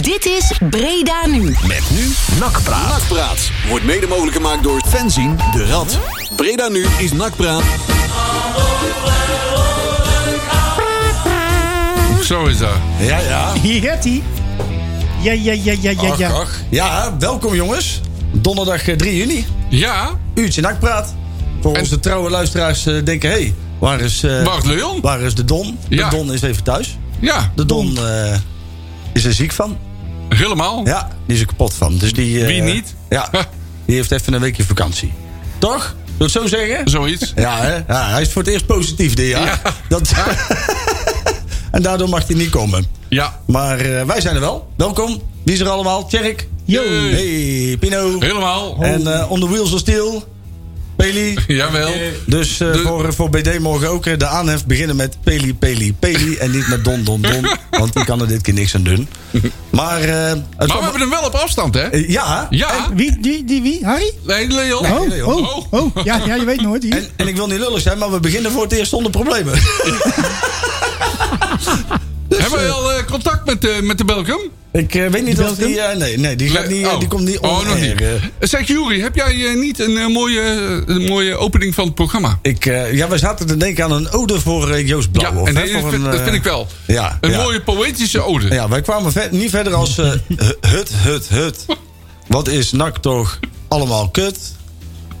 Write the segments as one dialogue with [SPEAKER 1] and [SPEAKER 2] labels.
[SPEAKER 1] Dit is Breda Nu.
[SPEAKER 2] Met nu Nakpraat.
[SPEAKER 3] Nakpraat wordt mede mogelijk gemaakt door Fenzien de Rad. Breda nu is Nakpraat.
[SPEAKER 4] Zo is dat.
[SPEAKER 2] Ja, ja.
[SPEAKER 5] Hier gaat hij. Ja, ja, ja, ja, ja,
[SPEAKER 4] Ach,
[SPEAKER 5] ja.
[SPEAKER 4] ach.
[SPEAKER 2] Ja, welkom jongens. Donderdag eh, 3 juni.
[SPEAKER 4] Ja,
[SPEAKER 2] Uurtje Nakpraat. Voor
[SPEAKER 4] En-
[SPEAKER 2] onze trouwe luisteraars eh, denken, hé, hey, waar is... eh,
[SPEAKER 4] Bart Leon.
[SPEAKER 2] Waar is de Don? De
[SPEAKER 4] Ja.
[SPEAKER 2] Don is even thuis.
[SPEAKER 4] Ja,
[SPEAKER 2] De Don eh, is er ziek van.
[SPEAKER 4] helemaal.
[SPEAKER 2] Ja, die is er kapot van. Dus die, eh,
[SPEAKER 4] Hm. Wie niet?
[SPEAKER 2] Ja, die heeft even een weekje vakantie. Toch? Wil ik het zo zeggen?
[SPEAKER 4] Zoiets.
[SPEAKER 2] Ja, hè? ja, hij is voor het eerst positief dit jaar.
[SPEAKER 4] Ja.
[SPEAKER 2] Dat, en daardoor mag hij niet komen.
[SPEAKER 4] Ja,
[SPEAKER 2] Maar eh, wij zijn er wel. Welkom. Wie is er allemaal? Tjerk.
[SPEAKER 5] Yo.
[SPEAKER 2] Hey, Pino.
[SPEAKER 4] helemaal.
[SPEAKER 2] En eh On the Wheels of Steel. Peli.
[SPEAKER 4] Jawel.
[SPEAKER 2] Dus eh,
[SPEAKER 4] De-
[SPEAKER 2] voor, voor BD morgen ook eh, de aanhef beginnen met Peli, Peli, Peli. En niet met Don, Don, Don. Want die kan er dit keer niks aan doen. Maar, eh, het
[SPEAKER 4] Maar we
[SPEAKER 2] allemaal-
[SPEAKER 4] hebben hem wel op afstand, hè?
[SPEAKER 2] Eh, ja.
[SPEAKER 4] Ja.
[SPEAKER 5] Wie, die, die, wie? Harry?
[SPEAKER 4] Nee, Leon.
[SPEAKER 2] Nee,
[SPEAKER 5] Oh,
[SPEAKER 2] nee,
[SPEAKER 5] oh,
[SPEAKER 4] joh.
[SPEAKER 5] oh. Ja, ja, je weet nooit. Hier.
[SPEAKER 2] En, en ik wil niet lullig zijn, maar we beginnen voor het eerst zonder problemen.
[SPEAKER 4] Hebben we al eh, contact met, eh, met de Belkum?
[SPEAKER 2] ik eh, weet niet
[SPEAKER 5] Die
[SPEAKER 2] of
[SPEAKER 5] belt
[SPEAKER 2] die... eh, nee, nee die, gaat niet, eh,
[SPEAKER 4] Oh.
[SPEAKER 2] die komt niet on
[SPEAKER 4] Oh, nog
[SPEAKER 2] air,
[SPEAKER 4] niet.
[SPEAKER 2] eh.
[SPEAKER 4] Zeg, Jury, heb jij eh, niet een eh, mooie, een mooie opening van het programma?
[SPEAKER 2] Ik, eh, ja, we zaten te denken aan een ode voor eh, Joost
[SPEAKER 4] Ja,
[SPEAKER 2] Blauw.
[SPEAKER 4] en dat, vind, dat vind ik wel.
[SPEAKER 2] eh, ja,
[SPEAKER 4] een
[SPEAKER 2] ja.
[SPEAKER 4] mooie poëtische ode.
[SPEAKER 2] Nou Ja, wij kwamen ver- niet verder als eh, hu- hut, hut, hut. Wat is NAC toch allemaal kut?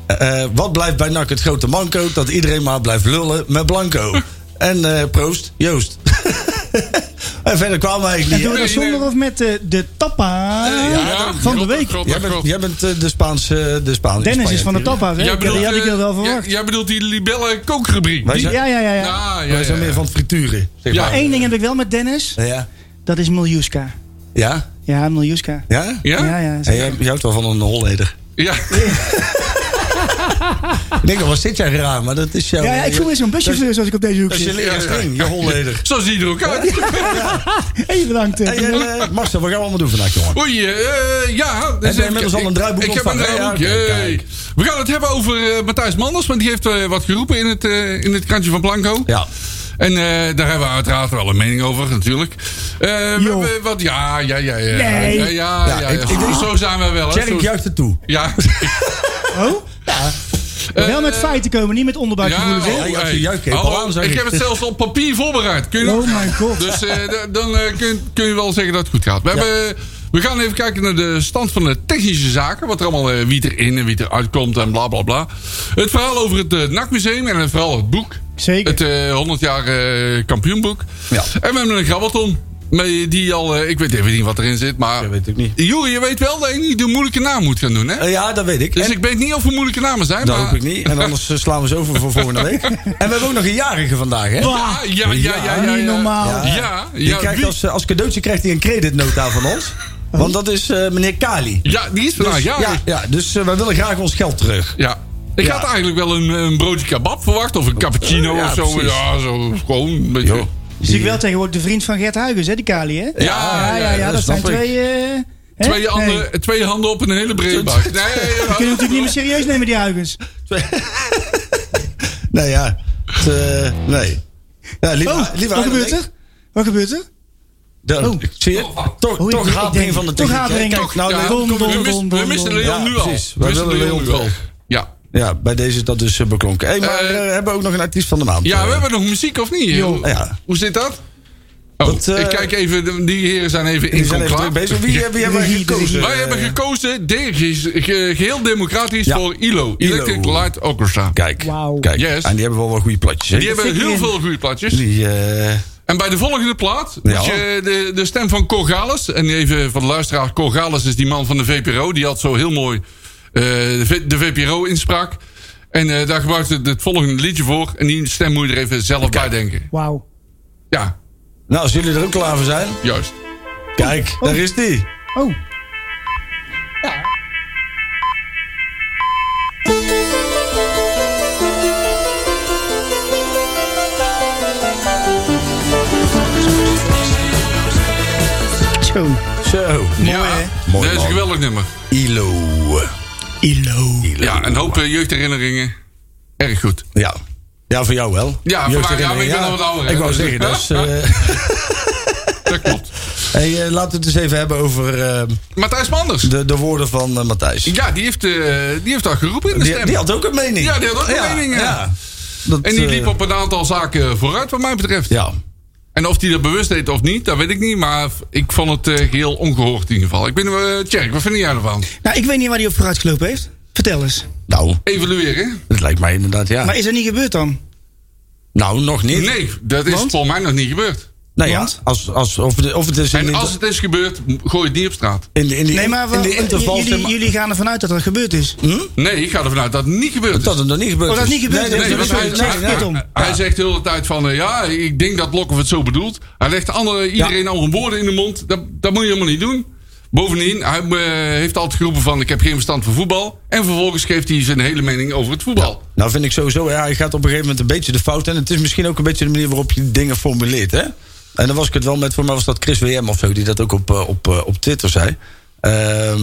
[SPEAKER 2] Eh, eh, wat blijft bij NAC het grote manco? Dat iedereen maar blijft lullen met Blanco. En eh, proost, Joost. en verder kwamen we
[SPEAKER 5] En
[SPEAKER 2] eigenlijk
[SPEAKER 5] doen we
[SPEAKER 2] niet. hè?
[SPEAKER 5] dat zonder of met eh, de tappa
[SPEAKER 4] Eh, Ja,
[SPEAKER 5] van de
[SPEAKER 4] klopt,
[SPEAKER 5] week.
[SPEAKER 4] klopt,
[SPEAKER 2] Jij
[SPEAKER 4] klopt.
[SPEAKER 2] bent, jij bent eh, de Spaanse... De Spaan,
[SPEAKER 5] Dennis
[SPEAKER 2] Spanje
[SPEAKER 5] is van de
[SPEAKER 2] natuurlijk.
[SPEAKER 5] tappa's. hè?
[SPEAKER 4] Jij
[SPEAKER 5] Die
[SPEAKER 4] bedoelt,
[SPEAKER 5] had ik
[SPEAKER 4] eh,
[SPEAKER 5] al wel
[SPEAKER 4] jij-
[SPEAKER 5] verwacht.
[SPEAKER 4] Jij bedoelt die libelle kookrubriek.
[SPEAKER 2] Wij
[SPEAKER 4] Die-
[SPEAKER 2] zijn,
[SPEAKER 5] Ja, ja, ja. ja.
[SPEAKER 4] Ah, ja, ja,
[SPEAKER 2] wij zijn
[SPEAKER 4] ja.
[SPEAKER 2] meer van het frituren. Zeg
[SPEAKER 4] Nou, Ja.
[SPEAKER 2] maar.
[SPEAKER 5] Eén ding heb ik wel met Dennis.
[SPEAKER 2] Ja.
[SPEAKER 5] Dat is Miljuska.
[SPEAKER 2] Ja?
[SPEAKER 5] Ja, Miljuska.
[SPEAKER 2] Ja?
[SPEAKER 4] Ja?
[SPEAKER 5] Ja,
[SPEAKER 4] Ja.
[SPEAKER 5] ja.
[SPEAKER 2] Hey, jij, jij houdt wel van een holleder. Ik denk, wel, wat zit jij raar? Maar dat is jouw...
[SPEAKER 5] Ja, ja, ik voel me zo'n busjechauffeur zoals ik op deze hoek
[SPEAKER 2] oh, Dat is je
[SPEAKER 5] zit.
[SPEAKER 2] leren
[SPEAKER 4] Ja, ja.
[SPEAKER 2] ding, je holleder.
[SPEAKER 4] Zo zie je er ook uit.
[SPEAKER 5] Hey, bedankt. eh.
[SPEAKER 2] Hey, eh, Marcel, wat gaan we allemaal doen vandaag, jongen?
[SPEAKER 4] Oei, eh, ja. dus
[SPEAKER 2] Heb je
[SPEAKER 4] even
[SPEAKER 2] inmiddels
[SPEAKER 4] kijken.
[SPEAKER 2] al een draaiboek
[SPEAKER 4] Ik, ik heb een
[SPEAKER 2] ontvangen?
[SPEAKER 4] draaiboek,
[SPEAKER 2] Ja, oké,
[SPEAKER 4] jee.
[SPEAKER 2] kijk.
[SPEAKER 4] We gaan het hebben over eh, Matthijs Manders, want die heeft eh, wat geroepen in het, eh, in het krantje van Blanco.
[SPEAKER 2] Ja.
[SPEAKER 4] En eh, daar hebben we uiteraard wel een mening over, natuurlijk. Eh, we
[SPEAKER 5] Joh.
[SPEAKER 4] hebben wat, ja, ja, ja, ja.
[SPEAKER 5] Nee.
[SPEAKER 4] Ja, ja, ja.
[SPEAKER 2] Ja, ik- ik denk-
[SPEAKER 4] zo zijn we wel. hè.
[SPEAKER 2] Tjerk
[SPEAKER 4] Zo-
[SPEAKER 2] juicht het toe.
[SPEAKER 4] Ja.
[SPEAKER 5] Oh? Wel met feiten komen, niet met onderbuikgevoelens. hè?
[SPEAKER 4] oh,
[SPEAKER 2] Ja,
[SPEAKER 4] hey.
[SPEAKER 2] juicht even
[SPEAKER 4] Hallo,
[SPEAKER 2] al aan, zeg
[SPEAKER 4] ik
[SPEAKER 2] ik.
[SPEAKER 4] heb het zelfs op papier voorbereid. Kun je
[SPEAKER 5] Oh
[SPEAKER 4] nog-
[SPEAKER 5] mijn god.
[SPEAKER 4] Dus eh, da- dan eh, kun, kun je wel zeggen dat het goed gaat. We, hebben, we gaan even kijken naar de stand van de technische zaken. Wat er allemaal, eh, wie erin en wie eruit komt en bla bla bla. Het verhaal over het eh, NAC-museum en vooral het boek.
[SPEAKER 5] Zeker.
[SPEAKER 4] Het eh, 100 jaar eh, kampioenboek.
[SPEAKER 2] Ja.
[SPEAKER 4] En we hebben een grabbelton. met Die al, eh, ik weet even niet wat erin zit, maar.
[SPEAKER 2] Dat weet ik niet.
[SPEAKER 4] Joeri, je weet wel dat je niet de moeilijke naam moet gaan doen, hè?
[SPEAKER 2] Eh, ja, dat weet ik.
[SPEAKER 4] Dus
[SPEAKER 2] En-
[SPEAKER 4] ik Ah. weet niet of er moeilijke namen zijn.
[SPEAKER 2] dat
[SPEAKER 4] maar...
[SPEAKER 2] hoop ik niet. En anders eh, slaan we ze over voor volgende week. En we hebben ook nog een jarige vandaag, hè?
[SPEAKER 4] Ja, ja, ja, ja. ja,
[SPEAKER 5] niet
[SPEAKER 4] ja.
[SPEAKER 5] normaal.
[SPEAKER 4] Ja, ja.
[SPEAKER 2] Die krijgt
[SPEAKER 4] wie-
[SPEAKER 2] als, eh, als cadeautje krijgt hij een creditnota van ons. Want dat is eh, meneer Kali.
[SPEAKER 4] ja die is vandaag. ja.
[SPEAKER 2] ja,
[SPEAKER 4] Ja.
[SPEAKER 2] ja, dus eh, wij willen graag ons geld terug.
[SPEAKER 4] Ik
[SPEAKER 2] Ja.
[SPEAKER 4] had eigenlijk wel een, een broodje kebab verwacht. Of een cappuccino
[SPEAKER 2] Eh, ja,
[SPEAKER 4] of zo.
[SPEAKER 2] precies.
[SPEAKER 4] Ja, zo gewoon. een beetje-
[SPEAKER 2] Joh.
[SPEAKER 5] Dus ik wel tegenwoordig de vriend van Gert Huygens, hè, die Kali, hè?
[SPEAKER 4] Ja,
[SPEAKER 5] ja,
[SPEAKER 4] ja,
[SPEAKER 5] ja,
[SPEAKER 4] ja,
[SPEAKER 5] dat,
[SPEAKER 2] dat
[SPEAKER 5] zijn
[SPEAKER 2] snap ik.
[SPEAKER 5] twee... eh, hè?
[SPEAKER 4] Twee, handen,
[SPEAKER 5] Nee.
[SPEAKER 4] twee handen op een hele brede buik. Nee,
[SPEAKER 5] Die kunnen we natuurlijk niet meer serieus nemen, die Huygens.
[SPEAKER 2] Nee, ja. Het, eh, nee. Ja, lieve,
[SPEAKER 5] Oh,
[SPEAKER 2] lieve
[SPEAKER 5] wat gebeurt
[SPEAKER 2] Heinrich.
[SPEAKER 5] er? Wat gebeurt er?
[SPEAKER 2] Dan-
[SPEAKER 5] Oh.
[SPEAKER 2] Zie je? Toch,
[SPEAKER 5] Oh, ik-
[SPEAKER 2] toch
[SPEAKER 5] ik
[SPEAKER 2] hapering
[SPEAKER 5] denk-
[SPEAKER 2] van de
[SPEAKER 5] toch
[SPEAKER 2] techniek. hè?
[SPEAKER 5] hapering.
[SPEAKER 2] Kijk, nou,
[SPEAKER 4] Ja,
[SPEAKER 2] Leon,
[SPEAKER 5] Don, don,
[SPEAKER 4] we, mis-
[SPEAKER 5] don, don,
[SPEAKER 4] we missen
[SPEAKER 5] don.
[SPEAKER 4] Leon
[SPEAKER 2] Ja,
[SPEAKER 4] nu al.
[SPEAKER 2] precies.
[SPEAKER 4] We
[SPEAKER 2] Wij
[SPEAKER 4] missen
[SPEAKER 2] willen
[SPEAKER 4] Leon
[SPEAKER 2] Leon
[SPEAKER 4] nu al.
[SPEAKER 2] terug.
[SPEAKER 4] Ja.
[SPEAKER 2] Ja, bij deze is dat dus eh, beklonken. Hey, maar
[SPEAKER 4] Eh,
[SPEAKER 2] eh, hebben we ook nog een artiest van de maand?
[SPEAKER 4] ja,
[SPEAKER 2] Eh,
[SPEAKER 4] we hebben nog muziek of niet? Hoe,
[SPEAKER 2] Ja.
[SPEAKER 4] hoe zit dat? Oh,
[SPEAKER 2] Dat, eh,
[SPEAKER 4] ik kijk even. de- Die heren zijn even
[SPEAKER 2] Die
[SPEAKER 4] in
[SPEAKER 2] zijn even
[SPEAKER 4] conclave.
[SPEAKER 2] druk bezig. Wie, eh, wie hebben wij
[SPEAKER 5] Regie,
[SPEAKER 2] gekozen?
[SPEAKER 4] Wij hebben
[SPEAKER 2] Eh,
[SPEAKER 4] gekozen, de- ge- ge- geheel democratisch,
[SPEAKER 2] Ja.
[SPEAKER 4] voor ILO. Electric
[SPEAKER 2] ILO.
[SPEAKER 4] Light Orchestra.
[SPEAKER 2] Kijk,
[SPEAKER 5] Wauw.
[SPEAKER 2] kijk.
[SPEAKER 4] Yes.
[SPEAKER 2] En die hebben wel wel goede platjes. hè?
[SPEAKER 4] Die hebben
[SPEAKER 5] vind ik
[SPEAKER 4] heel
[SPEAKER 5] in.
[SPEAKER 4] veel goede plaatjes.
[SPEAKER 2] Die, eh,
[SPEAKER 4] En bij de volgende plaat
[SPEAKER 2] Ja.
[SPEAKER 4] moet je de, de stem van Corgalis. En even van de luisteraar. Corgalis is die man van de VPRO. Die had zo heel mooi eh, de, V- de VPRO inspraak. En eh, daar gebruikte het, het volgende liedje voor. En die stem moet je er even zelf bij denken.
[SPEAKER 5] Wauw.
[SPEAKER 4] Ja,
[SPEAKER 2] nou, als jullie er ook klaar voor zijn.
[SPEAKER 4] juist.
[SPEAKER 2] Kijk, daar is die.
[SPEAKER 5] Oh. Zo.
[SPEAKER 2] Zo.
[SPEAKER 4] ja, dat
[SPEAKER 2] Mooi,
[SPEAKER 4] is een
[SPEAKER 2] man.
[SPEAKER 4] geweldig nummer.
[SPEAKER 2] ILO.
[SPEAKER 5] Ilo.
[SPEAKER 4] Ja, een hoop eh, jeugdherinneringen. Erg goed.
[SPEAKER 2] Ja. Ja, voor jou wel.
[SPEAKER 4] Ja, voor mij, ja, maar ik ben al wat ouder, hè,
[SPEAKER 2] Ik wou
[SPEAKER 4] dus-
[SPEAKER 2] zeggen, dat is... eh,
[SPEAKER 4] Dat klopt.
[SPEAKER 2] Hey, eh, laten we het eens even hebben over eh,
[SPEAKER 4] Matthijs Manders.
[SPEAKER 2] de, de woorden van eh, Matthijs.
[SPEAKER 4] Ja, die heeft, eh, die heeft dat geroepen in de
[SPEAKER 2] Die,
[SPEAKER 4] stem.
[SPEAKER 2] die had ook een mening.
[SPEAKER 4] Ja, die had ook een mening, ja.
[SPEAKER 2] Dat,
[SPEAKER 4] en die
[SPEAKER 2] eh,
[SPEAKER 4] liep op een aantal zaken vooruit, wat mij betreft.
[SPEAKER 2] Ja.
[SPEAKER 4] En of die dat bewust deed of niet, dat weet ik niet. Maar ik vond het eh, heel ongehoord in ieder geval. Ik ben eh Tjerk, wat vind jij ervan?
[SPEAKER 6] Nou, ik weet niet waar hij op vooruit gelopen heeft. Vertel eens.
[SPEAKER 2] Nou,
[SPEAKER 4] Evalueren?
[SPEAKER 2] dat lijkt mij inderdaad, ja.
[SPEAKER 6] Maar is dat niet gebeurd dan?
[SPEAKER 2] nou, nog niet.
[SPEAKER 4] Nee, dat is
[SPEAKER 6] Want?
[SPEAKER 4] volgens mij nog niet gebeurd.
[SPEAKER 2] Nou ja,
[SPEAKER 6] Want?
[SPEAKER 2] als, als, of, het- of het is in,
[SPEAKER 4] En
[SPEAKER 2] de-
[SPEAKER 4] als het is gebeurd, m- gooi het niet op straat.
[SPEAKER 2] in, de- in de,
[SPEAKER 6] Nee, maar wel-
[SPEAKER 2] in de
[SPEAKER 6] j-
[SPEAKER 2] interval...
[SPEAKER 6] jullie, jullie gaan ervan uit dat dat gebeurd is.
[SPEAKER 4] Nee, ik ga ervan uit dat het niet gebeurd is.
[SPEAKER 2] Dat het nog niet gebeurd
[SPEAKER 6] Oh, dat is niet
[SPEAKER 2] Nee,
[SPEAKER 6] gebeurd.
[SPEAKER 2] nee,
[SPEAKER 4] Nee,
[SPEAKER 6] dat
[SPEAKER 4] want
[SPEAKER 6] is
[SPEAKER 4] hij,
[SPEAKER 6] nee,
[SPEAKER 4] hij-
[SPEAKER 6] nee,
[SPEAKER 4] hij-
[SPEAKER 6] om.
[SPEAKER 4] hij zegt de hele tijd van... eh, ja, ik denk dat Lokhoff het zo bedoelt. Hij legt anderen, iedereen andere woorden in de mond. Dat, dat moet je helemaal niet doen. Bovendien, hij eh, heeft altijd geroepen van... ik heb geen verstand van voetbal. En vervolgens geeft hij zijn hele mening over het voetbal.
[SPEAKER 2] Nou vind ik sowieso, ja, je gaat op een gegeven moment een beetje de fout. En het is misschien ook een beetje de manier waarop je dingen formuleert. Hè? En dan was ik het wel met, voor mij was dat Chris WM of zo, die dat ook op, eh, op, eh, op Twitter zei. Ehm,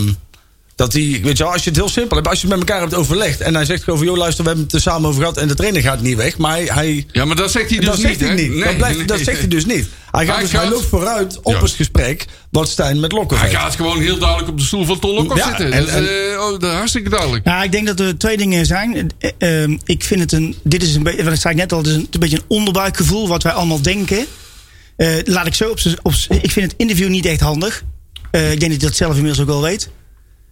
[SPEAKER 2] dat die, weet je wel, als je het heel simpel hebt, als je het met elkaar hebt overlegd. En hij zegt gewoon van, joh luister, we hebben het er samen over gehad. En de trainer gaat niet weg, maar hij... hij
[SPEAKER 4] Ja, maar dat zegt hij dus
[SPEAKER 2] dat
[SPEAKER 4] niet.
[SPEAKER 2] zegt hij
[SPEAKER 4] hè?
[SPEAKER 2] niet.
[SPEAKER 4] Nee,
[SPEAKER 2] dat, blijft,
[SPEAKER 4] nee.
[SPEAKER 2] dat zegt hij dus niet. Hij, gaat
[SPEAKER 4] Hij
[SPEAKER 2] dus, hij
[SPEAKER 4] gaat-
[SPEAKER 2] loopt vooruit op
[SPEAKER 4] Ja.
[SPEAKER 2] het gesprek wat Stijn met Lokhoff
[SPEAKER 4] Hij
[SPEAKER 2] heeft.
[SPEAKER 4] gaat gewoon heel duidelijk op de stoel van Ton Lokhoff
[SPEAKER 2] Ja,
[SPEAKER 4] zitten.
[SPEAKER 2] en-
[SPEAKER 4] dat, is, eh, oh, dat is hartstikke duidelijk.
[SPEAKER 6] Nou, ik denk dat er twee dingen zijn. Eh, eh, ik vind het een. Dit is een beetje. Dat zei ik net al. Dit is een, een beetje een onderbuikgevoel wat wij allemaal denken. Eh, laat ik zo op, z'n- op. z'n- Ik vind het interview niet echt handig. Eh, ik denk dat je dat zelf inmiddels ook wel weet.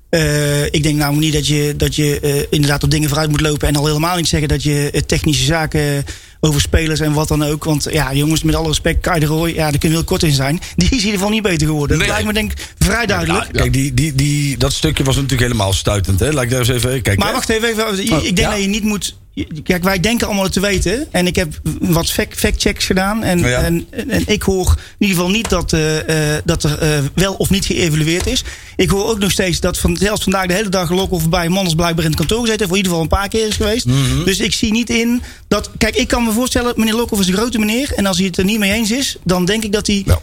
[SPEAKER 6] Eh, ik denk namelijk niet dat je, dat je eh, inderdaad op dingen vooruit moet lopen. En al helemaal niet zeggen dat je eh, technische zaken over spelers en wat dan ook. Want ja, jongens, met alle respect, Kai de Roy, ja, daar kunnen we heel kort in zijn. Die is in ieder geval niet beter geworden.
[SPEAKER 4] Nee.
[SPEAKER 6] Dat lijkt me denk ik vrij duidelijk.
[SPEAKER 2] Ja, kijk, die, die, die, dat stukje was natuurlijk helemaal stuitend. Hè? Laat ik daar eens even kijken.
[SPEAKER 6] Maar wacht even, even, ik
[SPEAKER 2] Oh,
[SPEAKER 6] denk
[SPEAKER 2] ja.
[SPEAKER 6] dat je niet moet. Kijk, wij denken allemaal het te weten. En ik heb wat fact- fact-checks gedaan. En,
[SPEAKER 2] Oh Ja.
[SPEAKER 6] en, en, en ik hoor in ieder geval niet dat, eh, eh, dat er eh, wel of niet geëvalueerd is. Ik hoor ook nog steeds dat van, zelfs vandaag de hele dag Lokhoff bij Manders blijkbaar in het kantoor gezeten heeft. Voor in ieder geval een paar keer is geweest.
[SPEAKER 2] Mhm.
[SPEAKER 6] Dus ik zie niet in dat. Kijk, ik kan me voorstellen, meneer Lokhoff is een grote meneer. En als hij het er niet mee eens is, dan denk ik dat hij
[SPEAKER 2] Ja.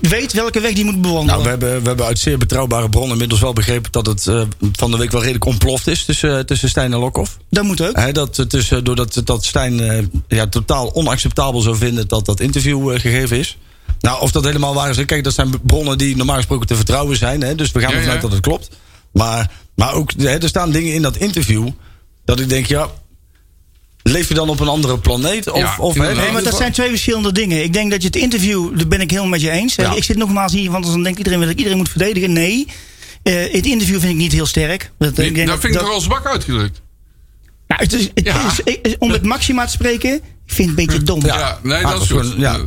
[SPEAKER 6] weet welke weg hij moet bewandelen.
[SPEAKER 2] Nou, we hebben, we hebben uit zeer betrouwbare bronnen inmiddels wel begrepen dat het eh, van de week wel redelijk ontploft is tussen, eh, tussen Stijn en Lokhoff.
[SPEAKER 6] dat moet ook.
[SPEAKER 2] Hè, dat, het is, eh, doordat dat Stijn eh, ja, totaal onacceptabel zou vinden dat dat interview eh, gegeven is. Nou, of dat helemaal waar is, kijk, dat zijn bronnen die normaal gesproken te vertrouwen zijn. Hè, dus we gaan
[SPEAKER 4] Ja,
[SPEAKER 2] ervan
[SPEAKER 4] ja.
[SPEAKER 2] uit dat het klopt. Maar, maar ook, hè, er staan dingen in dat interview dat ik denk, ja, leef je dan op een andere planeet? Of,
[SPEAKER 4] Ja,
[SPEAKER 2] of, hè,
[SPEAKER 4] inderdaad.
[SPEAKER 6] Nee, maar dat
[SPEAKER 2] geval-
[SPEAKER 6] zijn twee verschillende dingen. Ik denk dat je het interview, daar ben ik helemaal met je eens.
[SPEAKER 2] Ja.
[SPEAKER 6] Ik zit nogmaals hier, want dan denkt iedereen weer dat ik iedereen moet verdedigen. Nee, Eh, het interview vind ik niet heel sterk. Dat,
[SPEAKER 4] Nee,
[SPEAKER 6] ik denk
[SPEAKER 4] dat vind ik
[SPEAKER 6] dat-
[SPEAKER 4] toch al zwak uitgedrukt.
[SPEAKER 6] Nou, het is- het
[SPEAKER 4] Ja.
[SPEAKER 6] is- eh, eh, Om het maxima te spreken, ik vind het een beetje dom.
[SPEAKER 4] Ja, nee,
[SPEAKER 2] Ah,
[SPEAKER 4] dat is
[SPEAKER 2] dat is
[SPEAKER 4] goed.
[SPEAKER 2] gewoon- ja.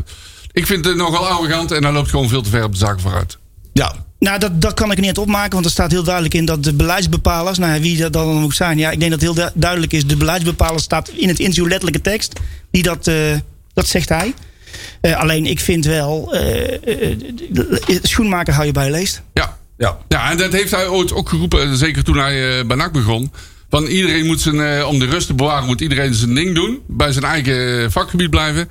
[SPEAKER 4] Ik vind het nogal arrogant en hij loopt gewoon veel te ver op de zaken vooruit.
[SPEAKER 2] Ja,
[SPEAKER 6] Nou, dat, dat kan ik niet opmaken, want er staat heel duidelijk in dat de beleidsbepalers, nou, wie dat dan ook zijn, ja, ik denk dat heel du- duidelijk is, de beleidsbepaler staat in het interview letterlijke tekst, die dat, eh, dat zegt hij. Eh, alleen ik vind wel, eh, eh, eh, schoenmaker hou je bij je leest.
[SPEAKER 4] Ja.
[SPEAKER 2] ja.
[SPEAKER 4] Ja, en dat heeft hij ooit ook geroepen, eh, zeker toen hij eh, bij NAC begon. Van iedereen moet zijn, eh, om de rust te bewaren, moet iedereen zijn ding doen. Bij zijn eigen eh, vakgebied blijven.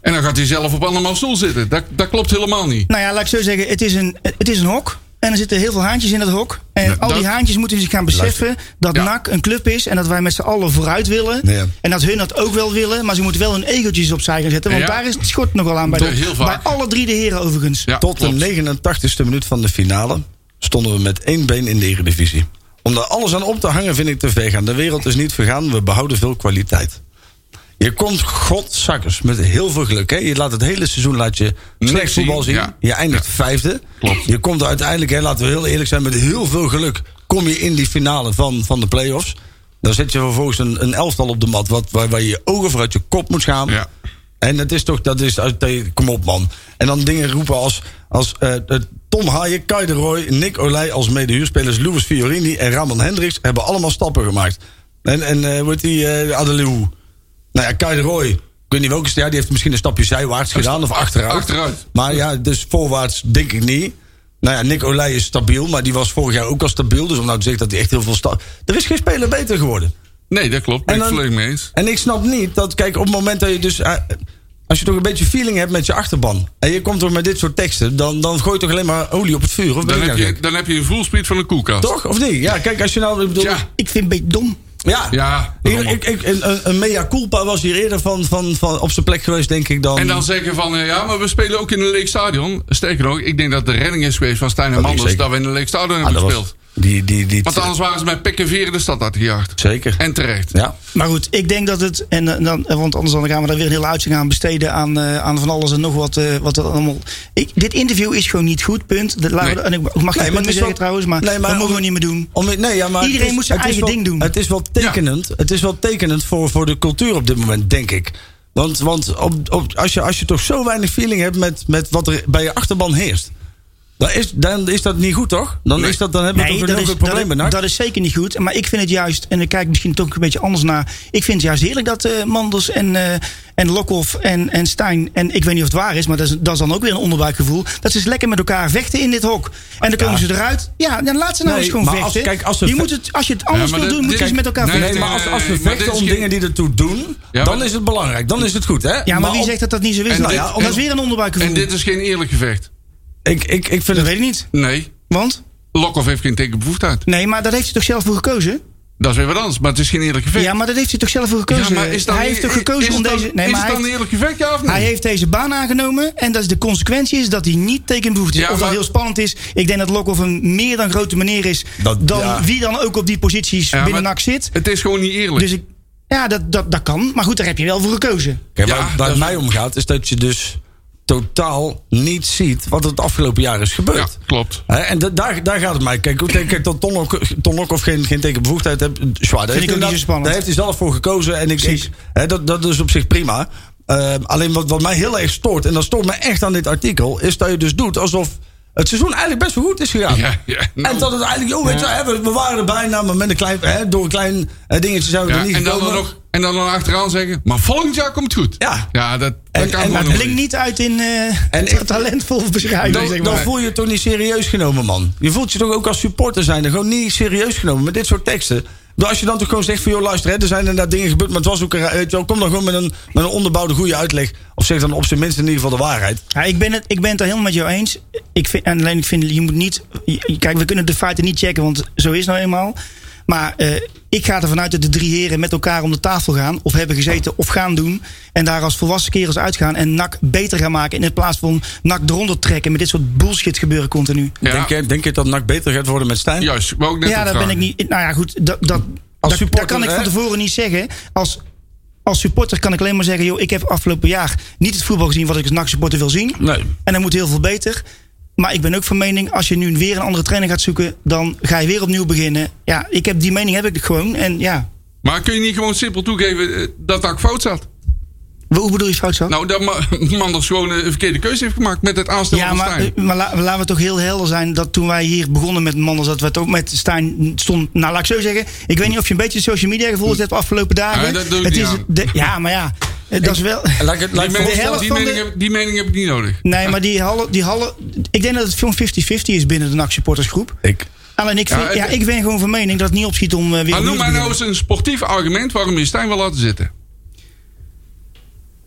[SPEAKER 4] En dan gaat hij zelf op allemaal stoel zitten. Dat, dat klopt helemaal niet.
[SPEAKER 6] Nou ja, laat ik zo zeggen, het is een, het is een hok. En er zitten heel veel haantjes in dat hok. En al
[SPEAKER 4] dat-
[SPEAKER 6] die haantjes moeten zich gaan beseffen dat
[SPEAKER 4] Ja.
[SPEAKER 6] NAC een club is. En dat wij met z'n allen vooruit willen.
[SPEAKER 2] Ja.
[SPEAKER 6] En dat hun dat ook wel willen. Maar ze moeten wel hun egeltjes opzij gaan zetten. Want
[SPEAKER 4] Ja.
[SPEAKER 6] daar is het schort nogal aan bij,
[SPEAKER 4] Dat
[SPEAKER 6] de-
[SPEAKER 4] heel
[SPEAKER 6] bij
[SPEAKER 4] vaak.
[SPEAKER 6] alle drie de heren overigens.
[SPEAKER 4] Ja,
[SPEAKER 2] Tot
[SPEAKER 4] klopt.
[SPEAKER 2] de 89ste minuut van de finale stonden we met één been in de Eredivisie. Om daar alles aan op te hangen vind ik te ver gaan. De wereld is niet vergaan, we behouden veel kwaliteit. Je komt godzakkers met heel veel geluk. Hè? Je laat het hele seizoen laat je
[SPEAKER 4] Niks
[SPEAKER 2] slecht
[SPEAKER 4] zien,
[SPEAKER 2] voetbal zien.
[SPEAKER 4] ja.
[SPEAKER 2] Je eindigt vijfde.
[SPEAKER 4] Klopt.
[SPEAKER 2] Je komt uiteindelijk, hè, laten we heel eerlijk zijn, met heel veel geluk kom je in die finale van, van de play-offs. Dan zet je vervolgens een, een elftal op de mat wat, waar, waar je je ogen voor uit je kop moet gaan.
[SPEAKER 4] Ja.
[SPEAKER 2] En dat is toch, dat is, uit- tegen- kom op man. En dan dingen roepen als, als eh, eh, Tom Haaien, Kai de Roy, Nick Olij als medehuurspelers, Louis Fiorini en Ramon Hendricks hebben allemaal stappen gemaakt. En, en eh wordt die eh Adelou. Nou ja, Kai de Roy, ik weet niet welke, ja, die heeft misschien een stapje zijwaarts gedaan of achteruit.
[SPEAKER 4] achteruit.
[SPEAKER 2] Maar ja, dus voorwaarts denk ik niet. Nou ja, Nick Olij is stabiel, maar die was vorig jaar ook al stabiel. Dus om nou te zeggen dat hij echt heel veel stappen... Er is geen speler beter geworden.
[SPEAKER 4] Nee, dat klopt. Ben
[SPEAKER 2] En
[SPEAKER 4] ik
[SPEAKER 2] dan-
[SPEAKER 4] volledig mee eens.
[SPEAKER 2] En ik snap niet dat, kijk, op het moment dat je dus. eh, als je toch een beetje feeling hebt met je achterban. en je komt toch met dit soort teksten. dan, dan gooi je toch alleen maar olie op het vuur? Of ben
[SPEAKER 4] Dan
[SPEAKER 2] ik
[SPEAKER 4] heb,
[SPEAKER 2] nou
[SPEAKER 4] je,
[SPEAKER 2] gek?
[SPEAKER 4] dan heb je een full speed van een koelkast.
[SPEAKER 2] Toch? Of niet? Ja, kijk, als je nou. Ik bedoel,
[SPEAKER 4] Ja,
[SPEAKER 6] Ik vind het een beetje dom.
[SPEAKER 2] Ja,
[SPEAKER 4] Ja,
[SPEAKER 2] Ik,
[SPEAKER 4] daarom.
[SPEAKER 2] ik, ik- een, een mea culpa was hier eerder van, van, van op zijn plek geweest, denk ik dan.
[SPEAKER 4] En dan zeggen van, eh, ja, maar we spelen ook in een leeg stadion. Sterker nog, ik denk dat de redding is geweest van Stijn en
[SPEAKER 2] Dat denk ik
[SPEAKER 4] Manders...
[SPEAKER 2] zeker.
[SPEAKER 4] dat we in een leeg stadion
[SPEAKER 2] Ah,
[SPEAKER 4] hebben
[SPEAKER 2] dat was-
[SPEAKER 4] gespeeld.
[SPEAKER 2] die, die, die,
[SPEAKER 4] Want anders waren ze met pek en veren de stad uitgejaagd.
[SPEAKER 2] Zeker.
[SPEAKER 4] En terecht.
[SPEAKER 2] ja.
[SPEAKER 6] Maar goed, ik denk dat het. En eh, dan, eh, want anders dan gaan we daar weer een hele uitzending aan besteden. Aan, eh, aan van alles en nog wat. eh, wat dat allemaal. Ik, dit interview is gewoon niet goed, punt. Dat, laten we
[SPEAKER 4] Nee.
[SPEAKER 6] dat- en ik mag geen punt
[SPEAKER 2] maar het
[SPEAKER 6] meer
[SPEAKER 2] is
[SPEAKER 6] zeggen
[SPEAKER 2] wel-
[SPEAKER 6] trouwens. Maar,
[SPEAKER 2] Nee, maar
[SPEAKER 6] dat mogen we
[SPEAKER 2] om-
[SPEAKER 6] niet meer doen.
[SPEAKER 2] Om, nee, ja, maar het
[SPEAKER 6] Iedereen
[SPEAKER 2] is-
[SPEAKER 6] moet zijn
[SPEAKER 2] het is
[SPEAKER 6] eigen
[SPEAKER 2] wel-
[SPEAKER 6] ding doen.
[SPEAKER 2] Het is wel tekenend, het is wel tekenend voor, voor de cultuur op dit moment, denk ik. Want, want op, op, als, je, als je toch zo weinig feeling hebt met, met wat er bij je achterban heerst. Dan is, dan is dat niet goed, toch? Dan,
[SPEAKER 4] Nee.
[SPEAKER 2] is dat, dan hebben we
[SPEAKER 6] Nee,
[SPEAKER 2] toch een
[SPEAKER 6] dat
[SPEAKER 2] heel
[SPEAKER 6] is,
[SPEAKER 2] groot probleem bij
[SPEAKER 6] dat,
[SPEAKER 2] NAC.
[SPEAKER 6] dat is zeker niet goed. Maar ik vind het juist, en ik kijk misschien toch een beetje anders naar. Ik vind het juist heerlijk dat eh, Manders en, eh en Lokhoff en, en Stijn. En ik weet niet of het waar is, maar dat is, dat is dan ook weer een onderbuikgevoel. Dat ze eens lekker met elkaar vechten in dit hok. En dan komen ze eruit. Ja, dan laat ze nou
[SPEAKER 2] Nee,
[SPEAKER 6] eens gewoon
[SPEAKER 2] maar
[SPEAKER 6] vechten.
[SPEAKER 2] als- kijk, als ze
[SPEAKER 6] je
[SPEAKER 2] ve-
[SPEAKER 6] moet het, als je het anders
[SPEAKER 4] maar
[SPEAKER 6] wil
[SPEAKER 4] dat-
[SPEAKER 6] doen, moet je
[SPEAKER 4] dit-
[SPEAKER 6] eens met elkaar
[SPEAKER 4] nee,
[SPEAKER 2] Nee,
[SPEAKER 6] vechten.
[SPEAKER 2] maar als, als we
[SPEAKER 4] maar dit
[SPEAKER 2] vechten
[SPEAKER 4] is
[SPEAKER 2] om
[SPEAKER 4] geen-
[SPEAKER 2] dingen die ertoe doen,
[SPEAKER 4] maar-
[SPEAKER 2] dan is het belangrijk. Dan is het goed, hè?
[SPEAKER 6] ja, maar wie
[SPEAKER 2] op-
[SPEAKER 6] zegt dat dat niet zo is?
[SPEAKER 4] En
[SPEAKER 6] Nou
[SPEAKER 4] dit-
[SPEAKER 6] ja,
[SPEAKER 4] en-
[SPEAKER 6] dat is weer een onderbuikgevoel.
[SPEAKER 4] En dit is geen eerlijk gevecht.
[SPEAKER 2] Ik, ik, ik vind
[SPEAKER 6] dat
[SPEAKER 2] het...
[SPEAKER 6] weet ik niet.
[SPEAKER 4] Nee,
[SPEAKER 6] Want?
[SPEAKER 4] Lokhoff heeft geen tekenbevoegdheid.
[SPEAKER 6] Nee, maar daar heeft hij toch zelf voor gekozen?
[SPEAKER 4] Dat is weer wat anders, maar het is geen eerlijk gevecht.
[SPEAKER 6] Ja, maar dat heeft hij toch zelf voor gekozen? hij heeft toch gekozen
[SPEAKER 4] is
[SPEAKER 6] om
[SPEAKER 4] het dan-
[SPEAKER 6] deze... Nee,
[SPEAKER 4] is het
[SPEAKER 6] maar hij
[SPEAKER 4] dan
[SPEAKER 6] heeft-
[SPEAKER 4] een eerlijk gevecht, ja of nee?
[SPEAKER 6] Hij heeft deze baan aangenomen en dat is de consequentie is dat hij niet tekenbehoefte
[SPEAKER 4] Ja,
[SPEAKER 6] is. of dat
[SPEAKER 4] maar-
[SPEAKER 6] heel spannend is. Ik denk dat Lokhoff een meer dan grote meneer is
[SPEAKER 2] Dat-
[SPEAKER 6] dan
[SPEAKER 2] ja.
[SPEAKER 6] wie dan ook op die posities
[SPEAKER 4] Ja,
[SPEAKER 6] binnen
[SPEAKER 4] maar-
[SPEAKER 6] NAC zit.
[SPEAKER 4] Het is gewoon niet eerlijk.
[SPEAKER 6] Dus ik, ja, dat, dat, dat kan. Maar goed, daar heb je wel voor gekozen.
[SPEAKER 2] Kijk,
[SPEAKER 4] Ja,
[SPEAKER 2] waar, waar
[SPEAKER 4] dat
[SPEAKER 2] het
[SPEAKER 4] is-
[SPEAKER 2] mij om gaat, is dat je dus totaal niet ziet wat er het afgelopen jaar is
[SPEAKER 4] ja,
[SPEAKER 2] gebeurd.
[SPEAKER 4] klopt.
[SPEAKER 2] Hè, en da- daar, daar gaat het mij. Kijk, ik denk kijk, dat Ton Lok- Ton Lokhoff geen, geen tekenbevoegdheid heeft. Zwaar, daar,
[SPEAKER 6] ik ook
[SPEAKER 2] heeft
[SPEAKER 6] niet
[SPEAKER 2] hij
[SPEAKER 6] zo
[SPEAKER 2] inderdaad-
[SPEAKER 6] spannend.
[SPEAKER 2] daar heeft hij zelf voor gekozen. En ik,
[SPEAKER 6] Precies.
[SPEAKER 2] ik, hè, dat, dat is op zich prima. Eh, alleen wat, wat mij heel erg stoort, en dat stoort me echt aan dit artikel, is dat je dus doet alsof het seizoen eigenlijk best wel goed is gegaan.
[SPEAKER 4] Ja, ja, nou.
[SPEAKER 2] En dat het eigenlijk, oh, weet je, hè, we, we waren er bijna, maar met een klein, hè, door een klein eh, dingetje zijn we
[SPEAKER 4] Ja,
[SPEAKER 2] er niet
[SPEAKER 4] en, dan
[SPEAKER 2] gekomen.
[SPEAKER 4] dan nog, en dan dan achteraan zeggen, maar volgend jaar komt het goed.
[SPEAKER 2] Ja.
[SPEAKER 4] ja dat, dat kan
[SPEAKER 2] En- en-
[SPEAKER 4] gewoon
[SPEAKER 2] maar
[SPEAKER 4] nog
[SPEAKER 6] Blink niet uit in eh,
[SPEAKER 2] En
[SPEAKER 6] ta-
[SPEAKER 2] ik-
[SPEAKER 6] talentvol beschrijving,
[SPEAKER 2] Dan,
[SPEAKER 6] zeg
[SPEAKER 2] dan
[SPEAKER 6] maar.
[SPEAKER 2] voel je het toch niet serieus genomen, man. Je voelt je toch ook als supporter zijn er gewoon niet serieus genomen met dit soort teksten. Dus Als je dan toch gewoon zegt van, joh, luister, hè, er zijn inderdaad dingen gebeurd, maar het was ook een... ra- Weet je wel, kom dan gewoon met een, met een onderbouwde goede uitleg. Of zeg dan op zijn minst in ieder geval de waarheid.
[SPEAKER 6] Ja, ik, ben het, ik ben het daar helemaal met jou eens. Ik vind, en alleen ik vind, je moet niet. je- Kijk, we kunnen de feiten niet checken, want zo is het nou eenmaal. Maar eh, ik ga ervan uit dat de drie heren met elkaar om de tafel gaan. Of hebben gezeten of gaan doen. En daar als volwassen kerels uitgaan. En NAC beter gaan maken. In plaats van NAC eronder trekken. Met dit soort bullshit gebeuren continu.
[SPEAKER 4] Ja.
[SPEAKER 2] Denk, je, denk je dat NAC beter gaat worden met Stijn?
[SPEAKER 4] Juist, wou ik net
[SPEAKER 6] Ja,
[SPEAKER 4] ook
[SPEAKER 6] daar ben
[SPEAKER 4] vragen.
[SPEAKER 6] ik niet. Nou ja, goed. Dat, dat, dat, dat
[SPEAKER 2] supporter,
[SPEAKER 6] kan ik
[SPEAKER 2] hè?
[SPEAKER 6] van tevoren niet zeggen. Als, als supporter kan ik alleen maar zeggen: joh, ik heb afgelopen jaar niet het voetbal gezien wat ik als NAC-supporter wil zien.
[SPEAKER 2] Nee.
[SPEAKER 6] En dat moet heel veel beter. Maar ik ben ook van mening, als je nu weer een andere trainer gaat zoeken, dan ga je weer opnieuw beginnen. Ja, ik heb die mening heb ik gewoon. En ja,
[SPEAKER 4] Maar kun je niet gewoon simpel toegeven eh, dat dat fout zat?
[SPEAKER 6] Wa- hoe bedoel je fout zo?
[SPEAKER 4] Nou, dat Ma- Manders gewoon eh, een verkeerde keuze heeft gemaakt met het aanstellen
[SPEAKER 6] ja,
[SPEAKER 4] van
[SPEAKER 6] maar,
[SPEAKER 4] Stijn.
[SPEAKER 6] eh, maar la- laten we toch heel helder zijn dat toen wij hier begonnen met Manders, dat we het ook met Stijn stond. Nou, laat ik zo zeggen. Ik weet niet of je een beetje de social media gevolgd hebt de afgelopen dagen.
[SPEAKER 4] Ja, dat doe ik
[SPEAKER 6] het
[SPEAKER 4] niet
[SPEAKER 6] is
[SPEAKER 4] aan.
[SPEAKER 6] de- ja, maar ja, eh, dat is wel.
[SPEAKER 2] En Laat ik, het- laat
[SPEAKER 4] die,
[SPEAKER 2] ik
[SPEAKER 4] mening,
[SPEAKER 2] voorstellen-
[SPEAKER 6] helft
[SPEAKER 4] die,
[SPEAKER 6] van
[SPEAKER 4] mening
[SPEAKER 6] de-
[SPEAKER 4] heb, die mening heb ik niet nodig.
[SPEAKER 6] Nee, maar die hallen, die hallen. Ik denk dat het veel 50-50 is binnen de NAC-supportersgroep.
[SPEAKER 2] Ik,
[SPEAKER 6] Alleen ik, vind,
[SPEAKER 4] Ja,
[SPEAKER 6] ja,
[SPEAKER 4] het-
[SPEAKER 6] ik ben gewoon van mening dat het niet opschiet om eh, weer.
[SPEAKER 4] Maar
[SPEAKER 6] opnieuw
[SPEAKER 4] noem
[SPEAKER 6] te
[SPEAKER 4] mij nou
[SPEAKER 6] beginnen.
[SPEAKER 4] eens een sportief argument waarom je Stijn wil laten zitten.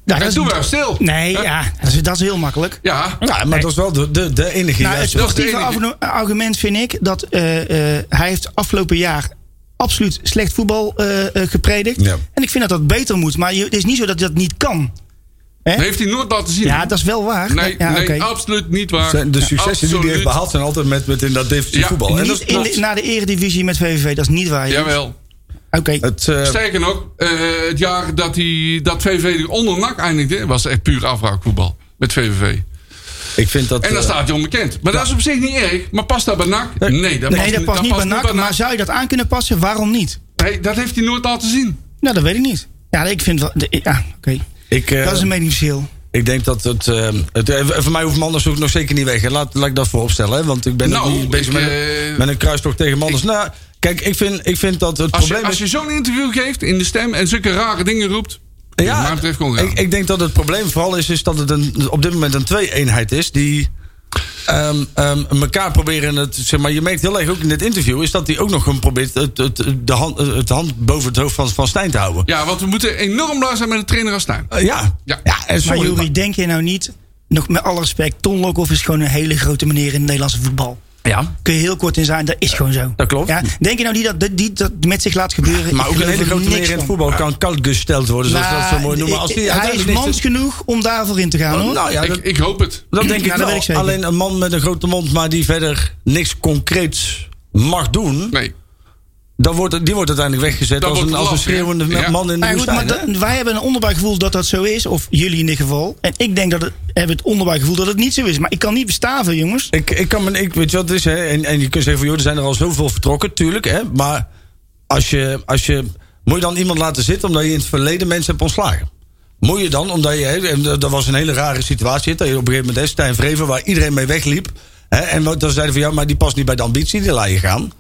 [SPEAKER 6] Nou,
[SPEAKER 4] En
[SPEAKER 6] is-
[SPEAKER 4] doe maar stil.
[SPEAKER 6] Nee,
[SPEAKER 4] Hè?
[SPEAKER 6] ja, dat is, dat is heel makkelijk.
[SPEAKER 4] Ja,
[SPEAKER 2] ja, maar dat is wel de, de, de enige
[SPEAKER 6] Nou, het
[SPEAKER 2] juiste-
[SPEAKER 4] dat is de
[SPEAKER 6] sportieve
[SPEAKER 4] enige.
[SPEAKER 6] argu- argument vind ik dat eh, eh, hij heeft afgelopen jaar absoluut slecht voetbal eh, eh, gepredikt.
[SPEAKER 2] Ja.
[SPEAKER 6] En ik vind dat dat beter moet. Maar je, het is niet zo dat hij dat niet kan.
[SPEAKER 4] dat heeft hij nooit laten zien.
[SPEAKER 6] Ja, dat is wel waar.
[SPEAKER 4] nee,
[SPEAKER 6] ja,
[SPEAKER 4] nee oh,
[SPEAKER 6] oké.
[SPEAKER 4] absoluut niet waar.
[SPEAKER 2] zijn De successen die hij heeft
[SPEAKER 4] Absoluut.
[SPEAKER 2] behaald zijn altijd met, met in dat defensief
[SPEAKER 4] Ja,
[SPEAKER 2] voetbal. En dat
[SPEAKER 6] Niet
[SPEAKER 2] is
[SPEAKER 6] in
[SPEAKER 2] klopt.
[SPEAKER 6] de, naar de eredivisie met VVV, dat is niet waar. Joop.
[SPEAKER 4] Jawel.
[SPEAKER 6] Oké.
[SPEAKER 2] Het, eh,
[SPEAKER 4] Sterker nog, eh, het jaar dat, hij, dat VVV onder NAC eindigde... was echt puur afraakvoetbal met VVV.
[SPEAKER 2] ik vind dat...
[SPEAKER 4] En dan
[SPEAKER 2] eh,
[SPEAKER 4] staat hij onbekend. Maar dat is op zich niet erg. Maar past dat bij NAC? Nee, dat
[SPEAKER 6] Nee, dat past niet bij
[SPEAKER 4] niet
[SPEAKER 6] NAC. Maar zou je dat aan kunnen passen? Waarom niet?
[SPEAKER 4] Nee, dat heeft hij nooit laten zien.
[SPEAKER 6] Nou, dat weet ik niet. Ja, ik vind wel... de- ja, oké.
[SPEAKER 2] ik, eh,
[SPEAKER 6] Dat is een meningsverschil.
[SPEAKER 2] Ik denk dat het. eh, het eh, voor mij hoeft Manders ook nog zeker niet weg. hè. Laat, laat ik dat voor opstellen. hè, Want ik ben
[SPEAKER 4] Nou,
[SPEAKER 2] ook niet bezig
[SPEAKER 4] ik,
[SPEAKER 2] met,
[SPEAKER 4] eh,
[SPEAKER 2] een, met een kruistocht tegen Manders. nou, kijk, ik vind, ik vind dat het
[SPEAKER 4] Als
[SPEAKER 2] probleem
[SPEAKER 4] je, als
[SPEAKER 2] is.
[SPEAKER 4] je zo'n interview geeft in de stem... en zulke rare dingen roept... Ja, maar betreft kon gaan.
[SPEAKER 2] ik, ik denk dat het probleem vooral is, is dat het een, op dit moment een twee-eenheid is die. ehm, ehm, elkaar proberen het, zeg maar, je merkt heel erg ook in dit interview, is dat hij ook nog gewoon probeert het, het, de hand, het hand boven het hoofd van, van Stijn te houden.
[SPEAKER 4] Ja, want we moeten enorm blij zijn met de trainer als Stijn.
[SPEAKER 2] Eh, ja.
[SPEAKER 4] Ja.
[SPEAKER 2] en
[SPEAKER 6] Maar
[SPEAKER 2] sorry,
[SPEAKER 6] Jury, denk je nou niet... Nog met alle respect, Ton Lokhoff is gewoon een hele grote meneer in het Nederlandse voetbal.
[SPEAKER 2] Ja.
[SPEAKER 6] Kun je heel kort in zijn, dat is gewoon zo.
[SPEAKER 2] dat klopt.
[SPEAKER 6] Ja, denk je nou die dat, die, die dat met zich laat gebeuren?
[SPEAKER 2] Maar
[SPEAKER 6] Ik
[SPEAKER 2] ook een
[SPEAKER 6] geloof
[SPEAKER 2] hele
[SPEAKER 6] er
[SPEAKER 2] grote
[SPEAKER 6] niks
[SPEAKER 2] meneer in het
[SPEAKER 6] van. Nou,
[SPEAKER 2] voetbal kan koudgesteld worden, zoals we dat zo mooi noemen. Als die
[SPEAKER 6] hij is
[SPEAKER 2] uiteindelijk
[SPEAKER 6] mans
[SPEAKER 2] niks-
[SPEAKER 6] genoeg om daarvoor in te gaan, hoor.
[SPEAKER 2] Nou ja,
[SPEAKER 4] ik,
[SPEAKER 2] dat,
[SPEAKER 4] ik hoop het.
[SPEAKER 2] dat denk
[SPEAKER 6] Ja,
[SPEAKER 2] ik
[SPEAKER 6] dat weet
[SPEAKER 2] wel.
[SPEAKER 6] ik zeker.
[SPEAKER 2] Alleen een man met een grote mond, maar die verder niks concreets mag doen,
[SPEAKER 4] Nee.
[SPEAKER 2] dan wordt, het- die wordt uiteindelijk weggezet
[SPEAKER 4] Dan
[SPEAKER 2] als
[SPEAKER 4] wordt
[SPEAKER 2] een,
[SPEAKER 4] het
[SPEAKER 2] als een
[SPEAKER 4] lastig, hè?
[SPEAKER 2] schreeuwende
[SPEAKER 4] Ja.
[SPEAKER 2] man in de
[SPEAKER 6] maar goed, maar
[SPEAKER 2] woestijn. hè?
[SPEAKER 6] dat- wij hebben een onderbuikgevoel dat dat zo is. Of jullie in dit geval. En ik denk dat het, hebben het onderbuikgevoel dat het niet zo is. Maar ik kan niet bestaven, jongens.
[SPEAKER 2] Ik, ik kan me, ik weet je wat het is, hè? En, en je kunt zeggen van joh, er zijn er al zoveel vertrokken, tuurlijk, hè? Maar als je, als je, moet je dan iemand laten zitten omdat je in het verleden mensen hebt ontslagen? Moet je dan, omdat je, hè, en dat dat was een hele rare situatie, dat je op een gegeven moment, hè, Stijn Vreven, waar iedereen mee wegliep, hè? En wat- dan zeiden van ja, maar die past niet bij de ambitie, die laat je gaan.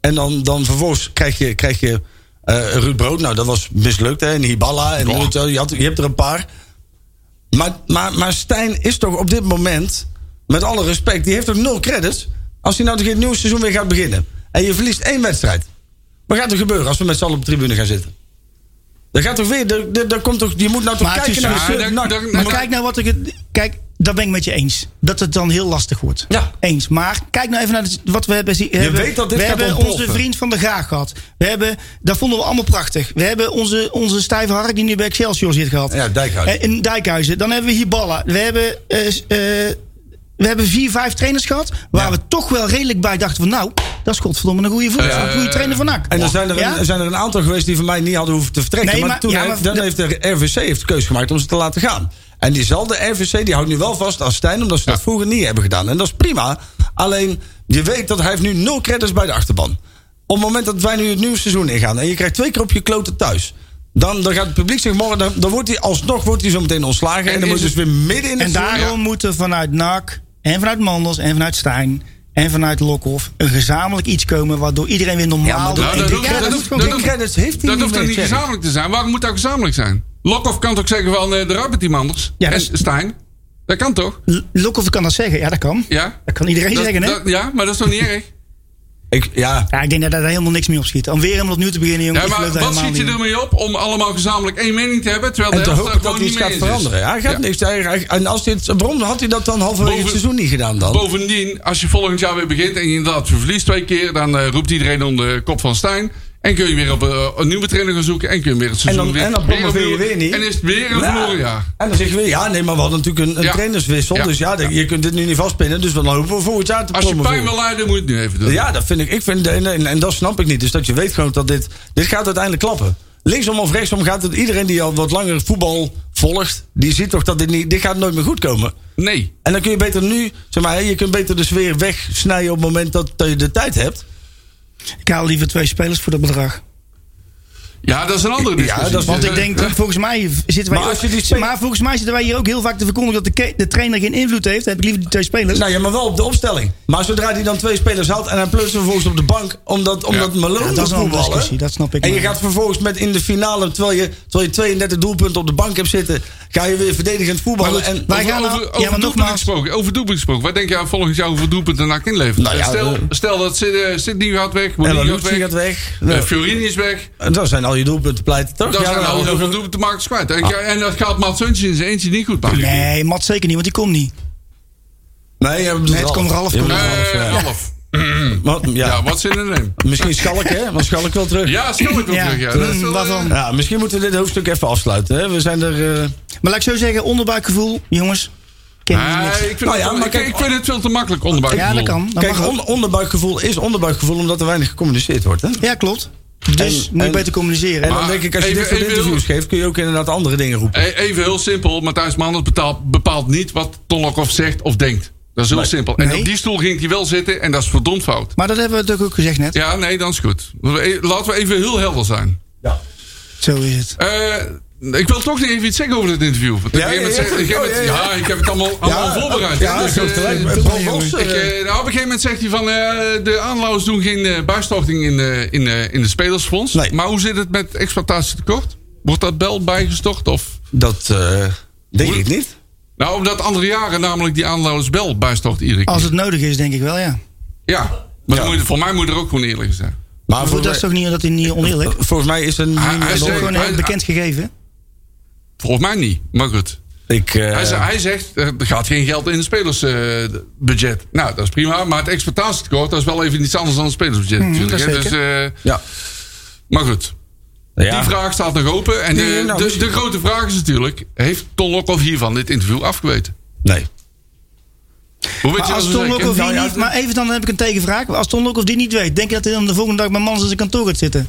[SPEAKER 2] En dan, dan vervolgens krijg je, krijg je eh, Ruud Brood, nou dat was mislukt, hè? En Hiballa, en
[SPEAKER 4] Ja.
[SPEAKER 2] weet je wel, je, had, je hebt er een paar. Maar, maar, maar Stijn is toch op dit moment, met alle respect, die heeft toch nul credits. Als hij nou tegen het nieuwe seizoen weer gaat beginnen. En je verliest één wedstrijd. Wat gaat er gebeuren als we met z'n allen op de tribune gaan zitten? Dan gaat toch weer, dan- dan- dan komt toch, je moet nou toch
[SPEAKER 6] Maar het
[SPEAKER 2] kijken
[SPEAKER 6] is
[SPEAKER 2] naar de
[SPEAKER 4] zo-
[SPEAKER 2] sub-
[SPEAKER 4] Ja, dan-
[SPEAKER 2] nak-
[SPEAKER 4] dan-
[SPEAKER 2] nak-
[SPEAKER 6] Maar
[SPEAKER 4] Maar-
[SPEAKER 6] kijk nou wat ik... het- Kijk, daar ben ik met je eens. Dat het dan heel lastig wordt.
[SPEAKER 2] Ja.
[SPEAKER 6] Eens. Maar kijk nou even naar de- wat we hebben... zien- We hebben,
[SPEAKER 2] weet dat dit
[SPEAKER 6] we
[SPEAKER 2] gaat
[SPEAKER 6] hebben
[SPEAKER 2] ontploffen.
[SPEAKER 6] onze vriend van de Graag gehad. We hebben, dat vonden we allemaal prachtig. We hebben onze, onze stijve hark die nu bij Excelsior zit gehad.
[SPEAKER 2] Ja, Dijkhuizen.
[SPEAKER 6] Eh, In Dijkhuizen. Dan hebben we Hiballa. We hebben... eh, s- eh, we hebben vier, vijf trainers gehad. Waar
[SPEAKER 2] Ja.
[SPEAKER 6] we toch wel redelijk bij dachten van... Nou, dat is godverdomme een goede voetbal.
[SPEAKER 4] Eh,
[SPEAKER 6] een goede trainer van NAC.
[SPEAKER 2] En dan zijn er,
[SPEAKER 6] Ja?
[SPEAKER 2] een, zijn er een aantal geweest die van mij niet hadden hoeven te vertrekken.
[SPEAKER 6] Nee,
[SPEAKER 2] maar,
[SPEAKER 6] maar-
[SPEAKER 2] toen
[SPEAKER 6] ja,
[SPEAKER 2] heeft-
[SPEAKER 6] maar-
[SPEAKER 2] dan heeft de RVC heeft de keuze gemaakt om ze te laten gaan. En diezelfde RVC die houdt nu wel vast aan Stijn, omdat ze dat vroeger niet hebben gedaan. En dat is prima. Alleen je weet dat hij heeft nu nul credits bij de achterban. Op het moment dat wij nu het nieuwe seizoen ingaan en je krijgt twee keer op je kloten thuis. Dan, dan gaat het publiek zich morgen, dan, dan wordt hij alsnog wordt hij zo meteen ontslagen. En,
[SPEAKER 4] En
[SPEAKER 2] dan
[SPEAKER 4] is
[SPEAKER 2] wordt dus
[SPEAKER 4] het-
[SPEAKER 2] weer midden in het
[SPEAKER 6] En
[SPEAKER 2] seizoen-
[SPEAKER 6] daarom
[SPEAKER 4] ja.
[SPEAKER 6] moeten vanuit NAC en vanuit Mandels en vanuit Stijn en vanuit Lokhoff een gezamenlijk iets komen waardoor iedereen weer normaal
[SPEAKER 2] maar
[SPEAKER 6] doet.
[SPEAKER 2] dat- Nou,
[SPEAKER 6] En
[SPEAKER 2] dat
[SPEAKER 6] dit-
[SPEAKER 2] hoeft-
[SPEAKER 6] ja,
[SPEAKER 2] dat
[SPEAKER 6] dat
[SPEAKER 2] hoeft-
[SPEAKER 6] is gewoon-
[SPEAKER 2] dat hoeft- credits heeft hij
[SPEAKER 4] Nou, dat
[SPEAKER 2] niet
[SPEAKER 4] hoeft dan
[SPEAKER 2] meer,
[SPEAKER 4] niet
[SPEAKER 2] Thierry.
[SPEAKER 4] gezamenlijk te zijn. Waarom moet dat gezamenlijk zijn? Lokhoff kan toch zeggen van eh, eruit met die anders.
[SPEAKER 6] Ja,
[SPEAKER 4] en
[SPEAKER 6] dat-
[SPEAKER 4] Stijn. Dat kan toch?
[SPEAKER 6] L- Lokhoff kan dat zeggen. Ja, dat kan.
[SPEAKER 4] Ja.
[SPEAKER 6] Dat kan iedereen
[SPEAKER 4] Dat-
[SPEAKER 6] zeggen, hè?
[SPEAKER 4] dat- ja, maar dat is toch niet erg?
[SPEAKER 2] Ik, ja,
[SPEAKER 6] Ja, ik denk dat daar helemaal niks mee op schiet. Om weer helemaal opnieuw te beginnen, jongen.
[SPEAKER 4] Ja, maar wat schiet je ermee op om allemaal gezamenlijk één mening te hebben? Terwijl de
[SPEAKER 2] en te
[SPEAKER 4] helft
[SPEAKER 2] hopen
[SPEAKER 4] daar
[SPEAKER 2] dat
[SPEAKER 4] gewoon
[SPEAKER 2] hij
[SPEAKER 4] niet
[SPEAKER 2] iets gaat
[SPEAKER 4] mee eens is?
[SPEAKER 2] veranderen. Hij gaat
[SPEAKER 4] Ja.
[SPEAKER 2] niks. Hij- hij- en als dit, waarom had hij dat dan halverwege het
[SPEAKER 4] Boven-
[SPEAKER 2] seizoen niet gedaan dan?
[SPEAKER 4] Bovendien, als je volgend jaar weer begint en je inderdaad verliest twee keer, dan eh, roept iedereen om de kop van Stijn. En kun je weer op eh, een nieuwe trainer gaan zoeken. En kun je weer het seizoen
[SPEAKER 2] En dan-
[SPEAKER 4] weer,
[SPEAKER 2] en dan promoveer je
[SPEAKER 4] opnieuw-
[SPEAKER 2] weer niet.
[SPEAKER 4] En is het weer een
[SPEAKER 2] Ja.
[SPEAKER 4] verloren jaar.
[SPEAKER 2] En dan zeg je weer, ja, nee, maar we hadden natuurlijk een, een
[SPEAKER 4] Ja.
[SPEAKER 2] trainerswissel.
[SPEAKER 4] Ja.
[SPEAKER 2] Dus ja, de- je kunt dit nu niet vastpinnen. Dus dan hopen we volgend jaar te
[SPEAKER 4] Als je pijn
[SPEAKER 2] promoveren.
[SPEAKER 4] wil leiden, moet je het nu even doen.
[SPEAKER 2] Ja, dat vind ik. ik vind, en, en, en dat snap ik niet. Dus dat je weet gewoon dat dit. Dit gaat uiteindelijk klappen. Linksom of rechtsom gaat het. Iedereen die al wat langer voetbal volgt. die ziet toch dat dit niet. Dit gaat nooit meer goed komen.
[SPEAKER 4] Nee.
[SPEAKER 2] En dan kun je beter nu. zeg maar, hè, je kunt beter de sfeer wegsnijden. op het moment dat, dat je de tijd hebt.
[SPEAKER 6] Ik haal liever twee spelers voor dat bedrag.
[SPEAKER 4] Ja, dat is een andere discussie.
[SPEAKER 2] dat is-
[SPEAKER 6] Want ik denk, dat volgens mij zitten wij
[SPEAKER 2] Maar als je die
[SPEAKER 6] ook-
[SPEAKER 2] twee-
[SPEAKER 6] maar volgens mij zitten wij hier ook heel vaak te verkondigen dat de, ke- de trainer geen invloed heeft. Dan heb ik liever die twee spelers.
[SPEAKER 2] Nou ja, maar wel op de opstelling. Maar zodra hij dan twee spelers haalt en hij plukt ze vervolgens op de bank. Omdat, omdat Malone
[SPEAKER 6] Ja, dat is
[SPEAKER 2] wil
[SPEAKER 6] een andere
[SPEAKER 2] voetballen.
[SPEAKER 6] discussie, dat snap ik
[SPEAKER 2] En je
[SPEAKER 6] maar.
[SPEAKER 2] gaat vervolgens met in de finale, terwijl je, terwijl je 32 doelpunten op de bank hebt zitten. Ga je weer verdedigend voetballen.
[SPEAKER 6] Maar goed,
[SPEAKER 2] en,
[SPEAKER 6] wij
[SPEAKER 4] Over,
[SPEAKER 6] gaan-
[SPEAKER 4] over, over
[SPEAKER 6] nou- ja, maar
[SPEAKER 4] doelpunten
[SPEAKER 6] nogmaals-
[SPEAKER 4] gesproken. Over doelpunten gesproken. Wat denk jij volgend jaar hoeveel doelpunten NAC inlevert?
[SPEAKER 2] Nou ja,
[SPEAKER 4] stel,
[SPEAKER 2] eh,
[SPEAKER 4] stel dat Sid- eh, Sidney gaat weg.
[SPEAKER 2] en
[SPEAKER 4] Mourinho
[SPEAKER 2] Lanucci gaat weg.
[SPEAKER 4] eh, Fiorini is weg.
[SPEAKER 2] En dan zijn al je doelpunten pleiten, toch?
[SPEAKER 4] Dan zijn
[SPEAKER 2] maar- Ah.
[SPEAKER 4] al heel veel doelpuntenmakers kwijt. En, en dat gaat Mats Huntje in zijn eentje niet goed maken.
[SPEAKER 6] Nee, Mat zeker niet, want die komt niet.
[SPEAKER 2] Nee, ja,
[SPEAKER 6] Nee, het komt Ralf,
[SPEAKER 2] Ja,
[SPEAKER 6] komt
[SPEAKER 4] Eh,
[SPEAKER 2] Ralf, ja.
[SPEAKER 4] Ralf.
[SPEAKER 2] Wat- ja.
[SPEAKER 4] Ja, wat zin in hem?
[SPEAKER 2] Misschien Schalk, hè? Want Schalk wil terug.
[SPEAKER 4] Ja, stel ik wel
[SPEAKER 6] Ja,
[SPEAKER 4] terug. Ja.
[SPEAKER 6] toen-
[SPEAKER 2] mm,
[SPEAKER 4] Dat is wel, eh,
[SPEAKER 6] waarvan?
[SPEAKER 2] Ja, misschien moeten we dit hoofdstuk even afsluiten. Hè? We zijn er. eh,
[SPEAKER 6] Maar laat ik zo zeggen, onderbuikgevoel, jongens. Kennen jullie
[SPEAKER 4] eh, Nee,
[SPEAKER 6] niks.
[SPEAKER 4] ik, vind
[SPEAKER 2] Nou ja,
[SPEAKER 4] het,
[SPEAKER 2] maar
[SPEAKER 4] ik-
[SPEAKER 2] kijk-
[SPEAKER 4] ik vind het veel te makkelijk onderbouw.
[SPEAKER 6] Ja, dat kan. Dat
[SPEAKER 2] kijk,
[SPEAKER 6] mag ook.
[SPEAKER 2] on- onderbuikgevoel is onderbuikgevoel omdat er weinig gecommuniceerd wordt. Hè?
[SPEAKER 6] Ja, klopt. Dus
[SPEAKER 2] En-
[SPEAKER 6] moet je
[SPEAKER 2] en-
[SPEAKER 6] beter communiceren.
[SPEAKER 2] En dan
[SPEAKER 4] Maar
[SPEAKER 2] denk ik, als je
[SPEAKER 4] even-
[SPEAKER 2] dit soort
[SPEAKER 4] even-
[SPEAKER 2] interviews geeft, kun je ook inderdaad andere dingen roepen.
[SPEAKER 4] e- Even heel simpel. Matthijs Manders bepaalt, bepaalt niet wat Tolokhoff zegt of denkt. Dat is heel simpel. En
[SPEAKER 6] Nee.
[SPEAKER 4] op die stoel ging hij wel zitten en dat is verdomd fout.
[SPEAKER 6] maar dat hebben we natuurlijk ook gezegd net.
[SPEAKER 4] Ja, nee, dan is goed. We- e- Laten we even heel helder zijn.
[SPEAKER 6] Zo is het.
[SPEAKER 4] Eh, ik wil toch nog even iets zeggen over dit interview. Want op een
[SPEAKER 2] Ja,
[SPEAKER 4] gegeven
[SPEAKER 2] ja, Oh,
[SPEAKER 4] moment zegt-
[SPEAKER 2] ja,
[SPEAKER 4] op een gegeven
[SPEAKER 2] ja,
[SPEAKER 4] moment-
[SPEAKER 2] ja.
[SPEAKER 4] Ja, ik heb het allemaal, allemaal voorbereid.
[SPEAKER 2] Ja,
[SPEAKER 4] hè,
[SPEAKER 2] dat
[SPEAKER 4] dus,
[SPEAKER 2] is ook
[SPEAKER 4] eh,
[SPEAKER 2] gelijk.
[SPEAKER 4] ik,
[SPEAKER 2] Bron Bos,
[SPEAKER 4] eh,
[SPEAKER 2] eh,
[SPEAKER 4] nou, op een gegeven moment zegt hij van... eh, de aanlouwers doen geen eh, buisstorting in, eh, in, eh, in de spelersfonds.
[SPEAKER 2] Nee.
[SPEAKER 4] Maar hoe zit het met exploitatietekort? Wordt dat wel bijgestort? Of?
[SPEAKER 2] Dat eh, denk
[SPEAKER 4] Hoe-
[SPEAKER 2] ik niet.
[SPEAKER 4] Nou, omdat andere jaren namelijk die aanlouwers wel bijstort iedere keer.
[SPEAKER 6] Als het nodig is, denk ik wel,
[SPEAKER 4] Ah,
[SPEAKER 6] ja.
[SPEAKER 4] Ja, maar dan moet je- voor mij moet er ook gewoon eerlijk zijn.
[SPEAKER 2] Maar
[SPEAKER 6] Maar goed, dat
[SPEAKER 2] volgens
[SPEAKER 6] is toch niet dat hij niet oneerlijk.
[SPEAKER 2] mij, volgens mij is een.
[SPEAKER 4] eh, Hij- hij
[SPEAKER 6] Dat is
[SPEAKER 4] zegt-
[SPEAKER 6] gewoon
[SPEAKER 4] hij-
[SPEAKER 6] een bekend gegeven.
[SPEAKER 4] Volgens mij niet, maar goed.
[SPEAKER 2] Ik, eh,
[SPEAKER 4] Hij, zegt- hij zegt, er gaat geen geld in het spelersbudget. nou, dat is prima. Maar het exploitatietekort, dat is wel even iets anders dan het spelersbudget natuurlijk.
[SPEAKER 6] Hmm, dat
[SPEAKER 4] hè. Dus, eh,
[SPEAKER 2] ja.
[SPEAKER 4] maar goed,
[SPEAKER 2] Ja.
[SPEAKER 4] die vraag staat nog open. En
[SPEAKER 2] Nee,
[SPEAKER 4] de,
[SPEAKER 2] nou,
[SPEAKER 4] de,
[SPEAKER 2] misschien-
[SPEAKER 4] de grote vraag is natuurlijk, heeft Ton Lokhoff hiervan dit interview afgeweten?
[SPEAKER 2] Nee.
[SPEAKER 4] Hoe weet
[SPEAKER 6] Maar
[SPEAKER 4] je dat
[SPEAKER 6] als
[SPEAKER 4] zo
[SPEAKER 6] Ton
[SPEAKER 4] zeker?
[SPEAKER 6] Lokhoff die
[SPEAKER 4] Nou ja,
[SPEAKER 6] niet... Maar even dan heb ik een tegenvraag. Als Ton Lokhoff die niet weet, denk je dat hij dan de volgende dag bij Mans in zijn kantoor gaat zitten?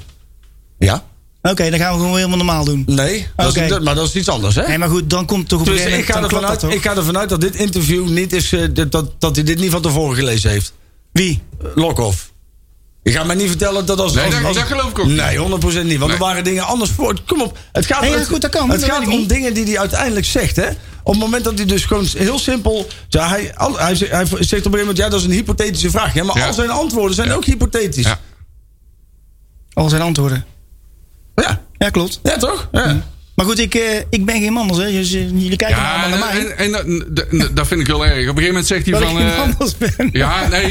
[SPEAKER 2] Ja?
[SPEAKER 6] Oké, dan gaan we gewoon helemaal normaal doen.
[SPEAKER 2] Nee. Dat is,
[SPEAKER 6] Oké.
[SPEAKER 2] dat- maar dat is iets anders, hè?
[SPEAKER 6] Nee, maar goed, dan komt toch op een
[SPEAKER 2] dus
[SPEAKER 6] gegeven
[SPEAKER 2] ik ga,
[SPEAKER 6] moment... dan
[SPEAKER 2] ervan uit,
[SPEAKER 6] klopt
[SPEAKER 2] ik
[SPEAKER 6] dat
[SPEAKER 2] ga ervan uit dat dit interview niet is. eh, dat- dat, dat hij dit niet van tevoren gelezen heeft.
[SPEAKER 6] toch? Wie?
[SPEAKER 2] Eh, Lokhoff. Je gaat mij niet vertellen dat als.
[SPEAKER 4] Nee,
[SPEAKER 2] als,
[SPEAKER 4] dat-
[SPEAKER 2] als-
[SPEAKER 4] dat geloof ik ook niet.
[SPEAKER 2] Nee, 100% niet. Want
[SPEAKER 4] Nee.
[SPEAKER 2] er waren dingen anders voor. Kom op. Het gaat,
[SPEAKER 6] Nee, ja,
[SPEAKER 2] het,
[SPEAKER 6] goed, dat kan,
[SPEAKER 2] het
[SPEAKER 6] dat
[SPEAKER 2] gaat
[SPEAKER 6] weet ik
[SPEAKER 2] om
[SPEAKER 6] niet.
[SPEAKER 2] dingen die hij uiteindelijk zegt. Hè? Op het moment dat hij dus gewoon heel simpel. Ja, hij, al- hij, zegt- hij zegt op een gegeven moment: ja, dat is een hypothetische vraag. Ja, maar
[SPEAKER 4] Ja.
[SPEAKER 2] al zijn antwoorden zijn
[SPEAKER 4] Ja.
[SPEAKER 2] ook hypothetisch.
[SPEAKER 4] Ja.
[SPEAKER 2] Ja,
[SPEAKER 6] Al zijn antwoorden.
[SPEAKER 2] ja.
[SPEAKER 6] Ja, klopt.
[SPEAKER 2] toch? Ja.
[SPEAKER 6] Maar goed, ik, eh, ik ben geen Manders, hè. Dus, eh, jullie kijken
[SPEAKER 4] Ja,
[SPEAKER 6] allemaal naar mij.
[SPEAKER 4] en, en, en dat- dat- dat vind ik heel erg. Op een gegeven moment zegt hij
[SPEAKER 6] dat ik
[SPEAKER 4] van...
[SPEAKER 6] geen
[SPEAKER 4] eh,
[SPEAKER 6] Manders ben.
[SPEAKER 4] Ja, nee.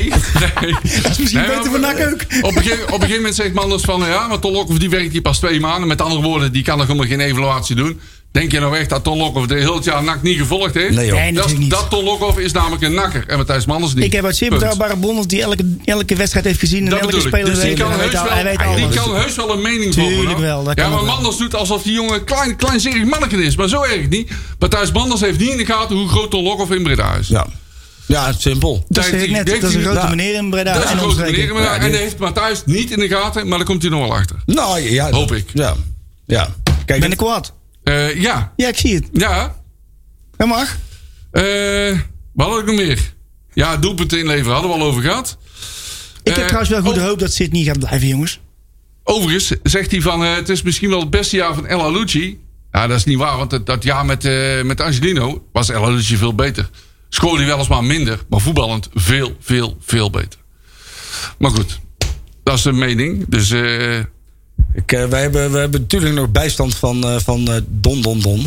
[SPEAKER 4] nee. Dat is
[SPEAKER 6] misschien beter voor NAC ook.
[SPEAKER 4] Op een, gegeven, op een gegeven moment zegt Manders van... eh, Ja, maar Ton Lokhoff die werkt hier pas twee maanden. Met andere woorden, die kan nog helemaal geen evaluatie doen. Denk je nou echt dat Ton Lokhoff de heel het jaar NAC niet gevolgd heeft?
[SPEAKER 2] Nee, joh.
[SPEAKER 6] Nee,
[SPEAKER 4] dat,
[SPEAKER 6] natuurlijk niet.
[SPEAKER 4] dat Ton Lokhoff is namelijk een nakker. En Matthijs Manders niet.
[SPEAKER 6] Ik heb uit zeer
[SPEAKER 4] Punt.
[SPEAKER 6] betrouwbare bronnen die elke, elke wedstrijd heeft gezien. En
[SPEAKER 4] Dat
[SPEAKER 6] elke
[SPEAKER 4] bedoel ik.
[SPEAKER 6] speler
[SPEAKER 4] Dus die
[SPEAKER 6] weet.
[SPEAKER 4] kan,
[SPEAKER 6] hij,
[SPEAKER 4] heus
[SPEAKER 6] weet al-
[SPEAKER 4] wel,
[SPEAKER 6] hij weet
[SPEAKER 4] die
[SPEAKER 6] alles.
[SPEAKER 4] kan heus wel een mening vormen.
[SPEAKER 6] Tuurlijk
[SPEAKER 4] hoor.
[SPEAKER 6] wel, dat
[SPEAKER 4] Ja,
[SPEAKER 6] kan
[SPEAKER 4] maar
[SPEAKER 6] ook wel.
[SPEAKER 4] Manders doet alsof die jongen een klein, klein zerig manneken is. Maar zo erg niet. Matthijs Manders heeft niet in de gaten hoe groot Ton Lokhoff in Breda is.
[SPEAKER 2] Ja. ja, simpel.
[SPEAKER 6] Dat
[SPEAKER 4] Denkt
[SPEAKER 6] zeg ik
[SPEAKER 4] hij-
[SPEAKER 6] net.
[SPEAKER 4] denkt
[SPEAKER 6] Dat is een
[SPEAKER 4] hij-
[SPEAKER 6] grote
[SPEAKER 2] nou,
[SPEAKER 6] meneer in Breda.
[SPEAKER 4] Dat is
[SPEAKER 6] en
[SPEAKER 4] een grote
[SPEAKER 6] omstreken.
[SPEAKER 4] meneer. maar- En dat heeft Matthijs niet in de gaten. Maar daar komt hij nog wel achter.
[SPEAKER 2] Nou ja.
[SPEAKER 4] Hoop ik.
[SPEAKER 2] Ja. ja. Kijk,
[SPEAKER 6] Ben ik kwaad?
[SPEAKER 4] Eh, ja,
[SPEAKER 6] Ja, ik zie het.
[SPEAKER 4] ja.
[SPEAKER 6] Dat mag.
[SPEAKER 4] Eh wat had ik nog meer? Ja, doelpunten inleveren hadden we al over gehad.
[SPEAKER 6] Ik
[SPEAKER 4] Eh,
[SPEAKER 6] heb trouwens wel goede
[SPEAKER 4] oh.
[SPEAKER 6] hoop dat Sid niet gaat blijven, jongens.
[SPEAKER 4] Overigens zegt hij van... eh, het is misschien wel het beste jaar van El Alucci. Ja, dat is niet waar. Want dat, dat jaar met, eh, met Angelino was El Alucci veel beter. School hij weliswaar minder. Maar voetballend veel, veel, veel beter. Maar goed. Dat is de mening. Dus eh,
[SPEAKER 2] Ik, eh, wij, hebben, wij hebben natuurlijk nog bijstand van, eh, van eh, Don Don Don.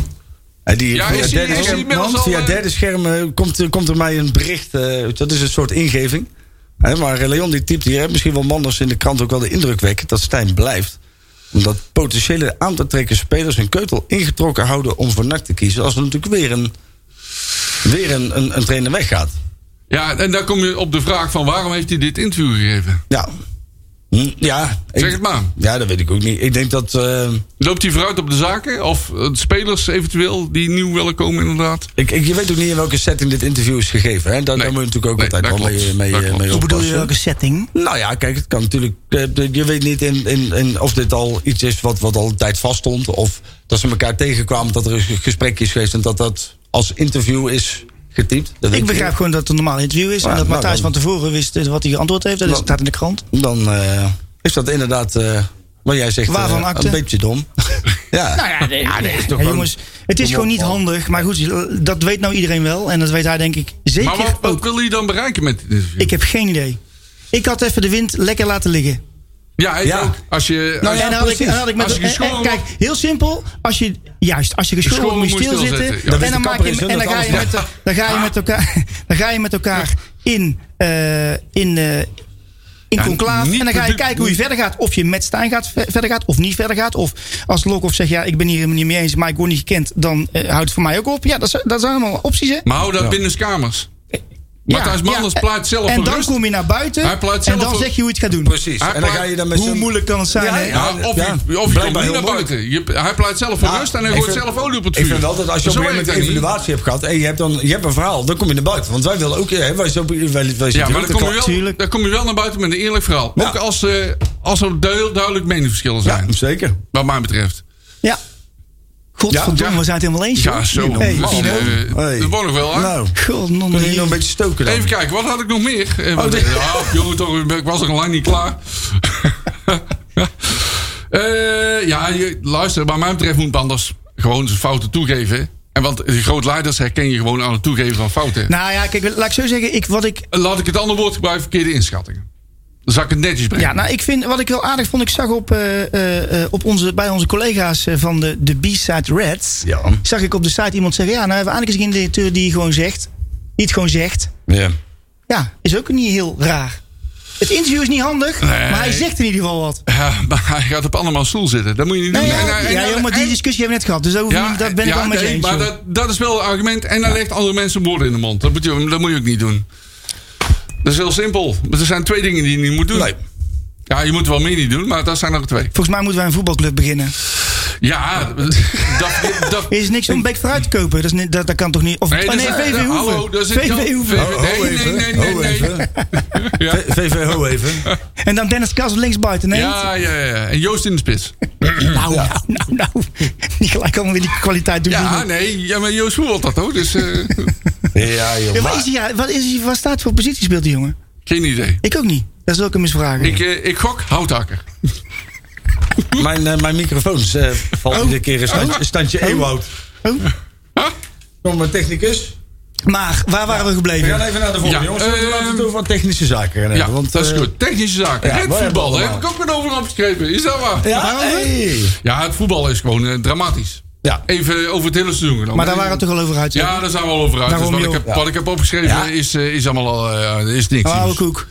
[SPEAKER 2] En die,
[SPEAKER 4] Ja,
[SPEAKER 2] via
[SPEAKER 4] is die-
[SPEAKER 2] derde
[SPEAKER 4] is die
[SPEAKER 2] scherm-
[SPEAKER 4] inmiddels
[SPEAKER 2] want
[SPEAKER 4] al,
[SPEAKER 2] via
[SPEAKER 4] eh,
[SPEAKER 2] derde scherm eh, komt, eh, komt er mij een bericht. eh, dat is een soort ingeving. Hè, maar eh, Leon die typt hier. hè, Misschien wel Manders in de krant ook wel de indruk wekken dat Stijn blijft. Omdat potentiële aan te trekken spelers hun keutel ingetrokken houden om voor NAC te kiezen. Als er natuurlijk weer een, weer een, een, een trainer weggaat.
[SPEAKER 4] ja, en dan kom je op de vraag van... waarom heeft hij dit interview gegeven?
[SPEAKER 2] Ja. Hm, ja. ik-
[SPEAKER 4] Zeg het maar.
[SPEAKER 2] Ja, dat weet ik ook niet. Ik denk dat... eh,
[SPEAKER 4] Loopt hij vooruit op de zaken? Of eh, spelers eventueel die nieuw willen komen inderdaad?
[SPEAKER 2] Ik, ik, je weet ook niet in welke setting dit interview is gegeven. Hè? Daar,
[SPEAKER 4] Nee.
[SPEAKER 2] daar moet je natuurlijk ook
[SPEAKER 4] Nee,
[SPEAKER 2] altijd
[SPEAKER 4] dat
[SPEAKER 2] wel
[SPEAKER 4] klopt.
[SPEAKER 2] mee,
[SPEAKER 4] Dat
[SPEAKER 2] mee, mee
[SPEAKER 4] klopt.
[SPEAKER 6] Hoe bedoel je
[SPEAKER 2] oppassen.
[SPEAKER 6] welke setting?
[SPEAKER 2] Nou ja, kijk, het kan natuurlijk. eh, de- Je weet niet in, in, in of dit al iets is wat, wat al een tijd vaststond. Of dat ze elkaar tegenkwamen, dat er een gesprek is geweest en dat dat als interview is getypt. Dat weet
[SPEAKER 6] Ik
[SPEAKER 2] je
[SPEAKER 6] begrijp gewoon dat het een normaal interview is.
[SPEAKER 2] Ja,
[SPEAKER 6] en dat
[SPEAKER 2] nou,
[SPEAKER 6] Matthijs
[SPEAKER 2] dan-
[SPEAKER 6] van tevoren wist eh, wat hij geantwoord heeft. Dat is-
[SPEAKER 2] Nou,
[SPEAKER 6] staat in de krant.
[SPEAKER 2] niet. Dan eh, is dat inderdaad. eh, wat jij zegt,
[SPEAKER 6] Waarvan
[SPEAKER 2] eh,
[SPEAKER 6] akte?
[SPEAKER 2] een beetje dom. ja.
[SPEAKER 6] Nou ja, nee, ja, nee,
[SPEAKER 2] is toch
[SPEAKER 6] ja,
[SPEAKER 2] gewoon-
[SPEAKER 6] jongens, het is
[SPEAKER 2] kom
[SPEAKER 6] gewoon
[SPEAKER 2] op,
[SPEAKER 6] niet
[SPEAKER 2] man.
[SPEAKER 6] handig. Maar goed, dat weet nou iedereen wel. En dat weet hij denk ik zeker
[SPEAKER 4] Maar wat, wat
[SPEAKER 6] ook.
[SPEAKER 4] wil hij dan bereiken met dit interview?
[SPEAKER 6] Ik heb geen idee. Ik had even de wind lekker laten liggen.
[SPEAKER 4] ja, ik
[SPEAKER 2] Ja.
[SPEAKER 4] ook. Als je,
[SPEAKER 6] Nou,
[SPEAKER 4] als je-
[SPEAKER 6] en dan had ik, dan had ik met
[SPEAKER 4] Als je
[SPEAKER 6] eh, eh,
[SPEAKER 4] geschoren
[SPEAKER 6] Kijk, heel simpel. Als je, juist, als je geschoren wordt, moet je
[SPEAKER 4] Geschoren moet je
[SPEAKER 6] stilzitten.
[SPEAKER 4] stilzitten, ja.
[SPEAKER 6] En dan,
[SPEAKER 2] Dat
[SPEAKER 6] maak
[SPEAKER 2] is de
[SPEAKER 6] je, en dan ga je
[SPEAKER 2] kapper,
[SPEAKER 6] met, dan ga je met elkaar, dan ga je met elkaar in, eh, in, eh, in
[SPEAKER 4] Ja,
[SPEAKER 6] conclave.
[SPEAKER 4] niet
[SPEAKER 6] En dan ga je
[SPEAKER 4] publiek-
[SPEAKER 6] kijken hoe je verder gaat. Of je met Stijn gaat, ver- verder gaat of niet verder gaat. Of als Lokhoff zegt, ja, ik ben hier helemaal niet mee eens, maar ik word niet gekend. Dan eh, houdt het voor mij ook op. Ja, dat, zijn- dat zijn allemaal opties, hè?
[SPEAKER 4] Maar hou dat binnen kamers. Matthijs Manders pleit zelf
[SPEAKER 6] En
[SPEAKER 4] voor
[SPEAKER 6] dan
[SPEAKER 4] rust.
[SPEAKER 6] kom je naar
[SPEAKER 4] Hij
[SPEAKER 6] buiten
[SPEAKER 4] pleit
[SPEAKER 6] en
[SPEAKER 4] zelf
[SPEAKER 6] dan
[SPEAKER 4] voor-
[SPEAKER 6] zeg je hoe je het gaat doen.
[SPEAKER 2] Precies.
[SPEAKER 4] Hij
[SPEAKER 2] en dan
[SPEAKER 4] pleit-
[SPEAKER 2] ga je dan met
[SPEAKER 6] Hoe
[SPEAKER 2] zo'n-
[SPEAKER 6] moeilijk kan het zijn,
[SPEAKER 2] Ja,
[SPEAKER 6] hè?
[SPEAKER 2] ja.
[SPEAKER 4] Ja, of
[SPEAKER 2] Ja,
[SPEAKER 4] je, of je komt niet
[SPEAKER 2] blijkbaar heel
[SPEAKER 4] naar
[SPEAKER 2] moeilijk.
[SPEAKER 4] buiten. Je, hij pleit zelf voor
[SPEAKER 2] Ja,
[SPEAKER 4] rust en hij
[SPEAKER 2] ik
[SPEAKER 4] gooit
[SPEAKER 2] vind-
[SPEAKER 4] zelf olie op het vuur.
[SPEAKER 2] Ik vind wel dat als je op
[SPEAKER 4] Zo
[SPEAKER 2] een gegeven
[SPEAKER 4] werkt
[SPEAKER 2] moment een
[SPEAKER 4] dat niet.
[SPEAKER 2] evaluatie hebt gehad en je hebt, dan, je hebt een verhaal, dan kom je naar buiten. Want wij willen ook. eh, Hè, wij, zo, wij, wij zitten
[SPEAKER 4] Ja, maar
[SPEAKER 2] ook
[SPEAKER 4] dan kom,
[SPEAKER 2] te
[SPEAKER 4] je wel,
[SPEAKER 6] tuurlijk.
[SPEAKER 4] dan kom je wel naar buiten met een eerlijk verhaal.
[SPEAKER 2] Ja.
[SPEAKER 4] Ook als, eh, als er duidelijk, duidelijk meningsverschillen
[SPEAKER 2] klagen.
[SPEAKER 4] zijn.
[SPEAKER 2] Ja, zeker.
[SPEAKER 4] Wat mij betreft.
[SPEAKER 6] Ja. Godverdomme,
[SPEAKER 4] Ja.
[SPEAKER 6] we zijn het helemaal eens.
[SPEAKER 4] Ja, zo.
[SPEAKER 6] Hey,
[SPEAKER 4] man,
[SPEAKER 6] Tino.
[SPEAKER 4] eh,
[SPEAKER 2] Hey.
[SPEAKER 4] Dat wordt nog wel, hè?
[SPEAKER 2] Nou,
[SPEAKER 6] Godnonde.
[SPEAKER 2] kunnen jullie nog een beetje stoken dan?
[SPEAKER 4] Even kijken, wat had ik nog meer? Eh, want-
[SPEAKER 2] dit-
[SPEAKER 4] ja, jongen, toch, ik was nog lang niet klaar. Eh, ja, je- luister, wat mij betreft moet Banders gewoon zijn fouten toegeven. En want eh, grootleiders herken je gewoon aan het toegeven van fouten.
[SPEAKER 6] Nou ja, kijk, laat ik zo zeggen. Ik, wat ik,
[SPEAKER 4] Eh, Laat ik het andere woord gebruiken, verkeerde inschattingen. Dan zal ik het netjes brengen.
[SPEAKER 6] ja, nou, ik vind, wat ik wel aardig vond, ik zag op, eh, eh, eh, op onze, bij onze collega's eh, van de, de B-side Reds...
[SPEAKER 2] Ja.
[SPEAKER 6] zag ik op de site iemand zeggen... ja, nou hebben we eindelijk eens een directeur die gewoon zegt... die het gewoon zegt.
[SPEAKER 2] Ja.
[SPEAKER 6] Ja, is ook niet heel raar. Het interview is niet handig, maar hij zegt in ieder geval wat.
[SPEAKER 4] Ja, Eh, maar hij gaat op andermans stoel zitten. Dat moet je niet
[SPEAKER 6] Nee,
[SPEAKER 4] doen.
[SPEAKER 6] ja,
[SPEAKER 4] En- en-
[SPEAKER 6] ja,
[SPEAKER 4] en-
[SPEAKER 6] joh, maar die
[SPEAKER 4] en-
[SPEAKER 6] discussie hebben we net gehad. Dus daar hoef je niet- dat ben ik
[SPEAKER 4] ja,
[SPEAKER 6] wel met je
[SPEAKER 4] nee,
[SPEAKER 6] eens.
[SPEAKER 4] Maar
[SPEAKER 6] joh.
[SPEAKER 4] dat, dat is wel een argument. En hij legt andere mensen woorden in de mond. Dat moet, je, dat moet je ook niet doen. Dat is heel simpel. Maar er zijn twee dingen die je niet moet doen. Ja, je moet wel meer niet doen, maar dat zijn er twee.
[SPEAKER 6] Volgens mij moeten wij een voetbalclub beginnen.
[SPEAKER 4] Ja, dat... dat
[SPEAKER 6] Er is niks om bek vooruit te kopen. Dat, is niet, dat, dat kan toch niet? Of, oh,
[SPEAKER 4] dat
[SPEAKER 6] nee,
[SPEAKER 4] is-
[SPEAKER 6] VV
[SPEAKER 4] Hallo,
[SPEAKER 6] Hoeven.
[SPEAKER 4] dat is het-
[SPEAKER 6] VV Hoeven.
[SPEAKER 2] Ho, ho
[SPEAKER 4] Nee, nee,
[SPEAKER 2] even.
[SPEAKER 4] nee,
[SPEAKER 2] ho
[SPEAKER 4] nee, nee.
[SPEAKER 2] even.
[SPEAKER 4] Ja.
[SPEAKER 2] V- VV, ho even.
[SPEAKER 6] En dan Dennis Kas linksbuiten. Nee,
[SPEAKER 4] Ja, ja, ja. En Joost in de spits.
[SPEAKER 6] Nou, nou, nou, nou. Niet gelijk allemaal weer die kwaliteit doen.
[SPEAKER 4] Ja,
[SPEAKER 6] doen.
[SPEAKER 4] nee. Ja, maar Joost voelt dat hoor. Dus eh,
[SPEAKER 2] Ja, joh.
[SPEAKER 6] Ja, wat, is
[SPEAKER 2] maar-
[SPEAKER 6] hij, ja, wat, is hij, wat staat voor positie speelt die jongen?
[SPEAKER 4] geen idee.
[SPEAKER 6] Ik ook niet. Dat wil ik hem eens vragen.
[SPEAKER 4] Ik, eh, ik gok houthakker.
[SPEAKER 2] Mijn, eh, mijn microfoons eh, valt
[SPEAKER 6] Oh.
[SPEAKER 2] iedere keer een standje, een standje Ewoud.
[SPEAKER 6] Oh.
[SPEAKER 2] Kom maar, technicus.
[SPEAKER 6] Maar waar waren we
[SPEAKER 2] We
[SPEAKER 6] gebleven?
[SPEAKER 2] gaan even naar de volgende,
[SPEAKER 4] Ja,
[SPEAKER 2] jongens. want we
[SPEAKER 4] ehm,
[SPEAKER 2] laten we het over wat technische zaken gaan
[SPEAKER 4] Ja,
[SPEAKER 2] hebben, want,
[SPEAKER 4] dat is
[SPEAKER 2] eh,
[SPEAKER 4] goed. Technische zaken.
[SPEAKER 2] ja,
[SPEAKER 4] het
[SPEAKER 2] waar
[SPEAKER 4] voetbal,
[SPEAKER 2] hebben
[SPEAKER 4] daar
[SPEAKER 2] we
[SPEAKER 4] heb ik ook weer over opgeschreven. Is dat waar? Ja,
[SPEAKER 2] Ja, hey.
[SPEAKER 4] het voetbal is gewoon eh, dramatisch.
[SPEAKER 2] Ja.
[SPEAKER 4] Even over het hele seizoen genomen.
[SPEAKER 6] Maar daar waren we toch al over uit.
[SPEAKER 4] Ja, daar zijn we al over uit.
[SPEAKER 6] Daarom,
[SPEAKER 4] Dus wat, ik
[SPEAKER 6] joh.
[SPEAKER 4] heb, wat ik heb opgeschreven
[SPEAKER 2] Ja. Nou,
[SPEAKER 4] is, eh, is allemaal al, eh, is niks.
[SPEAKER 6] Oude koek.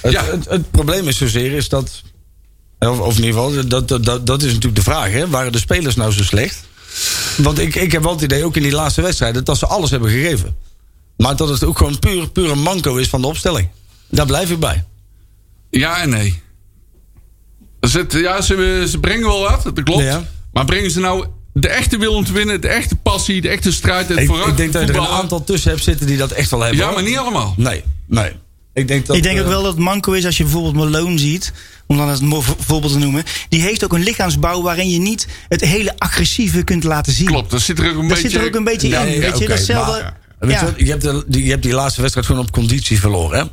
[SPEAKER 2] Het,
[SPEAKER 4] Ja.
[SPEAKER 2] het, het probleem is zozeer is dat. Of, of in ieder geval, dat, dat, dat, dat is natuurlijk de vraag. Hè? Waren de spelers nou zo slecht? Want ik, ik heb wel het idee, ook in die laatste wedstrijden, dat ze alles hebben gegeven. Maar dat het ook gewoon puur, puur een manco is van de opstelling. Daar blijf ik bij.
[SPEAKER 4] Ja en nee. Dus het- ja, ze, ze brengen wel wat, dat klopt.
[SPEAKER 2] Ja.
[SPEAKER 4] Maar brengen ze nou de echte wil om te winnen, de echte passie, de echte strijd, het
[SPEAKER 2] Ik,
[SPEAKER 4] vooruit
[SPEAKER 2] ik denk dat je er een
[SPEAKER 4] voetballen?
[SPEAKER 2] aantal tussen hebt zitten die dat echt wel hebben.
[SPEAKER 4] Ja,
[SPEAKER 2] hoor.
[SPEAKER 4] maar niet allemaal.
[SPEAKER 2] Nee, nee. Ik denk, dat,
[SPEAKER 6] ik denk ook
[SPEAKER 2] eh,
[SPEAKER 6] wel dat het manco is als je bijvoorbeeld Malone ziet. Om dan het mo- voorbeeld te noemen. Die heeft ook een lichaamsbouw waarin je niet het hele agressieve kunt laten zien.
[SPEAKER 4] Klopt, daar zit er ook een
[SPEAKER 6] Dat
[SPEAKER 4] beetje...
[SPEAKER 6] zit er ook een beetje in.
[SPEAKER 2] nee,
[SPEAKER 6] weet je,
[SPEAKER 2] oké,
[SPEAKER 6] datzelfde.
[SPEAKER 2] maar- Weet je,
[SPEAKER 6] ja.
[SPEAKER 2] wat, je, hebt de- die, je hebt die laatste wedstrijd gewoon op conditie verloren, hè?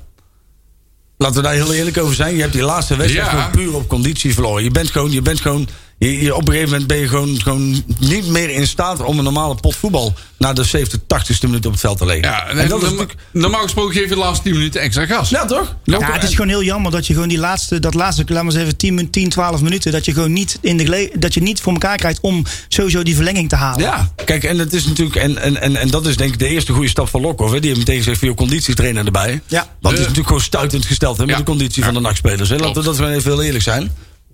[SPEAKER 2] Laten we daar heel eerlijk over zijn. Je hebt die laatste wedstrijd
[SPEAKER 4] Ja.
[SPEAKER 2] gewoon puur op conditie verloren. Je bent gewoon, je bent gewoon je, je- op een gegeven moment ben je gewoon, gewoon niet meer in staat om een normale pot voetbal naar de 70, 80ste minuut op het veld te leggen.
[SPEAKER 4] Ja, en
[SPEAKER 2] en dat is
[SPEAKER 4] norma-
[SPEAKER 2] natuurlijk.
[SPEAKER 4] normaal gesproken geef je de laatste 10 minuten extra gas.
[SPEAKER 2] Ja, toch?
[SPEAKER 4] Nou,
[SPEAKER 6] Ja, het is gewoon heel jammer dat je gewoon die laatste, dat laatste, laat maar eens even 10, min- 10, 12 minuten, dat je gewoon niet in de gele- dat je niet voor elkaar krijgt om sowieso die verlenging te halen.
[SPEAKER 2] Ja, kijk, en het is natuurlijk. En, en, en, en dat is denk ik de eerste goede stap van Lokhoff. hè. Die heeft meteen gezegd: veel conditietrainer erbij.
[SPEAKER 6] Ja.
[SPEAKER 2] Want het is natuurlijk gewoon stuitend gesteld hè, met
[SPEAKER 4] Ja.
[SPEAKER 2] de conditie van de nachtspelers. hè. Laten we
[SPEAKER 4] Klopt.
[SPEAKER 2] dat wel even heel eerlijk zijn.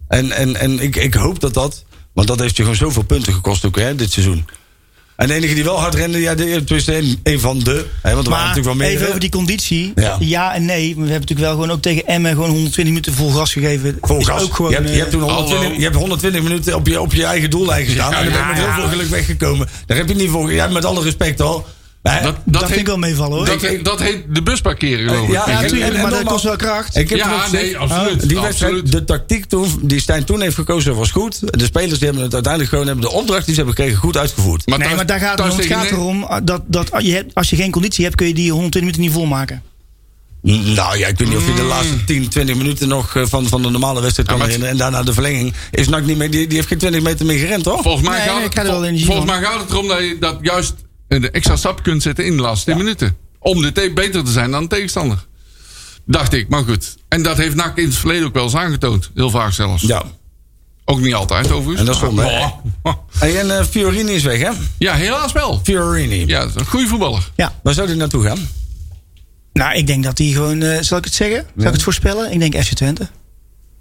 [SPEAKER 2] En, en, en ik, ik hoop dat dat. Want dat heeft je gewoon zoveel punten gekost ook hè, dit seizoen. En de enige die wel hard rende, ja, de, tenminste een, een van de. Hè, want er waren
[SPEAKER 6] Maar
[SPEAKER 2] natuurlijk wel meer.
[SPEAKER 6] even over die conditie.
[SPEAKER 2] Ja.
[SPEAKER 6] Ja. en nee. Maar we hebben natuurlijk wel gewoon ook tegen Emmen gewoon 120 minuten vol gas gegeven.
[SPEAKER 2] Vol
[SPEAKER 6] Is
[SPEAKER 2] gas.
[SPEAKER 6] Ook gewoon,
[SPEAKER 2] je, hebt, je,
[SPEAKER 6] eh,
[SPEAKER 2] hebt toen 120,
[SPEAKER 4] hallo.
[SPEAKER 2] je hebt 120 minuten op je, op je eigen doellijn gestaan.
[SPEAKER 4] Ja,
[SPEAKER 2] en dan ben je
[SPEAKER 4] ja,
[SPEAKER 2] met heel
[SPEAKER 4] ja.
[SPEAKER 2] veel geluk weggekomen. Daar heb je niet voor. Ja, met alle respect al. Hè?
[SPEAKER 4] dat,
[SPEAKER 6] dat
[SPEAKER 4] heet-
[SPEAKER 6] vind ik wel meevallen hoor. Eh,
[SPEAKER 4] Dat, heet- dat heet de bus parkeren, geloof ik. eh,
[SPEAKER 2] Ja,
[SPEAKER 6] ja,
[SPEAKER 2] en-
[SPEAKER 6] natuurlijk,
[SPEAKER 2] en- en
[SPEAKER 6] maar dat
[SPEAKER 2] nogmaals-
[SPEAKER 6] kost wel kracht.
[SPEAKER 2] Ik heb
[SPEAKER 4] Ja,
[SPEAKER 2] toen ook gezegd,
[SPEAKER 4] nee, absoluut,
[SPEAKER 2] die wedstrijd,
[SPEAKER 4] absoluut.
[SPEAKER 2] de tactiek toen, die Stijn toen heeft gekozen was goed. De spelers die hebben het uiteindelijk gewoon hebben de opdracht die ze hebben gekregen goed uitgevoerd.
[SPEAKER 4] Maar
[SPEAKER 6] nee,
[SPEAKER 4] thuis-
[SPEAKER 6] maar daar gaat het,
[SPEAKER 4] thuis
[SPEAKER 6] om. het
[SPEAKER 4] tegen
[SPEAKER 6] gaat
[SPEAKER 4] Nederland-
[SPEAKER 6] erom eh, dat, dat je hebt, als je geen conditie hebt, kun je die 120 minuten niet volmaken.
[SPEAKER 2] nou ja, ik weet niet of je de laatste 10, 20 minuten nog eh, van, van de normale wedstrijd kan
[SPEAKER 4] Mm. maar het-
[SPEAKER 2] herinneren. En daarna de verlenging is NAC niet meer, die, die heeft geen 20 meter meer gerend hoor.
[SPEAKER 4] Volgens mij,
[SPEAKER 6] Nee,
[SPEAKER 4] gaat,
[SPEAKER 6] nee,
[SPEAKER 4] het,
[SPEAKER 6] ik ga er wel
[SPEAKER 4] vol-
[SPEAKER 6] energie
[SPEAKER 4] volgens
[SPEAKER 6] van.
[SPEAKER 4] mij gaat het erom dat je dat juist eh, de extra stap kunt zetten in de laatste 10 minuten. Om de tape beter te zijn dan de tegenstander. Dacht ik, maar goed. En dat heeft NAC in het verleden ook wel eens aangetoond. Heel vaak zelfs.
[SPEAKER 2] Ja.
[SPEAKER 4] Ook niet altijd overigens.
[SPEAKER 2] En dat is
[SPEAKER 4] Maar-
[SPEAKER 2] zonde, hè?
[SPEAKER 4] Oh.
[SPEAKER 2] Hey, en eh, Fiorini is weg hè?
[SPEAKER 4] Ja, helaas wel.
[SPEAKER 2] Fiorini.
[SPEAKER 4] Ja, dat is een goede voetballer.
[SPEAKER 6] Ja.
[SPEAKER 2] Waar zou die naartoe gaan?
[SPEAKER 6] Nou, ik denk dat die gewoon. eh, zal ik het zeggen? Zal ik het voorspellen? Ik denk FC Twente.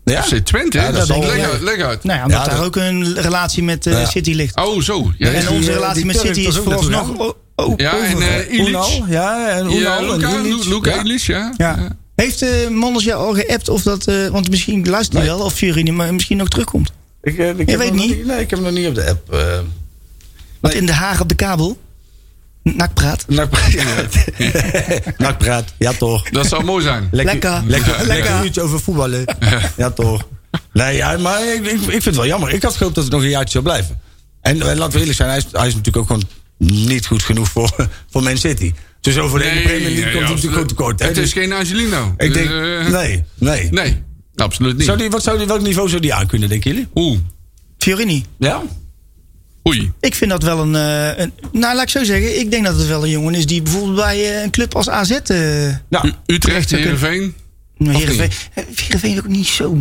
[SPEAKER 2] Ja?
[SPEAKER 4] FC Twente,
[SPEAKER 2] Ja,
[SPEAKER 4] hè?
[SPEAKER 2] dat
[SPEAKER 4] dat
[SPEAKER 2] zal
[SPEAKER 4] is
[SPEAKER 2] wel,
[SPEAKER 4] leg,
[SPEAKER 2] ja.
[SPEAKER 4] uit, leg uit.
[SPEAKER 6] Nou ja, omdat
[SPEAKER 2] Ja,
[SPEAKER 6] daar
[SPEAKER 2] dat-
[SPEAKER 6] ook een relatie met eh,
[SPEAKER 2] Ja.
[SPEAKER 6] City ligt.
[SPEAKER 4] Oh, zo. Ja,
[SPEAKER 2] is
[SPEAKER 6] en
[SPEAKER 2] die,
[SPEAKER 6] onze
[SPEAKER 2] eh,
[SPEAKER 6] relatie
[SPEAKER 2] die
[SPEAKER 6] met
[SPEAKER 2] Turk
[SPEAKER 6] City
[SPEAKER 2] was
[SPEAKER 6] is
[SPEAKER 2] ook
[SPEAKER 6] vooralsnog.
[SPEAKER 2] naartoe
[SPEAKER 6] o- o-
[SPEAKER 4] ja en
[SPEAKER 6] over.
[SPEAKER 4] eh Ilic.
[SPEAKER 2] Unal, ja, en Unal
[SPEAKER 4] Ja,
[SPEAKER 2] en
[SPEAKER 4] Luca,
[SPEAKER 2] Dilic.
[SPEAKER 4] Lu- Luca
[SPEAKER 2] Ja.
[SPEAKER 4] Ilic, ja.
[SPEAKER 6] Ja. Heeft eh Manders jou al geappt of dat... eh, want misschien luistert hij
[SPEAKER 2] Nee.
[SPEAKER 6] wel of Fiorine maar misschien nog terugkomt.
[SPEAKER 2] Ik, eh, ik heb
[SPEAKER 6] weet
[SPEAKER 2] hem nog
[SPEAKER 6] niet.
[SPEAKER 2] Nee, ik heb hem nog niet op de app. eh.
[SPEAKER 6] Want
[SPEAKER 2] Nee.
[SPEAKER 6] in Den Haag op de kabel... Nakpraat.
[SPEAKER 2] Nakpraat. Ja. Nakpraat, ja toch.
[SPEAKER 4] Dat zou mooi zijn.
[SPEAKER 6] Lekker.
[SPEAKER 2] Lekker,
[SPEAKER 6] Ja.
[SPEAKER 2] lekker
[SPEAKER 6] Lekker.
[SPEAKER 2] uurtje over voetballen. Ja toch. Nee, ja, maar ik, ik, ik vind het wel jammer. Ik had gehoopt dat het nog een jaartje zou blijven. En, eh, laten we eerlijk zijn, hij is, hij is natuurlijk ook gewoon niet goed genoeg voor, voor Man City. Dus over de hele Premier League
[SPEAKER 4] ja,
[SPEAKER 2] komt
[SPEAKER 4] ja,
[SPEAKER 2] hij natuurlijk
[SPEAKER 4] absoluut.
[SPEAKER 2] ook tekort. hè.
[SPEAKER 4] Het is
[SPEAKER 2] Dus
[SPEAKER 4] geen Angelino.
[SPEAKER 2] ik denk,
[SPEAKER 4] Eh,
[SPEAKER 2] nee, nee.
[SPEAKER 4] Nee, absoluut niet.
[SPEAKER 2] Zou die, wat zou die, welk niveau zou die aan kunnen, denken jullie?
[SPEAKER 4] Oeh,
[SPEAKER 6] Fiorini.
[SPEAKER 2] Ja?
[SPEAKER 4] oei.
[SPEAKER 6] Ik vind dat wel een, eh, een... Nou, laat ik zo zeggen. Ik denk dat het wel een jongen is die bijvoorbeeld bij eh, een club als AZ... eh
[SPEAKER 2] Nou,
[SPEAKER 4] U- Utrecht, Heerenveen.
[SPEAKER 6] nou,
[SPEAKER 4] Of
[SPEAKER 6] Heerenveen, eh, Heerenveen is ook niet zo...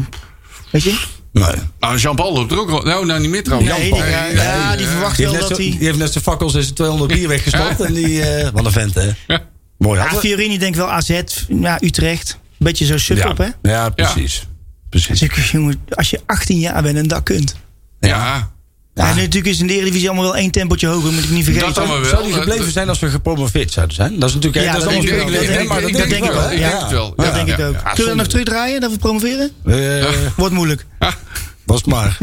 [SPEAKER 6] Weet je?
[SPEAKER 2] nee.
[SPEAKER 4] Ah, Jean-Paul loopt er ook wel. Nou, nou niet meer trouwens.
[SPEAKER 6] Nee, die,
[SPEAKER 2] Paul.
[SPEAKER 6] ja, ja, die verwacht
[SPEAKER 2] Die
[SPEAKER 6] wel
[SPEAKER 2] heeft, net
[SPEAKER 6] dat
[SPEAKER 2] zo,
[SPEAKER 6] hij...
[SPEAKER 2] die heeft net zijn fakkels en zijn 200 bier weggestopt. En die, eh wat een vent, hè?
[SPEAKER 4] Ja.
[SPEAKER 2] Mooi.
[SPEAKER 6] Ja,
[SPEAKER 2] Hadden we-
[SPEAKER 6] Fiorini denkt wel AZ, ja, Utrecht. beetje zo sub op, hè?
[SPEAKER 2] ja. ja, precies.
[SPEAKER 6] Dus
[SPEAKER 2] precies.
[SPEAKER 6] ik, jongen, als je 18 jaar bent en dat kunt.
[SPEAKER 4] Ja,
[SPEAKER 6] Ja. En natuurlijk is in de Eredivisie allemaal wel één tempotje hoger, moet ik niet vergeten.
[SPEAKER 4] dat dan maar wel.
[SPEAKER 2] Zou die gebleven zijn als we gepromoveerd zouden zijn? Dat is natuurlijk
[SPEAKER 6] Ja,
[SPEAKER 2] dat is
[SPEAKER 6] dat
[SPEAKER 2] allemaal
[SPEAKER 6] denk ik wel.
[SPEAKER 2] speculeren, maar
[SPEAKER 6] Dat denk ik wel.
[SPEAKER 2] hè?
[SPEAKER 6] Ik denk
[SPEAKER 4] het wel.
[SPEAKER 6] Dat
[SPEAKER 4] Ja,
[SPEAKER 6] denk ik
[SPEAKER 4] ja,
[SPEAKER 6] ook.
[SPEAKER 4] ja,
[SPEAKER 6] Kunnen we dat nog terugdraaien, dat we promoveren?
[SPEAKER 2] Eh,
[SPEAKER 6] Wordt moeilijk.
[SPEAKER 2] was maar.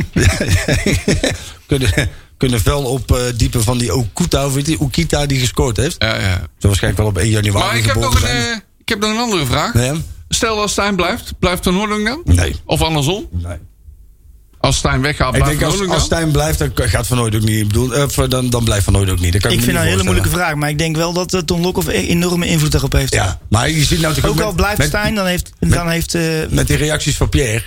[SPEAKER 2] kunnen, kunnen wel op eh, diepen van die Okuta, of weet je, Okita die gescoord heeft.
[SPEAKER 4] Ja, ja.
[SPEAKER 2] Zo waarschijnlijk wel op 1 januari
[SPEAKER 4] Maar ik heb,
[SPEAKER 2] geboren
[SPEAKER 4] nog een,
[SPEAKER 2] zijn.
[SPEAKER 4] eh, ik heb nog een andere vraag.
[SPEAKER 2] Nee?
[SPEAKER 4] Stel als Stijn blijft, blijft Van Hoornhoek dan?
[SPEAKER 2] Nee.
[SPEAKER 4] Of andersom?
[SPEAKER 2] nee.
[SPEAKER 4] Als Stijn weggaat,
[SPEAKER 2] Ik
[SPEAKER 4] blijft
[SPEAKER 2] denk
[SPEAKER 4] Van
[SPEAKER 2] als,
[SPEAKER 4] Hoornhoek
[SPEAKER 2] als
[SPEAKER 4] dan?
[SPEAKER 2] Stijn blijft, dan gaat Van Nooit ook niet. Ik bedoel, eh, dan, dan blijft Van Nooit ook niet. Dat kan ik
[SPEAKER 6] Ik
[SPEAKER 2] me
[SPEAKER 6] vind dat
[SPEAKER 2] niet
[SPEAKER 6] een hele moeilijke
[SPEAKER 2] voorstellen.
[SPEAKER 6] vraag, maar ik denk wel dat eh, Ton Lokhoff een enorme invloed daarop heeft.
[SPEAKER 2] Ja, maar je ziet nou toch
[SPEAKER 6] Ook al
[SPEAKER 2] met-
[SPEAKER 6] blijft
[SPEAKER 2] met,
[SPEAKER 6] Stijn, dan heeft... Dan heeft eh,
[SPEAKER 2] Met die reacties van Pierre.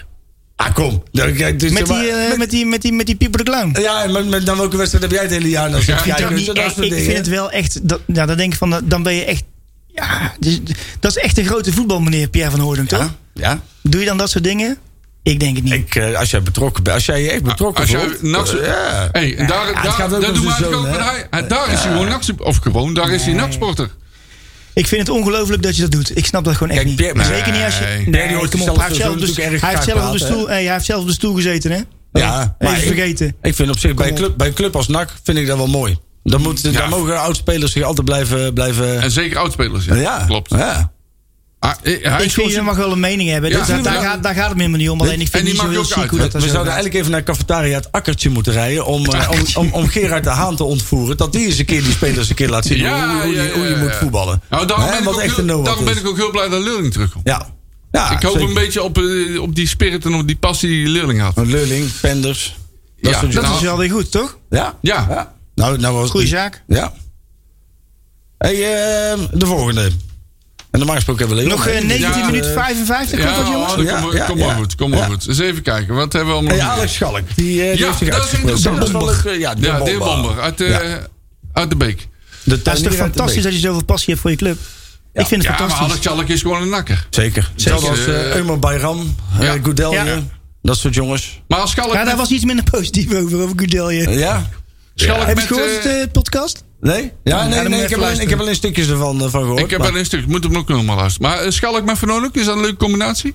[SPEAKER 2] Ah, kom. Dan- kijk, dus
[SPEAKER 6] met,
[SPEAKER 2] zeg
[SPEAKER 6] die,
[SPEAKER 2] maar-
[SPEAKER 6] eh, met die, met die, met die Pieper de Clown.
[SPEAKER 2] Ja, en met, met dan welke wedstrijd heb jij het hele jaar nog?
[SPEAKER 4] Ja,
[SPEAKER 2] Ja,
[SPEAKER 4] ik
[SPEAKER 6] Ik
[SPEAKER 2] ja,
[SPEAKER 6] vind het
[SPEAKER 2] dus
[SPEAKER 6] niet
[SPEAKER 2] dat
[SPEAKER 6] echt-
[SPEAKER 2] soort
[SPEAKER 6] ik
[SPEAKER 2] dingen.
[SPEAKER 6] vind het wel echt. Dat, ja, dan denk ik van, dan ben je echt. Ja, dus- dat is echt een grote voetbal, meneer Pierre van Hoorden, toch?
[SPEAKER 2] Ja, ja.
[SPEAKER 6] Doe je dan dat soort dingen? Ik denk het niet.
[SPEAKER 2] Ik, eh, als jij betrokken bent, als jij je echt betrokken
[SPEAKER 4] Nou, Als jij
[SPEAKER 2] voelt.
[SPEAKER 4] nachts...
[SPEAKER 2] eh, ja.
[SPEAKER 4] Hey, en daar,
[SPEAKER 2] Ja, het
[SPEAKER 4] daar,
[SPEAKER 2] gaat
[SPEAKER 4] daar
[SPEAKER 2] ook om
[SPEAKER 4] doen we
[SPEAKER 2] zijn
[SPEAKER 4] eigenlijk ook
[SPEAKER 2] zoon,
[SPEAKER 4] met
[SPEAKER 2] hè?
[SPEAKER 4] hij. hij- Daar is hij gewoon nachts... Of gewoon, daar is hij nachtsporter.
[SPEAKER 6] Ik vind het ongelooflijk dat je dat doet. Ik snap dat gewoon echt
[SPEAKER 2] Kijk,
[SPEAKER 6] niet.
[SPEAKER 2] Pierre- nee.
[SPEAKER 6] Zeker niet als je.
[SPEAKER 4] Nee,
[SPEAKER 6] Nee,
[SPEAKER 2] Pierre die hoort
[SPEAKER 6] kom op,
[SPEAKER 2] zichzelf
[SPEAKER 6] hij heeft zelf
[SPEAKER 2] zo
[SPEAKER 6] op de-
[SPEAKER 2] natuurlijk erg
[SPEAKER 6] hij heeft
[SPEAKER 2] graag
[SPEAKER 6] zelf op de
[SPEAKER 2] praten, hè?
[SPEAKER 6] stoel- hey, hij heeft zelf op de stoel gezeten, hè?
[SPEAKER 2] Ja,
[SPEAKER 6] Even
[SPEAKER 2] ik-
[SPEAKER 6] vergeten.
[SPEAKER 2] Ik vind op zich bij,
[SPEAKER 6] op.
[SPEAKER 2] club, bij een club als NAC vind ik dat wel mooi. Dan, moet,
[SPEAKER 4] Ja.
[SPEAKER 2] dan mogen oudspelers zich altijd blijven... blijven
[SPEAKER 4] En zeker oudspelers, ja.
[SPEAKER 2] ja,
[SPEAKER 4] Klopt.
[SPEAKER 2] Ja.
[SPEAKER 4] Ah, eh, hij
[SPEAKER 6] Ik
[SPEAKER 4] is
[SPEAKER 6] vind je
[SPEAKER 4] gewoon...
[SPEAKER 6] mag wel een mening hebben.
[SPEAKER 4] Ja,
[SPEAKER 6] Dus daar, daar
[SPEAKER 4] ja.
[SPEAKER 6] gaat, daar gaat het me helemaal niet om. Alleen ik vind
[SPEAKER 4] En
[SPEAKER 6] het
[SPEAKER 4] die
[SPEAKER 6] niet zo
[SPEAKER 4] mag je
[SPEAKER 6] heel
[SPEAKER 4] ook
[SPEAKER 6] chic hoe
[SPEAKER 4] uit,
[SPEAKER 6] dat
[SPEAKER 2] We
[SPEAKER 6] daar zo
[SPEAKER 2] zouden
[SPEAKER 6] gaat.
[SPEAKER 2] eigenlijk even naar cafetaria het akkertje moeten rijden... Om, eh, om, om, om Gerard de Haan te ontvoeren. Dat die eens een keer die spelers een keer laat zien... hoe, hoe, hoe, je- hoe je
[SPEAKER 4] ja,
[SPEAKER 2] moet
[SPEAKER 4] ja.
[SPEAKER 2] voetballen.
[SPEAKER 4] Nou, daarom,
[SPEAKER 2] Hè,
[SPEAKER 4] ben, ik
[SPEAKER 2] wat
[SPEAKER 4] ook
[SPEAKER 2] echt
[SPEAKER 4] heel-
[SPEAKER 2] een no
[SPEAKER 4] daarom ben ik ook heel blij dat Leurling terugkomt.
[SPEAKER 2] Ja. ja
[SPEAKER 4] ik hoop
[SPEAKER 2] zeker.
[SPEAKER 4] een beetje op, eh, op die spirit en op die passie die Leurling had.
[SPEAKER 2] Een Leurling, Penders. Dat
[SPEAKER 4] Ja,
[SPEAKER 2] soort
[SPEAKER 4] dat
[SPEAKER 2] dingen.
[SPEAKER 6] Dat is wel weer goed, toch?
[SPEAKER 2] Ja?
[SPEAKER 4] Ja.
[SPEAKER 2] Nou, nou was het
[SPEAKER 6] Goeie
[SPEAKER 2] niet.
[SPEAKER 6] zaak.
[SPEAKER 2] Ja. Hey, ehm, de volgende. En normaal gesproken hebben we Leon.
[SPEAKER 6] Nog
[SPEAKER 2] hè?
[SPEAKER 6] eh, 19
[SPEAKER 4] Ja,
[SPEAKER 6] minuten
[SPEAKER 2] eh,
[SPEAKER 6] 55. Komt dat, jongens?
[SPEAKER 4] oh, dat
[SPEAKER 2] Ja,
[SPEAKER 4] komt-
[SPEAKER 2] ja,
[SPEAKER 4] kom maar
[SPEAKER 2] ja.
[SPEAKER 4] goed, kom maar
[SPEAKER 2] Ja.
[SPEAKER 4] goed. Eens even kijken, wat hebben we allemaal...
[SPEAKER 2] Hey,
[SPEAKER 4] nog
[SPEAKER 2] Alex
[SPEAKER 4] meer?
[SPEAKER 2] Schalk. Die, eh, die
[SPEAKER 4] Ja,
[SPEAKER 2] heeft zich
[SPEAKER 4] dat is
[SPEAKER 2] uitgesproken.
[SPEAKER 4] interessant.
[SPEAKER 2] Dat is wel leuk, eh, Ja, de
[SPEAKER 4] Ja,
[SPEAKER 2] bomber.
[SPEAKER 4] de bomber uit, eh,
[SPEAKER 2] Ja.
[SPEAKER 4] uit de beek.
[SPEAKER 2] De
[SPEAKER 6] Dat is toch
[SPEAKER 2] tuinier uit de
[SPEAKER 6] fantastisch
[SPEAKER 2] Beek.
[SPEAKER 6] dat je zoveel passie hebt voor je club? Ik vind het
[SPEAKER 4] Ja, maar Alex
[SPEAKER 6] fantastisch.
[SPEAKER 4] Jallik is gewoon een nakker.
[SPEAKER 2] Zeker. Zelfs als
[SPEAKER 4] eh,
[SPEAKER 2] eh Eumer Bayram, eh,
[SPEAKER 4] ja.
[SPEAKER 2] Goudelje,
[SPEAKER 6] Ja.
[SPEAKER 2] dat soort jongens.
[SPEAKER 4] Maar als Schalk
[SPEAKER 6] Ja, daar
[SPEAKER 4] met,
[SPEAKER 6] was iets minder positief over, over Goedelje.
[SPEAKER 2] Ja?
[SPEAKER 4] Schalk
[SPEAKER 6] Heb je
[SPEAKER 4] met,
[SPEAKER 6] het gehoord,
[SPEAKER 4] eh,
[SPEAKER 6] de podcast?
[SPEAKER 2] Nee? Ja,
[SPEAKER 6] dan
[SPEAKER 2] nee,
[SPEAKER 6] moet je
[SPEAKER 2] nee. Ik
[SPEAKER 6] even
[SPEAKER 2] heb, alleen,
[SPEAKER 6] luisteren.
[SPEAKER 2] ik heb alleen stukjes ervan eh, van gehoord.
[SPEAKER 4] Ik heb
[SPEAKER 2] maar-
[SPEAKER 4] wel een stuk, moet hem ook nog maar luisteren. Maar eh, Schalk met Van Oorlog, is dat een leuke combinatie?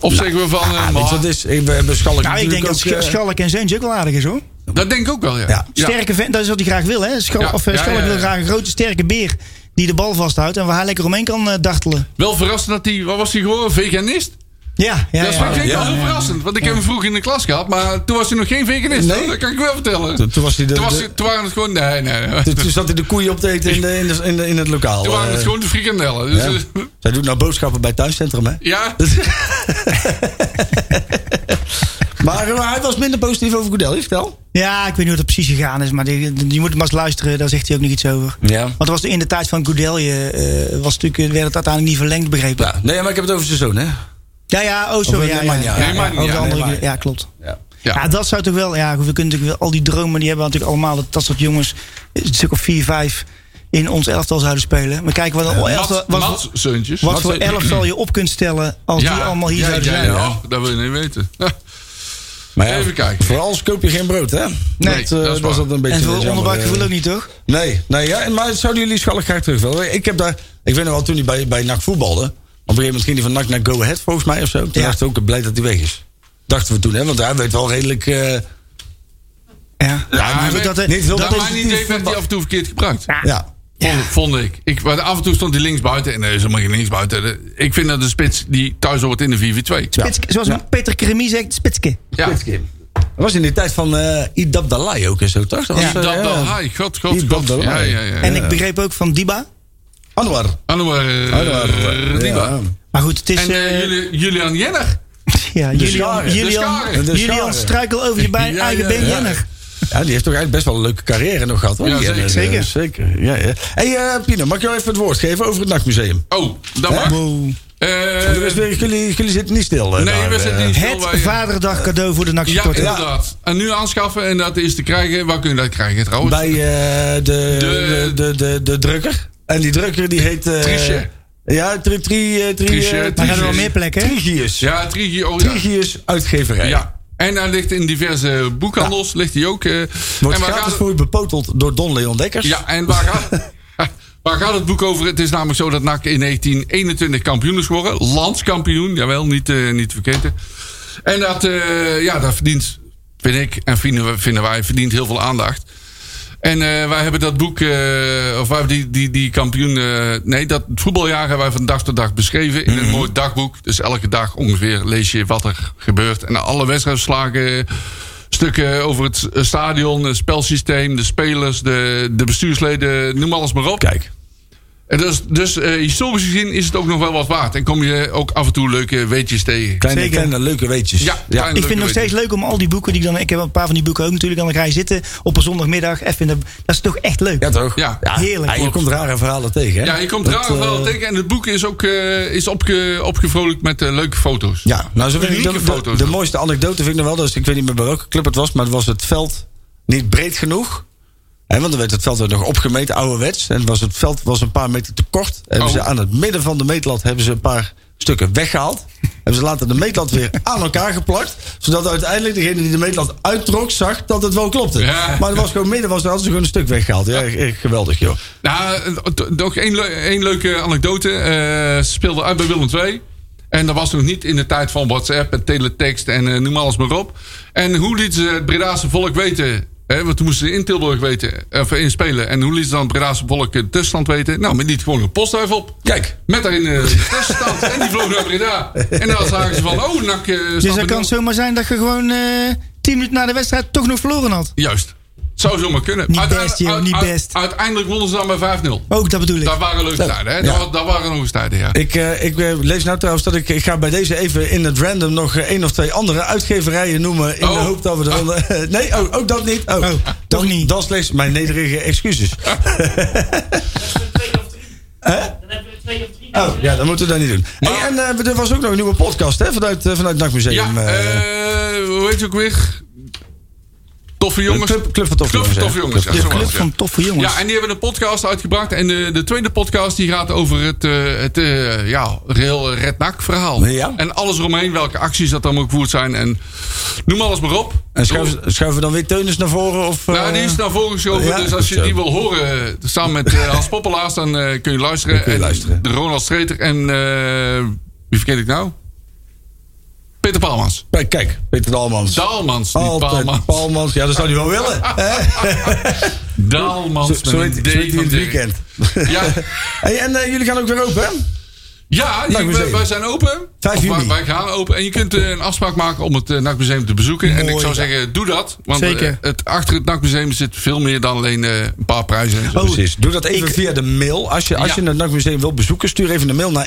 [SPEAKER 4] Of zeggen we van... eh,
[SPEAKER 2] Ah, weet
[SPEAKER 4] maar-
[SPEAKER 2] je wat het is? Ik- We hebben Schalk
[SPEAKER 6] Nou, ik
[SPEAKER 2] natuurlijk
[SPEAKER 6] denk dat
[SPEAKER 2] ook,
[SPEAKER 6] Sch-
[SPEAKER 2] eh,
[SPEAKER 6] Schalk en Zeuntje ook wel aardig is, hoor.
[SPEAKER 4] dat denk ik ook wel, ja.
[SPEAKER 2] Ja.
[SPEAKER 6] Sterke vent, dat is wat hij graag wil, hè. Schal,
[SPEAKER 4] Ja,
[SPEAKER 6] of, eh,
[SPEAKER 4] ja,
[SPEAKER 6] Schalk
[SPEAKER 4] ja, ja.
[SPEAKER 6] wil graag een grote, sterke beer die de bal vasthoudt en waar hij lekker omheen kan eh, dartelen.
[SPEAKER 4] Wel verrassend dat hij... Wat was hij geworden? Veganist?
[SPEAKER 6] Ja, ja,
[SPEAKER 4] dat
[SPEAKER 6] ja.
[SPEAKER 4] is vind ik
[SPEAKER 2] ja,
[SPEAKER 4] wel heel
[SPEAKER 2] ja,
[SPEAKER 4] verrassend. Want ik heb hem vroeg in de klas gehad, maar toen was hij nog geen veganist.
[SPEAKER 2] Nee.
[SPEAKER 4] hoor. Dat kan ik wel vertellen.
[SPEAKER 2] Toen- toen was hij de-
[SPEAKER 4] Toen, was
[SPEAKER 2] de-
[SPEAKER 4] hij- toen waren het gewoon... Nee, nee. nee.
[SPEAKER 2] Toen, toen dus- zat hij de koeien op te eten in, de, in, de, in, de- in het lokaal.
[SPEAKER 4] Toen waren het
[SPEAKER 2] eh.
[SPEAKER 4] gewoon de frikandellen. Dus,
[SPEAKER 2] Ja.
[SPEAKER 4] eh,
[SPEAKER 2] Zij doet nou boodschappen bij het thuiscentrum, hè?
[SPEAKER 4] ja.
[SPEAKER 2] Maar, eh, hij was minder positief over Goodell, vertel.
[SPEAKER 6] Ja, ik weet niet hoe dat precies gegaan is, maar die- die- je moet hem eens luisteren, daar zegt hij ook nog iets over.
[SPEAKER 2] Ja.
[SPEAKER 6] Want het was in de tijd van Goedelje, eh, was natuurlijk, eh, werd het uiteindelijk niet verlengd, begrepen.
[SPEAKER 2] ja. Nee, maar ik heb het over zijn zoon, hè?
[SPEAKER 6] Ja, ja, oh,
[SPEAKER 2] Of,
[SPEAKER 6] sorry.
[SPEAKER 2] eh,
[SPEAKER 6] Ja, ja,
[SPEAKER 2] Nemanja.
[SPEAKER 6] ja,
[SPEAKER 4] Nemanja,
[SPEAKER 6] over de andere
[SPEAKER 2] Nemanja.
[SPEAKER 6] keer. ja, klopt.
[SPEAKER 2] Ja.
[SPEAKER 4] Ja.
[SPEAKER 6] Ja. dat zou toch wel. Ja, goed, we kunnen natuurlijk wel al die dromen die hebben we natuurlijk allemaal. Dat, dat soort jongens, een stuk of 4, 5 in ons elftal zouden spelen. Maar kijk, wat, een elftal,
[SPEAKER 4] Eh, Mats-
[SPEAKER 6] wat,
[SPEAKER 4] Mats Zeuntjes.
[SPEAKER 6] wat
[SPEAKER 4] Mats
[SPEAKER 6] voor
[SPEAKER 4] Zeuntjes.
[SPEAKER 6] elftal je op kunt stellen als die allemaal hier
[SPEAKER 4] ja,
[SPEAKER 6] zouden
[SPEAKER 4] ja,
[SPEAKER 6] zijn.
[SPEAKER 4] ja, dat wil je niet weten.
[SPEAKER 2] Maar ja,
[SPEAKER 4] Even kijken.
[SPEAKER 2] Voor alles koop je geen brood, hè?
[SPEAKER 4] Nee,
[SPEAKER 2] dat,
[SPEAKER 4] dat
[SPEAKER 2] eh,
[SPEAKER 4] is
[SPEAKER 2] dat
[SPEAKER 4] waar.
[SPEAKER 2] was dat een beetje
[SPEAKER 6] En voor
[SPEAKER 2] jammer,
[SPEAKER 6] onderbuikgevoel
[SPEAKER 2] eh.
[SPEAKER 6] ook niet, toch?
[SPEAKER 2] Nee, nee ja, en- maar zouden jullie Schalk graag terug willen? Ik heb daar, ik weet nog wel, toen hij bij, bij NAC voetbalde... Op een gegeven moment ging hij van NAC naar Go Ahead, volgens mij, of zo. Toen
[SPEAKER 6] Ja.
[SPEAKER 2] dachten we ook, blij dat hij weg is. Dachten we toen, hè? Want hij weet wel redelijk... eh,
[SPEAKER 6] Ja.
[SPEAKER 4] Ja, maar
[SPEAKER 6] goed,
[SPEAKER 4] weet-
[SPEAKER 6] dat, eh, dat,
[SPEAKER 2] niet heel-
[SPEAKER 4] Dat
[SPEAKER 2] Dat
[SPEAKER 4] mijn idee werd die af en toe verkeerd gebruikt.
[SPEAKER 2] ja.
[SPEAKER 4] Vond, vond ik. ik. want Af en toe stond hij linksbuiten. En nee, is helemaal geen linksbuiten. Ik vind dat de spits die thuis hoort in de 4v2.
[SPEAKER 6] Spitske, Zoals Peter Kremie zegt, spitske.
[SPEAKER 4] Ja.
[SPEAKER 2] Dat was in die tijd van eh Idab Dalai ook en zo, toch? Dat was,
[SPEAKER 6] Ja,
[SPEAKER 2] eh,
[SPEAKER 4] Dat wel. Hai, god, god,
[SPEAKER 2] Die
[SPEAKER 4] god.
[SPEAKER 2] dat wel,
[SPEAKER 4] Ja,
[SPEAKER 2] hè.
[SPEAKER 4] ja, ja.
[SPEAKER 6] En ik begreep ook van Diba.
[SPEAKER 2] Anwar.
[SPEAKER 4] Anouar, eh,
[SPEAKER 2] Anwar.
[SPEAKER 4] Diba.
[SPEAKER 2] Oh, Ja.
[SPEAKER 6] Maar goed, het is...
[SPEAKER 4] En eh,
[SPEAKER 6] eh,
[SPEAKER 4] Juli- Julian Jenner.
[SPEAKER 6] ja, Julian,
[SPEAKER 2] scharen, de
[SPEAKER 6] Julian,
[SPEAKER 4] scharen,
[SPEAKER 2] de
[SPEAKER 6] Julian
[SPEAKER 2] scharen.
[SPEAKER 6] struikel over je bij
[SPEAKER 4] Ja, ja,
[SPEAKER 6] eigen Ben
[SPEAKER 4] ja.
[SPEAKER 6] Jenner.
[SPEAKER 2] Ja, die heeft toch eigenlijk best wel een leuke carrière nog gehad. Hoor.
[SPEAKER 4] Ja,
[SPEAKER 2] Die, eh,
[SPEAKER 4] zeker.
[SPEAKER 2] eh, zeker. Ja, ja. hey, eh, Pino, mag ik jou even het woord geven over het Nachtmuseum?
[SPEAKER 4] Oh, dat mag.
[SPEAKER 6] Wow.
[SPEAKER 4] Eh,
[SPEAKER 2] Er is weer- jullie, jullie zitten niet stil. eh,
[SPEAKER 4] Nee,
[SPEAKER 2] daar,
[SPEAKER 4] we
[SPEAKER 2] eh.
[SPEAKER 4] zitten niet stil
[SPEAKER 6] Het
[SPEAKER 4] bij-
[SPEAKER 6] vaderdag cadeau voor de NAC
[SPEAKER 4] Ja,
[SPEAKER 6] supporter.
[SPEAKER 4] inderdaad. En nu aanschaffen en dat is te krijgen. Waar kun je dat krijgen trouwens?
[SPEAKER 2] Bij eh, de,
[SPEAKER 4] De-
[SPEAKER 2] de, de, de, de drukker. En die drukker die heet... eh,
[SPEAKER 4] Trichet.
[SPEAKER 2] Ja, tri, tri, eh, tri,
[SPEAKER 4] Trichet,
[SPEAKER 2] eh,
[SPEAKER 6] Maar
[SPEAKER 4] Trichet.
[SPEAKER 6] gaan er wel meer plekken? hè?
[SPEAKER 2] Trigius.
[SPEAKER 4] Ja, Trigi. Oh, ja.
[SPEAKER 2] Trigius uitgeverij.
[SPEAKER 4] Ja. En hij ligt in diverse boekhandels. Ligt hij ook. eh,
[SPEAKER 2] Wordt
[SPEAKER 4] en waar
[SPEAKER 2] gratis
[SPEAKER 4] gaat het-
[SPEAKER 2] voor u bepoteld door Don Leon Dekkers.
[SPEAKER 4] Ja, en waar gaat... Waar gaat het boek over? Het is namelijk zo dat NAC in 1921 kampioen is geworden. Landskampioen, jawel, niet, eh, niet vergeten. En dat, eh, ja, dat verdient, vind ik en vinden, we- vinden wij, verdient heel veel aandacht. En eh, wij hebben dat boek, eh, of wij hebben die, die, die kampioen... eh, nee, dat voetbaljaar hebben wij van dag tot dag beschreven in
[SPEAKER 2] Mhm.
[SPEAKER 4] een mooi dagboek. Dus elke dag ongeveer lees je wat er gebeurt. En alle wedstrijdslagen, stukken over het s- stadion, het spelsysteem... de spelers, de, de bestuursleden, noem alles maar op.
[SPEAKER 2] Kijk.
[SPEAKER 4] En dus dus eh, historisch gezien is het ook nog wel wat waard. En kom je ook af en toe leuke weetjes tegen.
[SPEAKER 2] Kleine,
[SPEAKER 6] Zeker.
[SPEAKER 2] kleine leuke weetjes.
[SPEAKER 4] Ja, kleine
[SPEAKER 6] Ik vind het nog
[SPEAKER 4] leuke
[SPEAKER 6] steeds leuk om al die boeken die ik dan. Ik heb een paar van die boeken ook natuurlijk. En dan ga je zitten op een zondagmiddag. Even in de, dat is toch echt leuk.
[SPEAKER 2] Ja, toch?
[SPEAKER 4] Ja.
[SPEAKER 6] Heerlijk.
[SPEAKER 2] je komt rare verhalen tegen, hè?
[SPEAKER 4] Ja, je komt
[SPEAKER 2] Dat,
[SPEAKER 4] raar wel
[SPEAKER 2] eh,
[SPEAKER 4] tegen. En het boek is ook eh, is opge, opgevrolijkt met eh, leuke foto's.
[SPEAKER 2] Ja, nou, zo vind ik
[SPEAKER 4] Unieke
[SPEAKER 2] de, de,
[SPEAKER 4] foto's
[SPEAKER 2] de
[SPEAKER 4] ook.
[SPEAKER 2] mooiste anekdote vind ik nog wel. Dus ik weet niet meer bij welke club het was, maar het was het veld niet breed genoeg. Hè, want dan werd het veld ook nog opgemeten, ouderwets. En was het veld was een paar meter te kort. Hebben
[SPEAKER 4] Oh.
[SPEAKER 2] ze aan het midden van de meetlat hebben ze een paar stukken weggehaald. Hebben ze later de meetlat weer aan elkaar geplakt. Zodat uiteindelijk degene die de meetlat uittrok zag dat het wel klopte.
[SPEAKER 4] Ja.
[SPEAKER 2] Maar het was gewoon midden, was, hadden ze gewoon een stuk weggehaald. Ja, echt geweldig joh.
[SPEAKER 4] Nou, eh, nog één, le- één leuke anekdote. Eh, ze speelden uit bij Willem II. En dat was nog niet in de tijd van WhatsApp en teletext en eh, noem alles maar op. En hoe liet ze het Bredaanse volk weten? Hè, want toen moesten ze in Tilburg weten, of inspelen. En hoe liet ze dan het Bredaanse volk de tussenstand weten? Nou, men liet gewoon een postduif op.
[SPEAKER 2] Kijk.
[SPEAKER 4] Met daarin eh, de tussenstand. en die vloog naar Breda. En dan zagen ze van, oh, nak... eh, staat
[SPEAKER 6] dus
[SPEAKER 4] met
[SPEAKER 6] dat kan
[SPEAKER 4] nul.
[SPEAKER 6] zomaar zijn dat je gewoon eh tien minuten na de wedstrijd toch nog verloren had.
[SPEAKER 4] Juist. Zou zomaar kunnen.
[SPEAKER 6] Niet
[SPEAKER 4] Uiteindelijk-
[SPEAKER 6] best, joh, niet
[SPEAKER 4] uit- uit-
[SPEAKER 6] best.
[SPEAKER 4] Uiteindelijk wonnen ze dan bij 5-0.
[SPEAKER 6] Ook dat bedoel ik.
[SPEAKER 4] Dat waren leuke tijden, hè?
[SPEAKER 2] Nou, ja.
[SPEAKER 4] Dat, dat waren nog eens tijden, ja.
[SPEAKER 2] Ik, eh, ik eh, lees nou trouwens dat ik, ik ga bij deze even in het random nog eh, één of twee andere uitgeverijen noemen. In
[SPEAKER 4] Oh. Ah.
[SPEAKER 2] de hoop dat we er. dan, eh, nee, oh, ook dat niet. Oh,
[SPEAKER 6] toch
[SPEAKER 2] Dan-
[SPEAKER 6] niet.
[SPEAKER 2] Dan slechts mijn nederige excuses.
[SPEAKER 4] Ah.
[SPEAKER 2] Oh, ja, dat moeten we dat niet doen. Hey,
[SPEAKER 4] Ah.
[SPEAKER 2] en eh, er was ook nog een nieuwe podcast hè, vanuit, eh, vanuit het
[SPEAKER 4] Ja,
[SPEAKER 2] Nachtmuseum. eh,
[SPEAKER 4] eh, hoe heet je ook weer? Toffe jongens.
[SPEAKER 2] Club- Club van Toffe
[SPEAKER 4] Club
[SPEAKER 2] Jongens, hè?
[SPEAKER 4] Jongens, ja,
[SPEAKER 2] Club
[SPEAKER 4] zo
[SPEAKER 6] Club
[SPEAKER 4] was het,
[SPEAKER 6] van toffe
[SPEAKER 4] ja.
[SPEAKER 6] jongens.
[SPEAKER 4] Ja, en die hebben een podcast uitgebracht. En de, de tweede podcast die gaat over het, eh, het eh, ja, heel rednak verhaal.
[SPEAKER 2] Ja.
[SPEAKER 4] En alles eromheen, welke acties dat dan ook gevoerd zijn. En noem alles maar op.
[SPEAKER 2] en schuiven, schuiven we dan weer Teunis naar voren? Of, eh,
[SPEAKER 4] Nou, die is naar voren geschoven.
[SPEAKER 2] ja,
[SPEAKER 4] dus als je
[SPEAKER 2] goed
[SPEAKER 4] die
[SPEAKER 2] zo.
[SPEAKER 4] wil horen, eh, samen met eh, Hans Poppelaars, dan eh, kun je luisteren.
[SPEAKER 2] Dan kun je
[SPEAKER 4] En
[SPEAKER 2] luisteren.
[SPEAKER 4] De Ronald Streeter en eh, wie vergeet ik nou? Peter Paalmans.
[SPEAKER 2] Kijk, Kijk, Peter Dalmans.
[SPEAKER 4] Daalmans, niet
[SPEAKER 2] Altijd
[SPEAKER 4] Paalmans.
[SPEAKER 2] Palmans. Ja, dat zou hij wel willen. hè? Zo,
[SPEAKER 4] Daalmans
[SPEAKER 2] zo
[SPEAKER 4] met
[SPEAKER 2] heet
[SPEAKER 4] een
[SPEAKER 2] zo heet
[SPEAKER 4] D
[SPEAKER 2] hij in
[SPEAKER 4] van
[SPEAKER 2] het
[SPEAKER 4] Dirk.
[SPEAKER 2] weekend.
[SPEAKER 4] Ja,
[SPEAKER 2] Hey, en eh, jullie gaan ook weer open, hè?
[SPEAKER 4] ja die-
[SPEAKER 2] Nachtmuseum.
[SPEAKER 4] wij, wij zijn open.
[SPEAKER 2] 5
[SPEAKER 4] Of wij-
[SPEAKER 2] juni.
[SPEAKER 4] Wij gaan open. En je kunt eh, een afspraak maken om het eh, Nachtmuseum te bezoeken. en ik
[SPEAKER 6] Mooi,
[SPEAKER 4] zou
[SPEAKER 6] ja.
[SPEAKER 4] zeggen, doe dat. Want
[SPEAKER 6] Zeker.
[SPEAKER 4] eh, het, achter het Nachtmuseum zit veel meer dan alleen eh, een paar prijzen. en zo.
[SPEAKER 2] Oh, Precies. Doe dat even
[SPEAKER 6] ik-
[SPEAKER 2] via de mail. Als je,
[SPEAKER 4] Ja.
[SPEAKER 2] als je het NAC-museum wilt bezoeken, stuur even een mail naar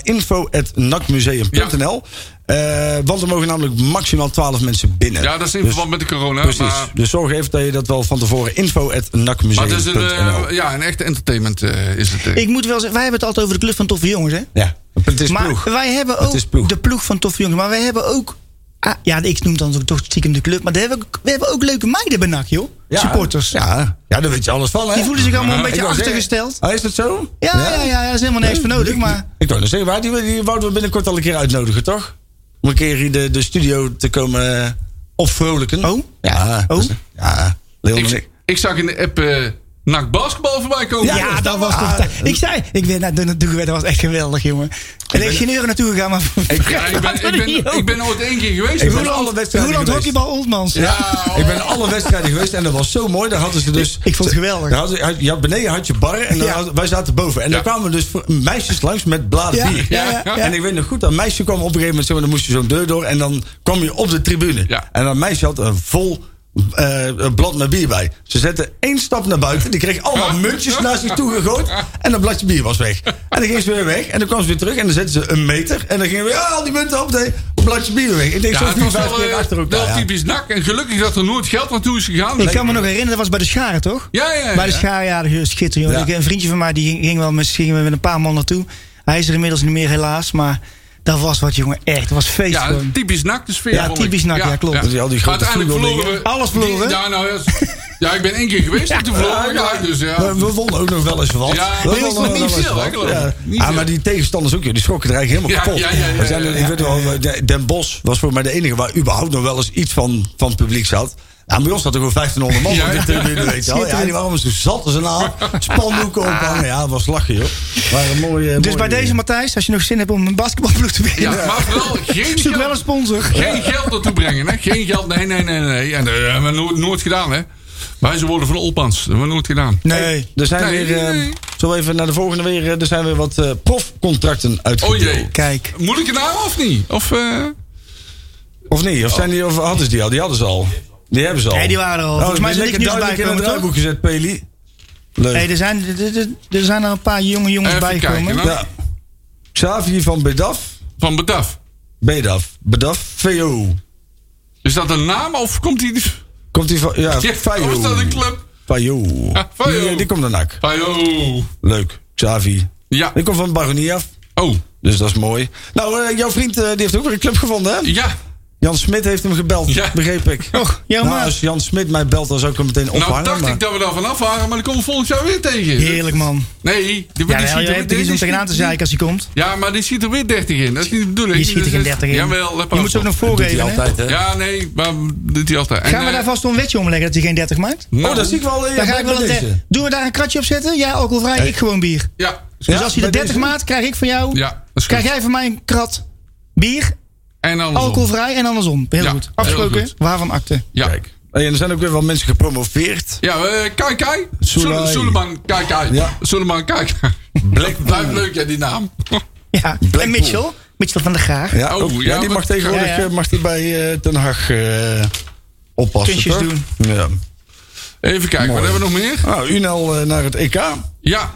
[SPEAKER 2] info.nakmuseum.nl. Eh, want er mogen namelijk maximaal 12 mensen binnen.
[SPEAKER 4] Ja, dat is in
[SPEAKER 2] Dus-
[SPEAKER 4] verband met de corona.
[SPEAKER 2] Precies.
[SPEAKER 4] Maar,
[SPEAKER 2] Dus zorg even dat je dat wel van tevoren
[SPEAKER 4] maar het is een,
[SPEAKER 2] info.nakmuseum.nl.
[SPEAKER 4] eh, ja, een echte entertainment eh, is het. eh.
[SPEAKER 6] Ik moet wel zeggen, wij hebben het altijd over de Club van toffe jongens, hè?
[SPEAKER 2] ja, het is
[SPEAKER 6] maar
[SPEAKER 2] ploeg.
[SPEAKER 6] wij hebben
[SPEAKER 2] Het is
[SPEAKER 6] ook
[SPEAKER 2] ploeg.
[SPEAKER 6] de ploeg van toffe jongens. Maar wij hebben ook. ah, ja, ik noem dan toch stiekem de club. Maar daar hebben we, ook- we hebben ook leuke meiden bij NAC, joh.
[SPEAKER 2] Ja.
[SPEAKER 6] Supporters.
[SPEAKER 2] Ja. ja, daar weet je alles van, hè?
[SPEAKER 6] Die voelen zich allemaal een
[SPEAKER 2] Ik
[SPEAKER 6] beetje
[SPEAKER 2] wou zeggen-
[SPEAKER 6] achtergesteld.
[SPEAKER 2] Ah, is dat zo?
[SPEAKER 6] Ja, ja, ja, ja, daar is helemaal niks voor nodig. Maar
[SPEAKER 2] Ik wou nog zeggen, maar die, die wouden we binnenkort al een keer uitnodigen, toch? Om een keer hier de, de studio te komen eh, opvrolijken.
[SPEAKER 6] Oh?
[SPEAKER 2] Ja.
[SPEAKER 6] Oh?
[SPEAKER 2] Ja. Leon en
[SPEAKER 4] ik,
[SPEAKER 2] ik.
[SPEAKER 4] ik zag in de app eh NAC basketbal voorbij komen.
[SPEAKER 6] Ja, dat was toch...
[SPEAKER 2] Ah,
[SPEAKER 6] ik zei, ik ben naar de Doegeweer, dat was echt geweldig, jongen. En er is geen euro naartoe gegaan, maar...
[SPEAKER 4] Ja, ik, ben, ik, ben, ik ben ooit één keer geweest.
[SPEAKER 2] Ik ben
[SPEAKER 4] Roland.
[SPEAKER 2] alle wedstrijden
[SPEAKER 6] Roland
[SPEAKER 2] geweest.
[SPEAKER 6] Hockeybal Oltmans.
[SPEAKER 2] Ja, ik ben alle wedstrijden geweest en dat was zo mooi. Daar hadden ze dus.
[SPEAKER 6] Ik vond het geweldig.
[SPEAKER 2] Daar hadden- had- je had- beneden had je bar en dan
[SPEAKER 6] Ja.
[SPEAKER 2] hadden- wij zaten boven. En
[SPEAKER 4] Ja.
[SPEAKER 2] daar kwamen dus voor- meisjes langs met bladen
[SPEAKER 6] Ja,
[SPEAKER 2] bier.
[SPEAKER 6] ja, ja, ja.
[SPEAKER 2] En ik weet nog goed, dat meisje kwam op een gegeven moment, zeg maar, dan moest je zo'n deur door en dan kwam je op de tribune.
[SPEAKER 4] Ja.
[SPEAKER 2] En dat meisje had een vol. eh, blad met bier bij. Ze zette één stap naar buiten. Die kreeg allemaal muntjes naar zich toe gegooid. En dat bladje bier was weg. En dan ging ze weer weg. En dan kwam ze weer terug. En dan zetten ze een meter. En dan gingen weer al die munten op. Nee, bladje bier weer weg. Ik denk zo
[SPEAKER 4] Ja, het
[SPEAKER 2] vier,
[SPEAKER 4] was
[SPEAKER 2] vijf
[SPEAKER 4] wel,
[SPEAKER 2] keer
[SPEAKER 4] eh,
[SPEAKER 2] achter elkaar.
[SPEAKER 4] wel
[SPEAKER 2] ja.
[SPEAKER 4] typisch NAC. En gelukkig dat er nooit geld naartoe is gegaan.
[SPEAKER 6] Ik kan me nog herinneren, dat was bij de Scharen, toch?
[SPEAKER 4] Ja, ja, ja.
[SPEAKER 6] Bij de Scharen, ja, dat is schitterend, jongen.
[SPEAKER 2] Ja.
[SPEAKER 6] Ik- Een vriendje van mij, die ging, ging wel met, gingen we met een paar man naartoe. Hij is er inmiddels niet meer, helaas, maar... Dat was wat, jongen, echt. Dat was feest
[SPEAKER 4] Ja,
[SPEAKER 6] gewoon.
[SPEAKER 4] typisch NAC de sfeer.
[SPEAKER 6] Ja,
[SPEAKER 4] vond ik.
[SPEAKER 6] typisch NAC, ja, klopt.
[SPEAKER 2] Dus al die grote
[SPEAKER 4] Uiteindelijk
[SPEAKER 2] vloerdoelingen.
[SPEAKER 4] verloren we...
[SPEAKER 6] Alles verloren,
[SPEAKER 4] die-
[SPEAKER 6] hè? nou-
[SPEAKER 4] Ja, nou, ja, s- ja, ik ben één keer geweest en toen verloren we. Ja, dus ja.
[SPEAKER 2] We, we wonnen ook nog wel eens wat.
[SPEAKER 4] Ja,
[SPEAKER 2] we
[SPEAKER 4] nee,
[SPEAKER 2] wonnen
[SPEAKER 4] niet
[SPEAKER 2] wel eens
[SPEAKER 4] veel,
[SPEAKER 2] wat.
[SPEAKER 4] hè, geloof ik.
[SPEAKER 2] Ja.
[SPEAKER 4] Niet
[SPEAKER 2] Ah,
[SPEAKER 4] veel.
[SPEAKER 2] maar die tegenstanders ook, joh, die schrokken er eigenlijk
[SPEAKER 4] Ja,
[SPEAKER 2] helemaal kapot.
[SPEAKER 4] ja, ja, ja,
[SPEAKER 2] We zijn er-
[SPEAKER 4] ja,
[SPEAKER 2] ik weet wel, de- Den Bos was voor mij de enige waar überhaupt nog wel eens iets van, van publiek zat. Ja, bij ons zat er gewoon 1500 man
[SPEAKER 4] Ja,
[SPEAKER 2] op de
[SPEAKER 4] ja.
[SPEAKER 2] tribune, weet je wel. Ja, die waren allemaal zo zat als een aap. Spandoeken
[SPEAKER 4] Ah.
[SPEAKER 2] ophangen. Ja, dat was lachen, joh. Maar een mooie,
[SPEAKER 6] Dus bij deze, Matthijs, als je nog zin hebt om een basketbalploeg te
[SPEAKER 4] Ja,
[SPEAKER 6] beginnen,
[SPEAKER 4] maar vooral geen
[SPEAKER 6] zoek wel een
[SPEAKER 4] geld,
[SPEAKER 6] sponsor.
[SPEAKER 4] geen geld naartoe brengen. Hè? Geen geld, nee, nee, nee. nee. En, dat hebben we nooit, nooit gedaan, hè. Wij ze worden van Olpans. Dat hebben we nooit gedaan.
[SPEAKER 2] Nee, er zijn
[SPEAKER 4] Nee,
[SPEAKER 2] weer...
[SPEAKER 4] nee,
[SPEAKER 2] ehm,
[SPEAKER 4] nee.
[SPEAKER 2] Zo even naar de volgende weer. eh, Er zijn weer wat eh, profcontracten
[SPEAKER 4] Oh
[SPEAKER 2] uitgedeeld.
[SPEAKER 4] jee.
[SPEAKER 6] Kijk,
[SPEAKER 4] Moet ik het nou of niet? Of, eh,
[SPEAKER 2] Of niet? Of, zijn die, of hadden ze die al? Die hadden ze al. Die hebben ze al.
[SPEAKER 6] Nee, die waren er al.
[SPEAKER 2] Oh,
[SPEAKER 6] Volgens mij is er
[SPEAKER 2] lekker
[SPEAKER 6] niks nieuws
[SPEAKER 2] duidelijk in het
[SPEAKER 6] bijgekomen,
[SPEAKER 2] draaiboek gezet, Peli. Leuk.
[SPEAKER 6] hey, er, zijn, er, er- er zijn er een paar jonge jongens
[SPEAKER 4] Even kijken,
[SPEAKER 6] bijgekomen.
[SPEAKER 4] hè.
[SPEAKER 2] ja. Xavier van Bedaf.
[SPEAKER 4] van Bedaf.
[SPEAKER 2] Bedaf. Bedaf. VO.
[SPEAKER 4] Is dat een naam of komt die...
[SPEAKER 2] Komt die van... Ja,
[SPEAKER 4] Ja,
[SPEAKER 2] Fayo.
[SPEAKER 4] of is dat een club?
[SPEAKER 2] Fayo.
[SPEAKER 4] Ah, Fayo.
[SPEAKER 2] Die, eh, die komt naar NAC.
[SPEAKER 4] Ayo.
[SPEAKER 2] Leuk. Xavi.
[SPEAKER 4] oh. Ja.
[SPEAKER 2] Die komt van Baronia af.
[SPEAKER 4] Oh,
[SPEAKER 2] Dus dat is mooi. Nou, eh, jouw vriend eh, die heeft ook weer een club gevonden, hè?
[SPEAKER 4] ja.
[SPEAKER 2] Jan Smit heeft hem gebeld,
[SPEAKER 4] Ja.
[SPEAKER 2] begreep ik.
[SPEAKER 6] Och,
[SPEAKER 2] nou,
[SPEAKER 6] jammer.
[SPEAKER 2] als Jan Smit mij belt, dan zou ik hem meteen ophangen.
[SPEAKER 4] Nou dacht
[SPEAKER 2] maar-
[SPEAKER 4] ik dat we daar vanaf waren, maar die komen we volgend jaar weer tegen.
[SPEAKER 6] Heerlijk, man.
[SPEAKER 4] Nee, die,
[SPEAKER 6] Ja,
[SPEAKER 4] die
[SPEAKER 6] wel,
[SPEAKER 4] schiet
[SPEAKER 6] je
[SPEAKER 4] er-
[SPEAKER 6] hebt
[SPEAKER 4] die-
[SPEAKER 6] er iets om
[SPEAKER 4] die
[SPEAKER 6] tegenaan te
[SPEAKER 4] schiet-
[SPEAKER 6] zeiken als hij komt.
[SPEAKER 4] Ja, maar die schiet er weer 30 in. Dat is niet de bedoeling.
[SPEAKER 6] Die schiet er geen 30 in.
[SPEAKER 4] Jawel, let maar
[SPEAKER 6] Je
[SPEAKER 4] op.
[SPEAKER 6] moet ze ook nog
[SPEAKER 2] Doet hij
[SPEAKER 6] voorgeven. hè?
[SPEAKER 2] altijd, hè?
[SPEAKER 4] Ja, nee, maar doet hij altijd. En,
[SPEAKER 6] Gaan we
[SPEAKER 4] eh,
[SPEAKER 6] daar vast wel een wetje om leggen dat hij geen 30 maakt?
[SPEAKER 4] nou,
[SPEAKER 2] Oh, dat zie ik wel. eh,
[SPEAKER 6] Dan ga
[SPEAKER 2] bij
[SPEAKER 6] ik wel een
[SPEAKER 2] deze.
[SPEAKER 6] der- Doen we daar een kratje op zetten? Ja, alcoholvrij, ik gewoon bier.
[SPEAKER 4] Ja,
[SPEAKER 6] Dus
[SPEAKER 2] Ja,
[SPEAKER 6] als hij
[SPEAKER 2] bij
[SPEAKER 6] de 30
[SPEAKER 2] deze.
[SPEAKER 6] maakt, krijg ik van jou.
[SPEAKER 4] ja, dat is goed.
[SPEAKER 6] Krijg jij van mij een krat bier,
[SPEAKER 4] en andersom.
[SPEAKER 6] alcoholvrij en andersom. Heel
[SPEAKER 4] Ja,
[SPEAKER 6] goed.
[SPEAKER 4] heel
[SPEAKER 6] Afgesproken,
[SPEAKER 4] goed.
[SPEAKER 6] waarvan akte?
[SPEAKER 4] Ja,
[SPEAKER 2] Kijk. Hey, en er zijn ook weer wel mensen gepromoveerd.
[SPEAKER 4] ja eh, Kai Kai.
[SPEAKER 2] Soelai.
[SPEAKER 4] Suleiman Kai Kai.
[SPEAKER 2] Ja.
[SPEAKER 4] Suleiman Kai Kai. Blijft leuk, ja, die naam.
[SPEAKER 6] Ja. En Mitchell, Mitchell van der Graag.
[SPEAKER 2] Ja,
[SPEAKER 4] Oh,
[SPEAKER 2] ook- ja,
[SPEAKER 4] ja,
[SPEAKER 2] die
[SPEAKER 4] wat-
[SPEAKER 2] mag tegenwoordig
[SPEAKER 6] Ja, ja.
[SPEAKER 2] eh, Mag die bij eh, Den Haag eh, oppassen.
[SPEAKER 6] Puntjes
[SPEAKER 2] toch?
[SPEAKER 6] doen.
[SPEAKER 2] Ja.
[SPEAKER 4] Even kijken, wat
[SPEAKER 2] Mooi.
[SPEAKER 4] hebben we nog meer?
[SPEAKER 2] Nou, Unel eh, naar het EK.
[SPEAKER 4] Ja.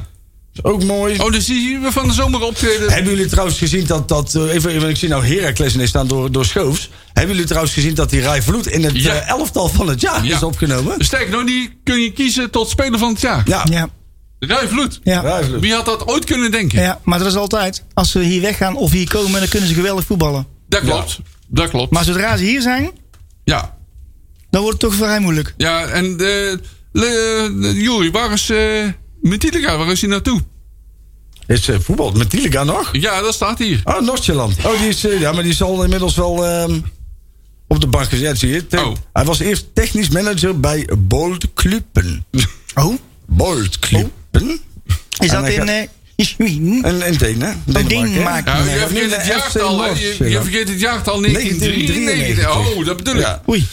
[SPEAKER 2] Is ook mooi.
[SPEAKER 4] Oh, dus die zien we van de zomer optreden.
[SPEAKER 2] Hebben jullie trouwens gezien dat dat... eh, even, even, ik zie nou Heracles ineens staan door, door Schoofs. Hebben jullie trouwens gezien dat die Rai Vloed in het
[SPEAKER 4] Ja.
[SPEAKER 2] eh, elftal van het jaar
[SPEAKER 4] Ja. Dus-
[SPEAKER 2] is opgenomen?
[SPEAKER 4] Sterk nog, die kun je kiezen tot speler van het jaar.
[SPEAKER 2] Ja,
[SPEAKER 6] Ja.
[SPEAKER 4] Rijf Vloed.
[SPEAKER 6] Ja.
[SPEAKER 2] Rai Vloed.
[SPEAKER 4] Wie had dat ooit kunnen denken?
[SPEAKER 6] Ja, maar dat is altijd. Als ze hier weggaan of hier komen, dan kunnen ze geweldig voetballen.
[SPEAKER 4] Dat klopt. Dat klopt.
[SPEAKER 6] Maar zodra ze hier zijn,
[SPEAKER 4] ja.
[SPEAKER 6] dan wordt het toch vrij moeilijk.
[SPEAKER 4] Ja, en eh le- Joeri, waar is eh Metitica? Waar is hij naartoe?
[SPEAKER 2] Is eh, voetbal met Tielica nog?
[SPEAKER 4] Ja, dat staat hier.
[SPEAKER 2] Oh, Noordjeland. Oh, die is, eh, ja, maar die is al inmiddels wel ehm, op de bank gezet, zie je. Te-
[SPEAKER 4] Oh.
[SPEAKER 2] Hij was eerst technisch manager bij Bold Kluppen.
[SPEAKER 6] Oh?
[SPEAKER 2] Bold Kluppen? En
[SPEAKER 6] Is dat
[SPEAKER 2] hij
[SPEAKER 6] in... eh Iswien?
[SPEAKER 2] En, en Denen.
[SPEAKER 6] Denemarken.
[SPEAKER 4] Ja,
[SPEAKER 6] Nee,
[SPEAKER 4] je,
[SPEAKER 2] dat
[SPEAKER 4] vergeet
[SPEAKER 2] is
[SPEAKER 4] het
[SPEAKER 2] de FC
[SPEAKER 4] jaartal, hè? je, je
[SPEAKER 2] Noord-Zeeland.
[SPEAKER 4] vergeet het jaartal 1993.
[SPEAKER 2] 1993.
[SPEAKER 4] Oh, dat bedoel ik. Ja,
[SPEAKER 2] Ja.
[SPEAKER 6] Oei.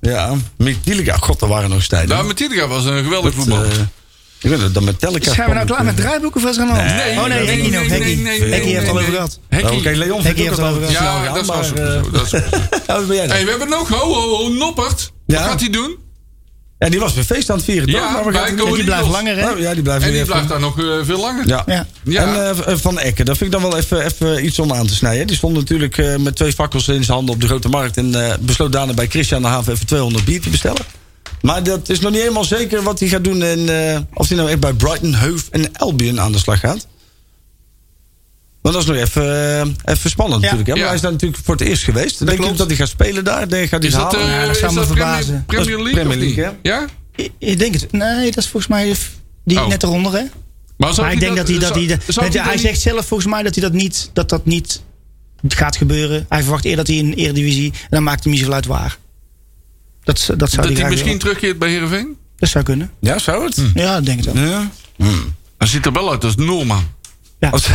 [SPEAKER 2] Ja, met Tielica. God, er waren nog tijden.
[SPEAKER 4] nou, Metitica was een geweldig
[SPEAKER 2] Dat,
[SPEAKER 4] voetbal.
[SPEAKER 2] eh, ik weet het, eh, dan met Telka.
[SPEAKER 6] Zijn we nou klaar met draaiboeken of is er een hand?
[SPEAKER 4] Nee,
[SPEAKER 6] oh nee,
[SPEAKER 4] nee,
[SPEAKER 6] Henkie
[SPEAKER 4] nee,
[SPEAKER 6] nog.
[SPEAKER 4] nee,
[SPEAKER 6] Henkie
[SPEAKER 4] nee, nee,
[SPEAKER 6] Henkie
[SPEAKER 4] nee,
[SPEAKER 6] heeft het al
[SPEAKER 4] nee,
[SPEAKER 6] over
[SPEAKER 4] nee.
[SPEAKER 6] gehad.
[SPEAKER 4] Henkie.
[SPEAKER 2] Oh, nou, Oké, Leon
[SPEAKER 6] Henkie
[SPEAKER 2] vindt ook
[SPEAKER 6] heeft
[SPEAKER 2] het al
[SPEAKER 6] het
[SPEAKER 4] ja,
[SPEAKER 2] wel snel
[SPEAKER 6] over
[SPEAKER 2] gaan,
[SPEAKER 4] dat is
[SPEAKER 2] maar,
[SPEAKER 4] wel zo.
[SPEAKER 2] eh,
[SPEAKER 4] Dat is wel zo.
[SPEAKER 2] ja, wat ben jij dan?
[SPEAKER 4] hey, we hebben nog ho, ho, ho, Noppert.
[SPEAKER 2] Ja.
[SPEAKER 4] Wat gaat hij doen?
[SPEAKER 2] Ja, die was weer feest aan het vieren. toch?
[SPEAKER 4] Ja,
[SPEAKER 2] maar we
[SPEAKER 4] bij
[SPEAKER 2] gaan het-
[SPEAKER 4] Go
[SPEAKER 6] En die blijft
[SPEAKER 4] Eagles.
[SPEAKER 6] langer, hè?
[SPEAKER 2] Oh, ja, die blijft
[SPEAKER 4] En
[SPEAKER 2] weer
[SPEAKER 4] die
[SPEAKER 2] even-
[SPEAKER 4] blijft daar nog eh, veel langer.
[SPEAKER 2] Ja.
[SPEAKER 6] Ja.
[SPEAKER 4] Ja.
[SPEAKER 2] En eh, v- eh, Van Ecken, daar vind ik dan wel even, even iets om aan te snijden. Die stond natuurlijk eh, met twee fakkels in zijn handen op de grote markt. En eh, besloot daarna bij Christian de Haven even 200 bier te bestellen. Maar dat is nog niet helemaal zeker wat hij gaat doen. En eh, of hij nou echt bij Brighton, Hove en Albion aan de slag gaat. Want dat is nog even, eh, even spannend natuurlijk. Hè? Maar
[SPEAKER 4] Ja.
[SPEAKER 2] hij is daar natuurlijk voor het eerst geweest. Denk je
[SPEAKER 6] klopt.
[SPEAKER 2] ook dat hij gaat spelen daar? Denk, je, gaat hij
[SPEAKER 4] Is
[SPEAKER 2] het
[SPEAKER 4] dat,
[SPEAKER 2] halen?
[SPEAKER 4] eh,
[SPEAKER 6] Ja, dat
[SPEAKER 4] is
[SPEAKER 6] zou me
[SPEAKER 4] dat Premier,
[SPEAKER 6] verbazen.
[SPEAKER 4] Premier
[SPEAKER 2] Dat is
[SPEAKER 4] League?
[SPEAKER 2] Premier
[SPEAKER 4] of niet?
[SPEAKER 2] League,
[SPEAKER 4] ja?
[SPEAKER 6] Ik, ik denk het. Nee, dat is volgens mij die
[SPEAKER 4] Oh.
[SPEAKER 6] net eronder, hè?
[SPEAKER 4] Maar, zou
[SPEAKER 6] Maar ik denk dat hij dat... hij- dat-
[SPEAKER 4] zou
[SPEAKER 6] hij-
[SPEAKER 4] dat
[SPEAKER 6] Hij
[SPEAKER 4] niet-
[SPEAKER 6] zegt zelf volgens mij dat hij dat niet... Dat dat niet gaat gebeuren. Hij verwacht eer dat hij in de Eredivisie... En dan maakt hem niet zoveel uit waar. Dat, z- dat zou
[SPEAKER 4] dat
[SPEAKER 6] hij
[SPEAKER 4] hij
[SPEAKER 6] graag
[SPEAKER 4] misschien Hm.
[SPEAKER 6] willen.
[SPEAKER 4] terugkeert bij Heerenveen?
[SPEAKER 6] Dat zou kunnen.
[SPEAKER 2] Ja, zou het?
[SPEAKER 4] Mm.
[SPEAKER 6] Ja, ik denk het wel.
[SPEAKER 2] Ja.
[SPEAKER 4] Hm. Hij ziet er wel uit als Norman.
[SPEAKER 6] Ja.
[SPEAKER 2] Als-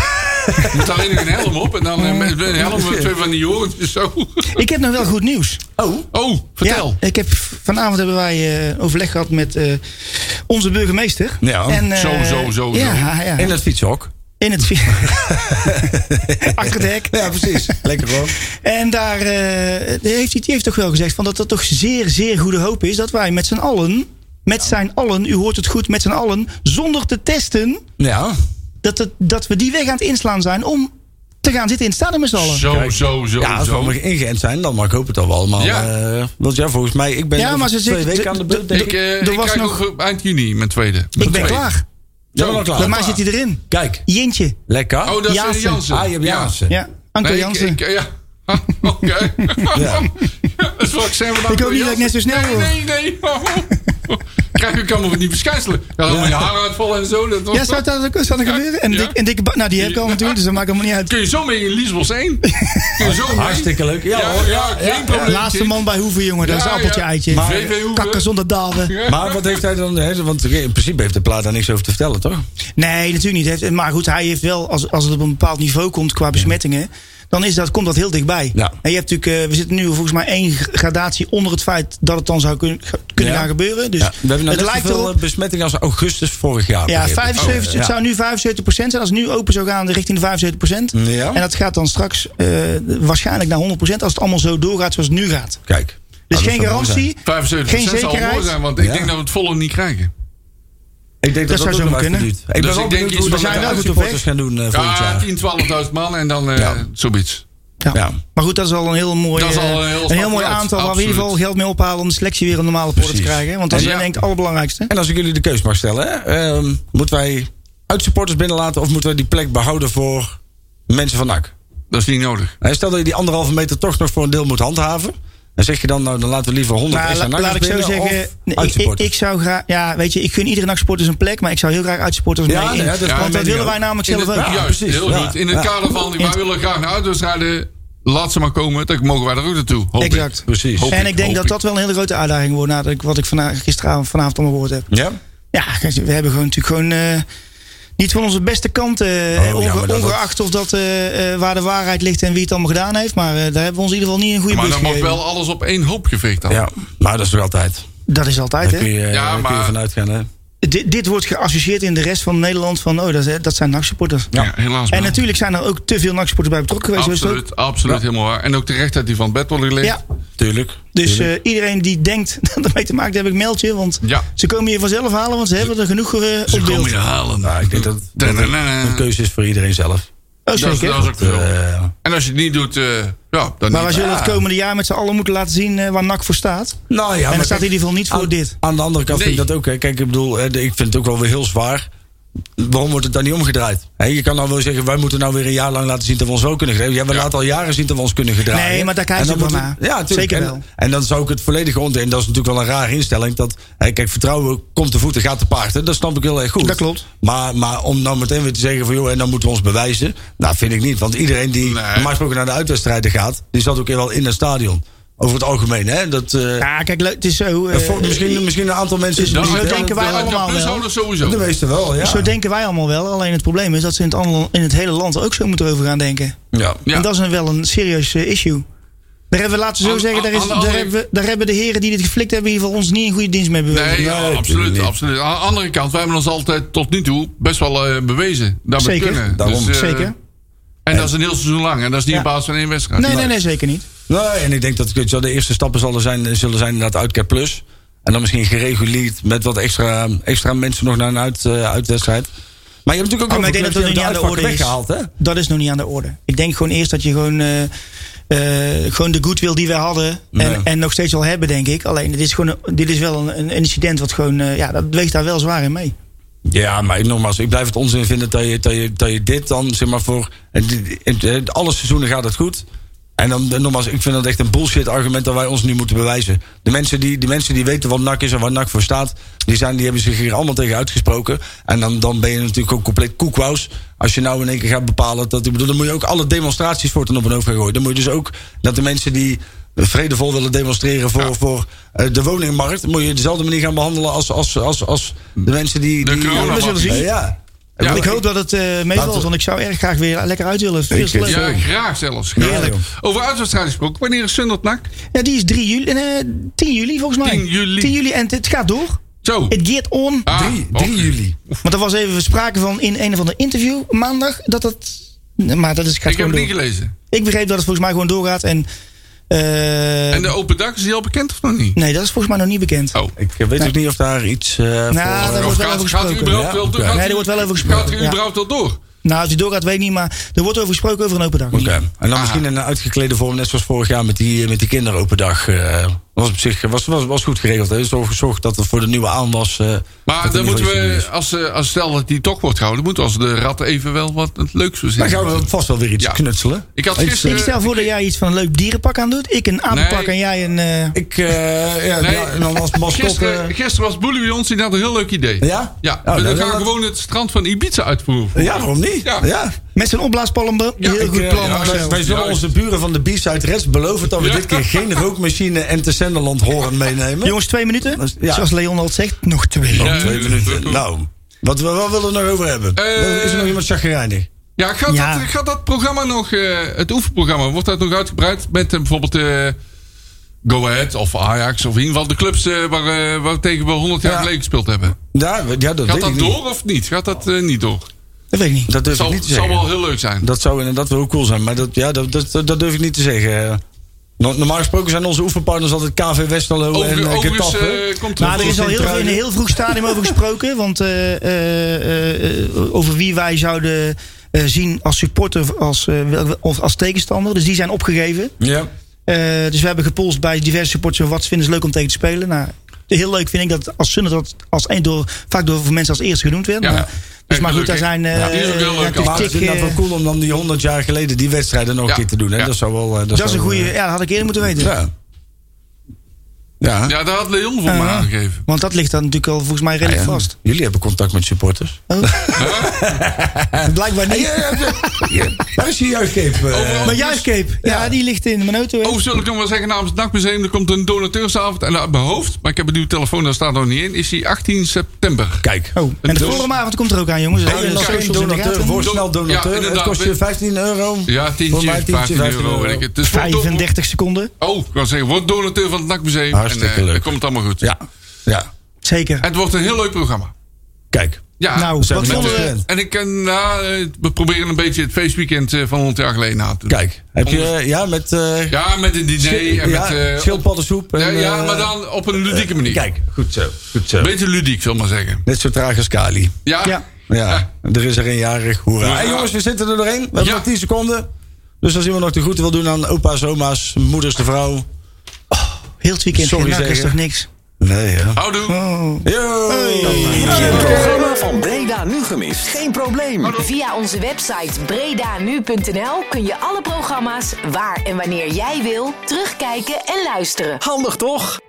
[SPEAKER 4] Moet alleen nog een helm op en dan eh, met een helm met twee van die horentjes zo.
[SPEAKER 6] Ik heb nog wel goed nieuws.
[SPEAKER 2] Oh,
[SPEAKER 4] Oh, vertel.
[SPEAKER 6] Ja, ik heb, vanavond hebben wij eh, overleg gehad met eh, onze burgemeester.
[SPEAKER 2] Ja,
[SPEAKER 6] eh,
[SPEAKER 4] zo, zo, zo,
[SPEAKER 6] Ja, ja.
[SPEAKER 2] in het fietshok.
[SPEAKER 6] In het vi- Achter het hek.
[SPEAKER 2] Ja, precies. Lekker hoor.
[SPEAKER 6] En daar eh, heeft hij, die heeft toch wel gezegd van dat dat toch zeer, zeer goede hoop is dat wij met z'n allen, met zijn allen, u hoort het goed, met z'n allen, zonder te testen,
[SPEAKER 2] Ja.
[SPEAKER 6] dat, het, dat we die weg aan het inslaan zijn om te gaan zitten in het stadion met z'n allen.
[SPEAKER 4] Zo, zo, zo,
[SPEAKER 2] Ja, als we
[SPEAKER 4] zo.
[SPEAKER 2] allemaal ingeënt zijn, dan mag ik hoop het al wel allemaal.
[SPEAKER 4] Ja.
[SPEAKER 2] eh, want ja, volgens mij, ik ben
[SPEAKER 6] Ja,
[SPEAKER 2] over
[SPEAKER 6] maar ze
[SPEAKER 2] twee
[SPEAKER 6] zegt-
[SPEAKER 2] weken aan de beurt. denk
[SPEAKER 4] Ik,
[SPEAKER 2] ik.
[SPEAKER 4] eh,
[SPEAKER 6] Er
[SPEAKER 4] ik
[SPEAKER 6] was
[SPEAKER 4] krijg
[SPEAKER 6] nog-
[SPEAKER 4] nog eind juni mijn tweede. Mijn
[SPEAKER 6] Ik ben
[SPEAKER 4] tweede.
[SPEAKER 6] klaar.
[SPEAKER 2] Zijn we al klaar?
[SPEAKER 6] Bij mij zit hij erin.
[SPEAKER 2] Kijk,
[SPEAKER 6] Jintje.
[SPEAKER 2] lekker.
[SPEAKER 4] Oh, dat is eh,
[SPEAKER 6] Jansen.
[SPEAKER 4] Jansen.
[SPEAKER 2] Ah, je hebt Jansen.
[SPEAKER 6] Ja, Anko
[SPEAKER 4] Nee, ik-
[SPEAKER 6] Jansen.
[SPEAKER 4] ik- ja. Ah, Oké.
[SPEAKER 2] Ja.
[SPEAKER 4] Dat is wat ik zei, maar dan
[SPEAKER 6] Ik hoop
[SPEAKER 4] Anko
[SPEAKER 6] niet dat ik net zo
[SPEAKER 4] Jansen.
[SPEAKER 6] snel
[SPEAKER 4] Nee, nee, nee. krijg ik allemaal van die verschijnselen. Ja, dan moet je haar uitvallen en zo. Dat,
[SPEAKER 6] Ja, zou dat ook zou dat
[SPEAKER 4] Ja,
[SPEAKER 6] gebeuren? En,
[SPEAKER 4] ja.
[SPEAKER 6] dik, en dikke ba- Nou, die heb ik al natuurlijk, dus dat maakt helemaal niet uit.
[SPEAKER 4] Kun je zo mee in Liesbos 1? Kun je zo mee?
[SPEAKER 2] Hartstikke leuk. Ja,
[SPEAKER 4] Ja,
[SPEAKER 2] hoor.
[SPEAKER 4] ja, geen probleem.
[SPEAKER 6] Laatste
[SPEAKER 4] kind.
[SPEAKER 6] man bij hoeven, jongen. Dat is
[SPEAKER 4] Ja,
[SPEAKER 6] appeltje
[SPEAKER 4] ja.
[SPEAKER 6] eitje.
[SPEAKER 4] Maar- VV Hoeven.
[SPEAKER 6] Kakken zonder dalen.
[SPEAKER 2] Maar wat heeft hij dan... hè, Want in principe heeft de plaat daar niks over te vertellen, toch?
[SPEAKER 6] Nee, natuurlijk niet. Heeft- Maar goed, hij heeft wel, als, als het op een bepaald niveau komt qua besmettingen, dan is dat, komt dat heel dichtbij.
[SPEAKER 2] Ja.
[SPEAKER 6] En je hebt natuurlijk, eh, we zitten nu volgens mij één gradatie onder het feit dat het dan zou kun- kunnen
[SPEAKER 2] Ja.
[SPEAKER 6] gaan gebeuren. Dus
[SPEAKER 2] Ja, we hebben nou
[SPEAKER 6] het
[SPEAKER 2] net
[SPEAKER 6] lijkt
[SPEAKER 2] zoveel
[SPEAKER 6] erop.
[SPEAKER 2] eh, besmettingen als augustus vorig jaar.
[SPEAKER 6] Ja,
[SPEAKER 2] begreep ik. Oh,
[SPEAKER 6] 75, het
[SPEAKER 2] Ja.
[SPEAKER 6] zou nu 75% zijn. Als het nu open zou gaan richting de 75%.
[SPEAKER 2] Mm, Ja.
[SPEAKER 6] En dat gaat dan straks eh, waarschijnlijk naar 100% als het allemaal zo doorgaat zoals het nu gaat.
[SPEAKER 2] Kijk.
[SPEAKER 6] Dus
[SPEAKER 2] Nou, dat
[SPEAKER 6] geen
[SPEAKER 2] zou mooi zijn.
[SPEAKER 6] garantie.
[SPEAKER 4] 75%
[SPEAKER 6] Geen
[SPEAKER 4] zal
[SPEAKER 6] zekerheid.
[SPEAKER 4] mooi zijn, want
[SPEAKER 2] Ja.
[SPEAKER 4] ik denk dat we het volle niet krijgen.
[SPEAKER 2] Ik denk dat
[SPEAKER 6] zou
[SPEAKER 2] dat, ook
[SPEAKER 6] zomaar
[SPEAKER 2] nog even
[SPEAKER 6] kunnen.
[SPEAKER 2] duurt. Ik
[SPEAKER 4] Dus
[SPEAKER 2] ben wel
[SPEAKER 4] ik denk
[SPEAKER 2] benieuwd
[SPEAKER 4] iets
[SPEAKER 2] hoe
[SPEAKER 4] van
[SPEAKER 2] we zijn
[SPEAKER 4] de
[SPEAKER 2] nou
[SPEAKER 6] uit-
[SPEAKER 2] supporters gaan doen eh, volgend
[SPEAKER 4] Ja,
[SPEAKER 2] jaar.
[SPEAKER 4] 10, 12.000 Ah, man en dan eh
[SPEAKER 2] Ja.
[SPEAKER 4] zoiets.
[SPEAKER 6] Ja.
[SPEAKER 2] Ja.
[SPEAKER 6] Maar goed, dat is al een heel mooi,
[SPEAKER 4] Dat is al een heel
[SPEAKER 6] eh,
[SPEAKER 4] stap
[SPEAKER 6] een heel mooi
[SPEAKER 4] vooruit.
[SPEAKER 6] aantal waar we in
[SPEAKER 4] Absoluut.
[SPEAKER 6] ieder geval geld mee ophalen om de selectie weer een normale poort te
[SPEAKER 2] Precies.
[SPEAKER 6] krijgen. Want dat is
[SPEAKER 4] Ja.
[SPEAKER 6] denk ik het allerbelangrijkste.
[SPEAKER 2] En als ik jullie de keus mag stellen, hè, ehm, moeten wij uitsupporters binnenlaten of moeten wij die plek behouden voor mensen van NAC?
[SPEAKER 4] Dat is niet nodig.
[SPEAKER 2] Nou, stel dat je die anderhalve meter toch nog voor een deel moet handhaven. Dan zeg je dan, nou, dan laten we liever 100
[SPEAKER 6] Maar
[SPEAKER 2] extra
[SPEAKER 6] la- laat ik
[SPEAKER 2] NAC'ers
[SPEAKER 6] zo
[SPEAKER 2] binnen of
[SPEAKER 6] zeggen, nee, ik, ik,
[SPEAKER 2] uitsupporters?
[SPEAKER 6] ik zou graag, ja, weet je, ik gun iedere nachtsporters een plek, maar ik zou heel graag uitsupporters
[SPEAKER 2] Ja,
[SPEAKER 6] mee
[SPEAKER 2] nee,
[SPEAKER 6] in.
[SPEAKER 2] hè, dat is mijn
[SPEAKER 6] want dat
[SPEAKER 2] mening
[SPEAKER 6] willen
[SPEAKER 2] ook.
[SPEAKER 6] wij namelijk
[SPEAKER 4] In
[SPEAKER 6] zelf
[SPEAKER 4] het,
[SPEAKER 6] ook.
[SPEAKER 4] juist,
[SPEAKER 2] precies.
[SPEAKER 4] heel
[SPEAKER 2] Ja.
[SPEAKER 4] goed. In het
[SPEAKER 2] Ja.
[SPEAKER 4] kader van, wij
[SPEAKER 6] Ja.
[SPEAKER 4] willen graag naar uitwedstrijden, laat ze maar komen, dan mogen wij daar ook naartoe. Hoop ik.
[SPEAKER 6] Exact.
[SPEAKER 2] Precies.
[SPEAKER 4] Hoop
[SPEAKER 6] en ik denk
[SPEAKER 4] hoop
[SPEAKER 6] dat dat wel een hele grote uitdaging wordt, nadat ik, wat ik vandaag, gisteravond vanavond allemaal gehoord heb.
[SPEAKER 2] Ja?
[SPEAKER 6] Ja, we hebben gewoon natuurlijk gewoon eh, niet van onze beste kant. eh,
[SPEAKER 2] ja,
[SPEAKER 6] onge-
[SPEAKER 2] maar dat-
[SPEAKER 6] ongeacht of dat eh, eh, waar de waarheid ligt en wie het allemaal gedaan heeft. Maar eh, daar hebben we ons in ieder geval niet een goede
[SPEAKER 4] Maar
[SPEAKER 6] bus
[SPEAKER 4] dan mag
[SPEAKER 6] gegeven.
[SPEAKER 4] wel alles op één hoop geveegd dan.
[SPEAKER 2] Ja, maar dat is er altijd.
[SPEAKER 6] Dat is altijd,
[SPEAKER 2] Daar
[SPEAKER 6] hè?
[SPEAKER 2] kun je,
[SPEAKER 4] Ja,
[SPEAKER 2] daar kun je
[SPEAKER 4] maar-
[SPEAKER 2] vanuit gaan. Hè?
[SPEAKER 6] Dit, dit wordt geassocieerd in de rest van Nederland van, oh, dat, dat zijn nachtsupporters.
[SPEAKER 4] Ja, helaas.
[SPEAKER 6] En
[SPEAKER 4] maar.
[SPEAKER 6] natuurlijk zijn er ook te veel nachtsupporters bij betrokken geweest. zo is het ook.
[SPEAKER 4] Absoluut, absoluut helemaal waar. En ook terecht dat hij van het bed wordt gelegd.
[SPEAKER 6] Ja,
[SPEAKER 2] Tuurlijk.
[SPEAKER 6] dus
[SPEAKER 2] tuurlijk.
[SPEAKER 6] eh, iedereen die denkt dat ermee te maken heeft, heb ik mailtje. Want
[SPEAKER 4] Ja.
[SPEAKER 6] ze komen hier vanzelf halen, want ze hebben er genoeg eh, op beeld.
[SPEAKER 4] halen.
[SPEAKER 2] Nou, ik denk dat dat het een keuze is voor iedereen zelf.
[SPEAKER 6] Oh,
[SPEAKER 4] Dat is,
[SPEAKER 6] zeker.
[SPEAKER 4] dat is ook zo.
[SPEAKER 2] Eh,
[SPEAKER 4] En als je het niet doet, eh, ja, dan
[SPEAKER 6] maar
[SPEAKER 4] niet.
[SPEAKER 6] we zullen het
[SPEAKER 4] Ja.
[SPEAKER 6] komende jaar met z'n allen moeten laten zien eh, waar NAC voor staat.
[SPEAKER 2] nou ja, maar
[SPEAKER 6] en dat staat in
[SPEAKER 2] kijk,
[SPEAKER 6] ieder geval niet voor
[SPEAKER 2] aan,
[SPEAKER 6] dit.
[SPEAKER 2] Aan de andere kant vind ik
[SPEAKER 4] Nee.
[SPEAKER 2] dat ook. Hè. Kijk, ik bedoel, eh, de- ik vind het ook wel weer heel zwaar. Waarom wordt het dan niet omgedraaid? Hè, je kan dan wel zeggen, wij moeten nou weer een jaar lang laten zien dat we ons wel kunnen gedragen. Ja, we
[SPEAKER 4] Ja.
[SPEAKER 2] laten al jaren zien dat we ons kunnen gedragen.
[SPEAKER 6] Nee, maar daar kijk
[SPEAKER 2] En
[SPEAKER 6] je
[SPEAKER 2] dan
[SPEAKER 6] ook wel
[SPEAKER 2] moeten-
[SPEAKER 6] naar.
[SPEAKER 2] Ja, natuurlijk.
[SPEAKER 6] Zeker
[SPEAKER 2] en,
[SPEAKER 6] wel.
[SPEAKER 2] En dan zou ik het volledig onder. En dat is natuurlijk wel een rare instelling. Dat, hè, kijk, vertrouwen komt te voeten, gaat te paard. Hè. Dat snap ik heel erg goed.
[SPEAKER 6] Dat klopt.
[SPEAKER 2] Maar, maar om nou meteen weer te zeggen van, joh, en dan moeten we ons bewijzen. Nou, vind ik niet. Want iedereen die
[SPEAKER 4] Nee.
[SPEAKER 2] normaal gesproken naar de uitwedstrijden gaat, die zat ook wel in het stadion. Over het algemeen, hè? Dat, eh,
[SPEAKER 6] Ja, kijk, le- het is zo. eh,
[SPEAKER 2] ja, voor- misschien, misschien een aantal mensen.
[SPEAKER 6] dus
[SPEAKER 2] die
[SPEAKER 6] zo
[SPEAKER 2] het
[SPEAKER 4] Dan-
[SPEAKER 2] wel-
[SPEAKER 6] denken wij
[SPEAKER 4] dan- dan-
[SPEAKER 6] allemaal
[SPEAKER 4] dan
[SPEAKER 6] wel.
[SPEAKER 4] plushouders sowieso.
[SPEAKER 2] De meeste wel, ja.
[SPEAKER 6] Zo denken wij allemaal wel. Alleen het probleem is dat ze in het, andere- in het hele land ook zo moeten over gaan denken.
[SPEAKER 2] ja.
[SPEAKER 4] Ja.
[SPEAKER 6] En dat is een, wel een serieus eh, issue. Daar hebben we, laten we zo
[SPEAKER 4] Aan-
[SPEAKER 6] zeggen, daar,
[SPEAKER 4] aan
[SPEAKER 6] is,
[SPEAKER 4] de
[SPEAKER 6] daar,
[SPEAKER 4] andere-
[SPEAKER 6] hebben, we- daar hebben de heren die dit geflikt hebben, in ieder geval ons niet een goede dienst mee bewezen.
[SPEAKER 4] Nee, ja,
[SPEAKER 2] Nee, natuurlijk
[SPEAKER 4] absoluut,
[SPEAKER 2] niet.
[SPEAKER 4] absoluut. Aan de andere kant, wij hebben ons altijd tot nu toe best wel eh, bewezen. Dat we
[SPEAKER 6] Zeker.
[SPEAKER 4] kunnen.
[SPEAKER 2] Daarom.
[SPEAKER 4] eh,
[SPEAKER 6] Zeker.
[SPEAKER 4] En dat is een heel seizoen lang. En dat is niet
[SPEAKER 6] Ja.
[SPEAKER 4] op basis van één wedstrijd.
[SPEAKER 6] nee, nee, nee, zeker niet.
[SPEAKER 2] Nee, en ik denk dat weet je wel, de eerste stappen zullen zijn, zullen zijn inderdaad Uitcap Plus. En dan misschien gereguleerd met wat extra, extra mensen nog naar een uit, eh, uitwedstrijd. Maar je hebt natuurlijk ook
[SPEAKER 6] Oh, maar ik
[SPEAKER 2] heel
[SPEAKER 6] denk
[SPEAKER 2] veel
[SPEAKER 6] dat dat
[SPEAKER 2] clubs
[SPEAKER 6] niet aan de
[SPEAKER 2] die uitvak
[SPEAKER 6] orde is.
[SPEAKER 2] weggehaald, hè?
[SPEAKER 6] Dat is nog niet aan de orde. Ik denk gewoon eerst dat je gewoon, eh, eh, gewoon de goodwill die we hadden en,
[SPEAKER 2] Ja.
[SPEAKER 6] en nog steeds wel hebben, denk ik. Alleen, dit is, gewoon een- dit is wel een, een incident wat gewoon, eh, ja, dat weegt daar wel zwaar in mee.
[SPEAKER 2] Ja, maar ik- nogmaals, ik blijf het onzin vinden dat je, dat je, dat je dit dan, zeg maar, voor... en dit- en, eh, Alle seizoenen gaat het goed. En dan, eh, nogmaals, ik vind dat echt een bullshit argument dat wij ons nu moeten bewijzen. De mensen die, die, mensen die weten wat NAC is en waar NAC voor staat... Die, zijn, die hebben zich hier allemaal tegen uitgesproken. En dan, dan ben je natuurlijk ook compleet koekwous... als je nou in één keer gaat bepalen dat... Ik bedoel, dan moet je ook alle demonstraties voor ten op een hoofd gaan gooien. Dan moet je dus ook dat de mensen die vredevol willen demonstreren... voor, voor eh, de woningmarkt, moet je dezelfde manier gaan behandelen... als, als, als, als de mensen die...
[SPEAKER 4] De
[SPEAKER 2] die-
[SPEAKER 4] corona-
[SPEAKER 6] We zullen zien.
[SPEAKER 2] eh, ja.
[SPEAKER 4] Ja,
[SPEAKER 6] ik
[SPEAKER 4] maar
[SPEAKER 6] hoop dat het eh
[SPEAKER 2] Laten we-
[SPEAKER 6] meevalt, want ik zou erg graag weer lekker uit willen. Veel te leuk.
[SPEAKER 4] Ja, graag zelfs. Graag.
[SPEAKER 2] Heerlijk.
[SPEAKER 4] Over uitwedstrijden gesproken. Wanneer is Sundert NAC?
[SPEAKER 6] Ja, die is 3 juli, eh, 10 juli volgens mij.
[SPEAKER 4] 10 juli.
[SPEAKER 6] 10 juli en het gaat door.
[SPEAKER 4] Zo.
[SPEAKER 6] Het gaat on.
[SPEAKER 4] Ah,
[SPEAKER 2] Drie-
[SPEAKER 4] oké.
[SPEAKER 2] 3 juli.
[SPEAKER 6] Want er was even sprake van in een of ander interview maandag dat dat. Maar dat is, gaat
[SPEAKER 4] Ik heb
[SPEAKER 6] gewoon
[SPEAKER 4] het
[SPEAKER 6] door.
[SPEAKER 4] niet gelezen.
[SPEAKER 6] Ik begreep dat het volgens mij gewoon doorgaat. En, eh,
[SPEAKER 4] En de open dak, is die al bekend of nog niet?
[SPEAKER 6] nee, dat is volgens mij nog niet bekend.
[SPEAKER 4] Oh.
[SPEAKER 2] Ik weet ook niet of daar iets eh
[SPEAKER 6] Nou,
[SPEAKER 2] voor...
[SPEAKER 6] dat
[SPEAKER 4] Of
[SPEAKER 6] wordt wel
[SPEAKER 4] gaat,
[SPEAKER 6] over
[SPEAKER 4] gaat u
[SPEAKER 6] gesproken.
[SPEAKER 4] überhaupt
[SPEAKER 2] Ja,
[SPEAKER 4] wel
[SPEAKER 2] oké.
[SPEAKER 4] door?
[SPEAKER 6] Nee, er wordt wel over
[SPEAKER 4] Gaat
[SPEAKER 6] gesproken,
[SPEAKER 4] u
[SPEAKER 6] ja.
[SPEAKER 4] überhaupt wel door?
[SPEAKER 6] Nou, als die doorgaat, weet ik niet. Maar er wordt over gesproken over een open dag.
[SPEAKER 2] Oké. En dan
[SPEAKER 4] Aha.
[SPEAKER 2] misschien in een uitgeklede vorm, net zoals vorig jaar met die, met die kinderopendag. eh, was op zich was, was, was goed geregeld. Er is ervoor gezorgd dat het voor de nieuwe aanwas... eh, dat
[SPEAKER 4] Maar
[SPEAKER 2] er
[SPEAKER 4] dan
[SPEAKER 2] niet
[SPEAKER 4] moeten
[SPEAKER 2] voor iets te
[SPEAKER 4] we,
[SPEAKER 2] doen is.
[SPEAKER 4] als, eh, als stel dat die toch wordt gehouden, moeten we als de rat even wel wat het leuks
[SPEAKER 2] Dan
[SPEAKER 4] verzinnen.
[SPEAKER 2] gaan we vast wel weer iets
[SPEAKER 4] Ja.
[SPEAKER 2] knutselen. eh,
[SPEAKER 4] Ik had
[SPEAKER 2] Iets,
[SPEAKER 4] gisteren-
[SPEAKER 6] Ik stel voor dat jij iets van een leuk dierenpak aan doet. Ik een apenpak
[SPEAKER 4] Nee.
[SPEAKER 6] en jij een... eh,
[SPEAKER 2] eh, Ik, eh, ja,
[SPEAKER 4] Nee.
[SPEAKER 2] ja, en dan als
[SPEAKER 4] Gisteren,
[SPEAKER 2] mascotte...
[SPEAKER 4] gisteren was Boelie bij ons, die had een heel leuk idee.
[SPEAKER 2] Ja?
[SPEAKER 4] Ja,
[SPEAKER 2] Oh,
[SPEAKER 4] we
[SPEAKER 2] nou,
[SPEAKER 4] gaan
[SPEAKER 2] dat-
[SPEAKER 4] gewoon het strand van Ibiza uitvoeren.
[SPEAKER 2] eh, Ja, waarom niet?
[SPEAKER 4] Ja.
[SPEAKER 2] ja.
[SPEAKER 6] Met zijn opblaaspalm. heel
[SPEAKER 2] Ik,
[SPEAKER 6] goed
[SPEAKER 2] eh,
[SPEAKER 6] plan.
[SPEAKER 2] ja,
[SPEAKER 6] Marcel.
[SPEAKER 2] wij, wij zullen
[SPEAKER 4] Juist.
[SPEAKER 2] onze buren van de B-side Rest beloven dat we
[SPEAKER 4] Ja.
[SPEAKER 2] dit keer geen rookmachine en te Senderland horen meenemen.
[SPEAKER 6] Jongens, twee minuten.
[SPEAKER 2] Ja.
[SPEAKER 6] Zoals Leon al zegt, nog twee.
[SPEAKER 4] Ja.
[SPEAKER 2] Oh, twee minuten. Nou, wat, we- wat willen we er nog over hebben?
[SPEAKER 4] Eh,
[SPEAKER 2] is er nog iemand chagrijnig?
[SPEAKER 4] Ja, gaat,
[SPEAKER 6] Ja.
[SPEAKER 4] Dat, gaat dat programma nog, eh, het oefenprogramma, wordt dat nog uitgebreid met eh, bijvoorbeeld eh, Go Ahead of Ajax of in ieder geval de clubs eh, waar, eh, waar tegen we 100 jaar
[SPEAKER 2] Ja.
[SPEAKER 4] geleden gespeeld hebben?
[SPEAKER 2] Ja, we- ja dat
[SPEAKER 4] Gaat
[SPEAKER 2] weet
[SPEAKER 4] dat
[SPEAKER 2] ik
[SPEAKER 4] door
[SPEAKER 2] niet.
[SPEAKER 4] of niet? Gaat dat eh, niet door?
[SPEAKER 6] Dat weet ik niet.
[SPEAKER 2] Dat durf
[SPEAKER 4] Zal,
[SPEAKER 2] ik niet te
[SPEAKER 4] zal
[SPEAKER 2] zeggen.
[SPEAKER 4] wel heel leuk zijn.
[SPEAKER 2] Dat zou inderdaad wel cool zijn, maar dat, ja, dat, dat, dat, dat durf ik niet te zeggen. No- Normaal gesproken zijn onze oefenpartners altijd KV Westerlo en
[SPEAKER 4] Overigens-
[SPEAKER 2] eh,
[SPEAKER 4] overigens
[SPEAKER 2] Getafe.
[SPEAKER 4] eh, komt er
[SPEAKER 6] Maar er is al heel, in een heel vroeg stadium over gesproken. Want eh, eh, eh, over wie wij zouden eh, zien als supporter of als, eh, wel- of als tegenstander. Dus die zijn opgegeven.
[SPEAKER 2] Ja.
[SPEAKER 6] Eh, dus we hebben gepolst bij diverse supporters. Wat vinden ze leuk om tegen te spelen? Nou, heel leuk vind ik dat als Sunnet dat als een door, vaak door mensen als eerste genoemd werd.
[SPEAKER 4] Ja.
[SPEAKER 6] Maar, dus
[SPEAKER 4] Ja,
[SPEAKER 6] maar goed, daar
[SPEAKER 4] leuk, hè?
[SPEAKER 6] zijn... eh,
[SPEAKER 4] Ja, die is ook heel leuk
[SPEAKER 6] relatief
[SPEAKER 4] allemaal.
[SPEAKER 2] Maar het is
[SPEAKER 6] dik,
[SPEAKER 2] inderdaad wel
[SPEAKER 6] eh,
[SPEAKER 2] cool om dan die 100 jaar geleden die wedstrijden nog
[SPEAKER 4] Ja.
[SPEAKER 2] een keer te doen. Hè?
[SPEAKER 4] Ja.
[SPEAKER 2] Dat zou wel. eh,
[SPEAKER 6] dat is een
[SPEAKER 2] zou,
[SPEAKER 6] goede...
[SPEAKER 2] eh,
[SPEAKER 6] Ja, dat had ik eerder moeten weten.
[SPEAKER 2] Ja. Ja.
[SPEAKER 4] Ja, daar had Leon voor
[SPEAKER 6] Eh,
[SPEAKER 4] me aangegeven.
[SPEAKER 6] Want dat ligt dan natuurlijk al volgens mij
[SPEAKER 4] Ah,
[SPEAKER 6] redelijk vast.
[SPEAKER 2] Jullie hebben contact met supporters.
[SPEAKER 6] Blijkbaar niet.
[SPEAKER 2] Waar is je juichcape? eh?
[SPEAKER 4] Overal-
[SPEAKER 6] Maar juist, Cape. Ja, die ligt in mijn auto. hè.
[SPEAKER 4] Oh, zal ik nog wel zeggen, namens het NAC-museum, er komt een donateursavond. En uit mijn hoofd, maar ik heb een nieuwe telefoon, daar staat nog niet in, is die 18 september.
[SPEAKER 2] Kijk.
[SPEAKER 6] Oh, en de
[SPEAKER 4] dus-
[SPEAKER 6] forumavond komt er ook aan, jongens.
[SPEAKER 4] Oh,
[SPEAKER 2] Ben je
[SPEAKER 6] Houden
[SPEAKER 2] nog
[SPEAKER 6] de
[SPEAKER 2] geen
[SPEAKER 6] socials in de
[SPEAKER 2] donateur?
[SPEAKER 6] gaten.
[SPEAKER 2] Word snel
[SPEAKER 4] Ja,
[SPEAKER 2] donateur. het
[SPEAKER 4] inderdaad.
[SPEAKER 2] kost je 15 euro.
[SPEAKER 4] Ja,
[SPEAKER 2] Voor
[SPEAKER 4] tientje,
[SPEAKER 2] mij
[SPEAKER 4] 15, euro. Weet ik het. Dus wordt-
[SPEAKER 6] 35 seconden.
[SPEAKER 4] Oh, ik kan zeggen, word donateur van het NAC-museum.
[SPEAKER 2] Hartstikke
[SPEAKER 4] en, eh,
[SPEAKER 2] leuk.
[SPEAKER 4] Dat komt allemaal goed.
[SPEAKER 2] Ja. ja.
[SPEAKER 6] Zeker.
[SPEAKER 4] Het wordt een heel leuk programma.
[SPEAKER 2] Kijk.
[SPEAKER 4] Ja,
[SPEAKER 6] Nou,
[SPEAKER 2] zijn
[SPEAKER 6] wat
[SPEAKER 2] we met
[SPEAKER 6] vonden
[SPEAKER 2] de
[SPEAKER 6] we?
[SPEAKER 2] trend.
[SPEAKER 4] en ik kan, nou, eh, we proberen een beetje het feestweekend eh, van 100 jaar geleden na te doen.
[SPEAKER 2] Kijk. Heb je, eh, ja, met... eh,
[SPEAKER 4] Ja, met een diner
[SPEAKER 2] schil-
[SPEAKER 4] en
[SPEAKER 2] ja,
[SPEAKER 4] met... eh,
[SPEAKER 2] schildpaddensoep.
[SPEAKER 4] op-
[SPEAKER 2] en,
[SPEAKER 4] ja, ja,
[SPEAKER 2] eh,
[SPEAKER 4] maar dan op een ludieke manier.
[SPEAKER 2] Kijk, goed zo. Goed zo.
[SPEAKER 4] Een beetje ludiek, zal ik maar zeggen.
[SPEAKER 2] Net zo traag als Kali.
[SPEAKER 4] Ja,
[SPEAKER 6] Ja.
[SPEAKER 2] Ja, er is er eenjarig. Hoera.
[SPEAKER 4] Ja.
[SPEAKER 2] Hey jongens, we zitten er doorheen. We hebben
[SPEAKER 4] Ja.
[SPEAKER 2] nog 10 seconden. Dus als iemand nog de groeten wil doen aan opa's, oma's, moeders, de vrouw.
[SPEAKER 6] Heel het weekend
[SPEAKER 2] Sorry
[SPEAKER 6] geen NAC is
[SPEAKER 2] zeggen.
[SPEAKER 6] toch niks.
[SPEAKER 2] Nee, ja.
[SPEAKER 4] houdoe.
[SPEAKER 6] Oh.
[SPEAKER 2] Yo!
[SPEAKER 3] Heb je het programma van Breda nu gemist? Geen probleem.
[SPEAKER 1] Via onze website bredanu.nl kun je alle programma's waar en wanneer jij wil terugkijken en luisteren.
[SPEAKER 3] Handig toch?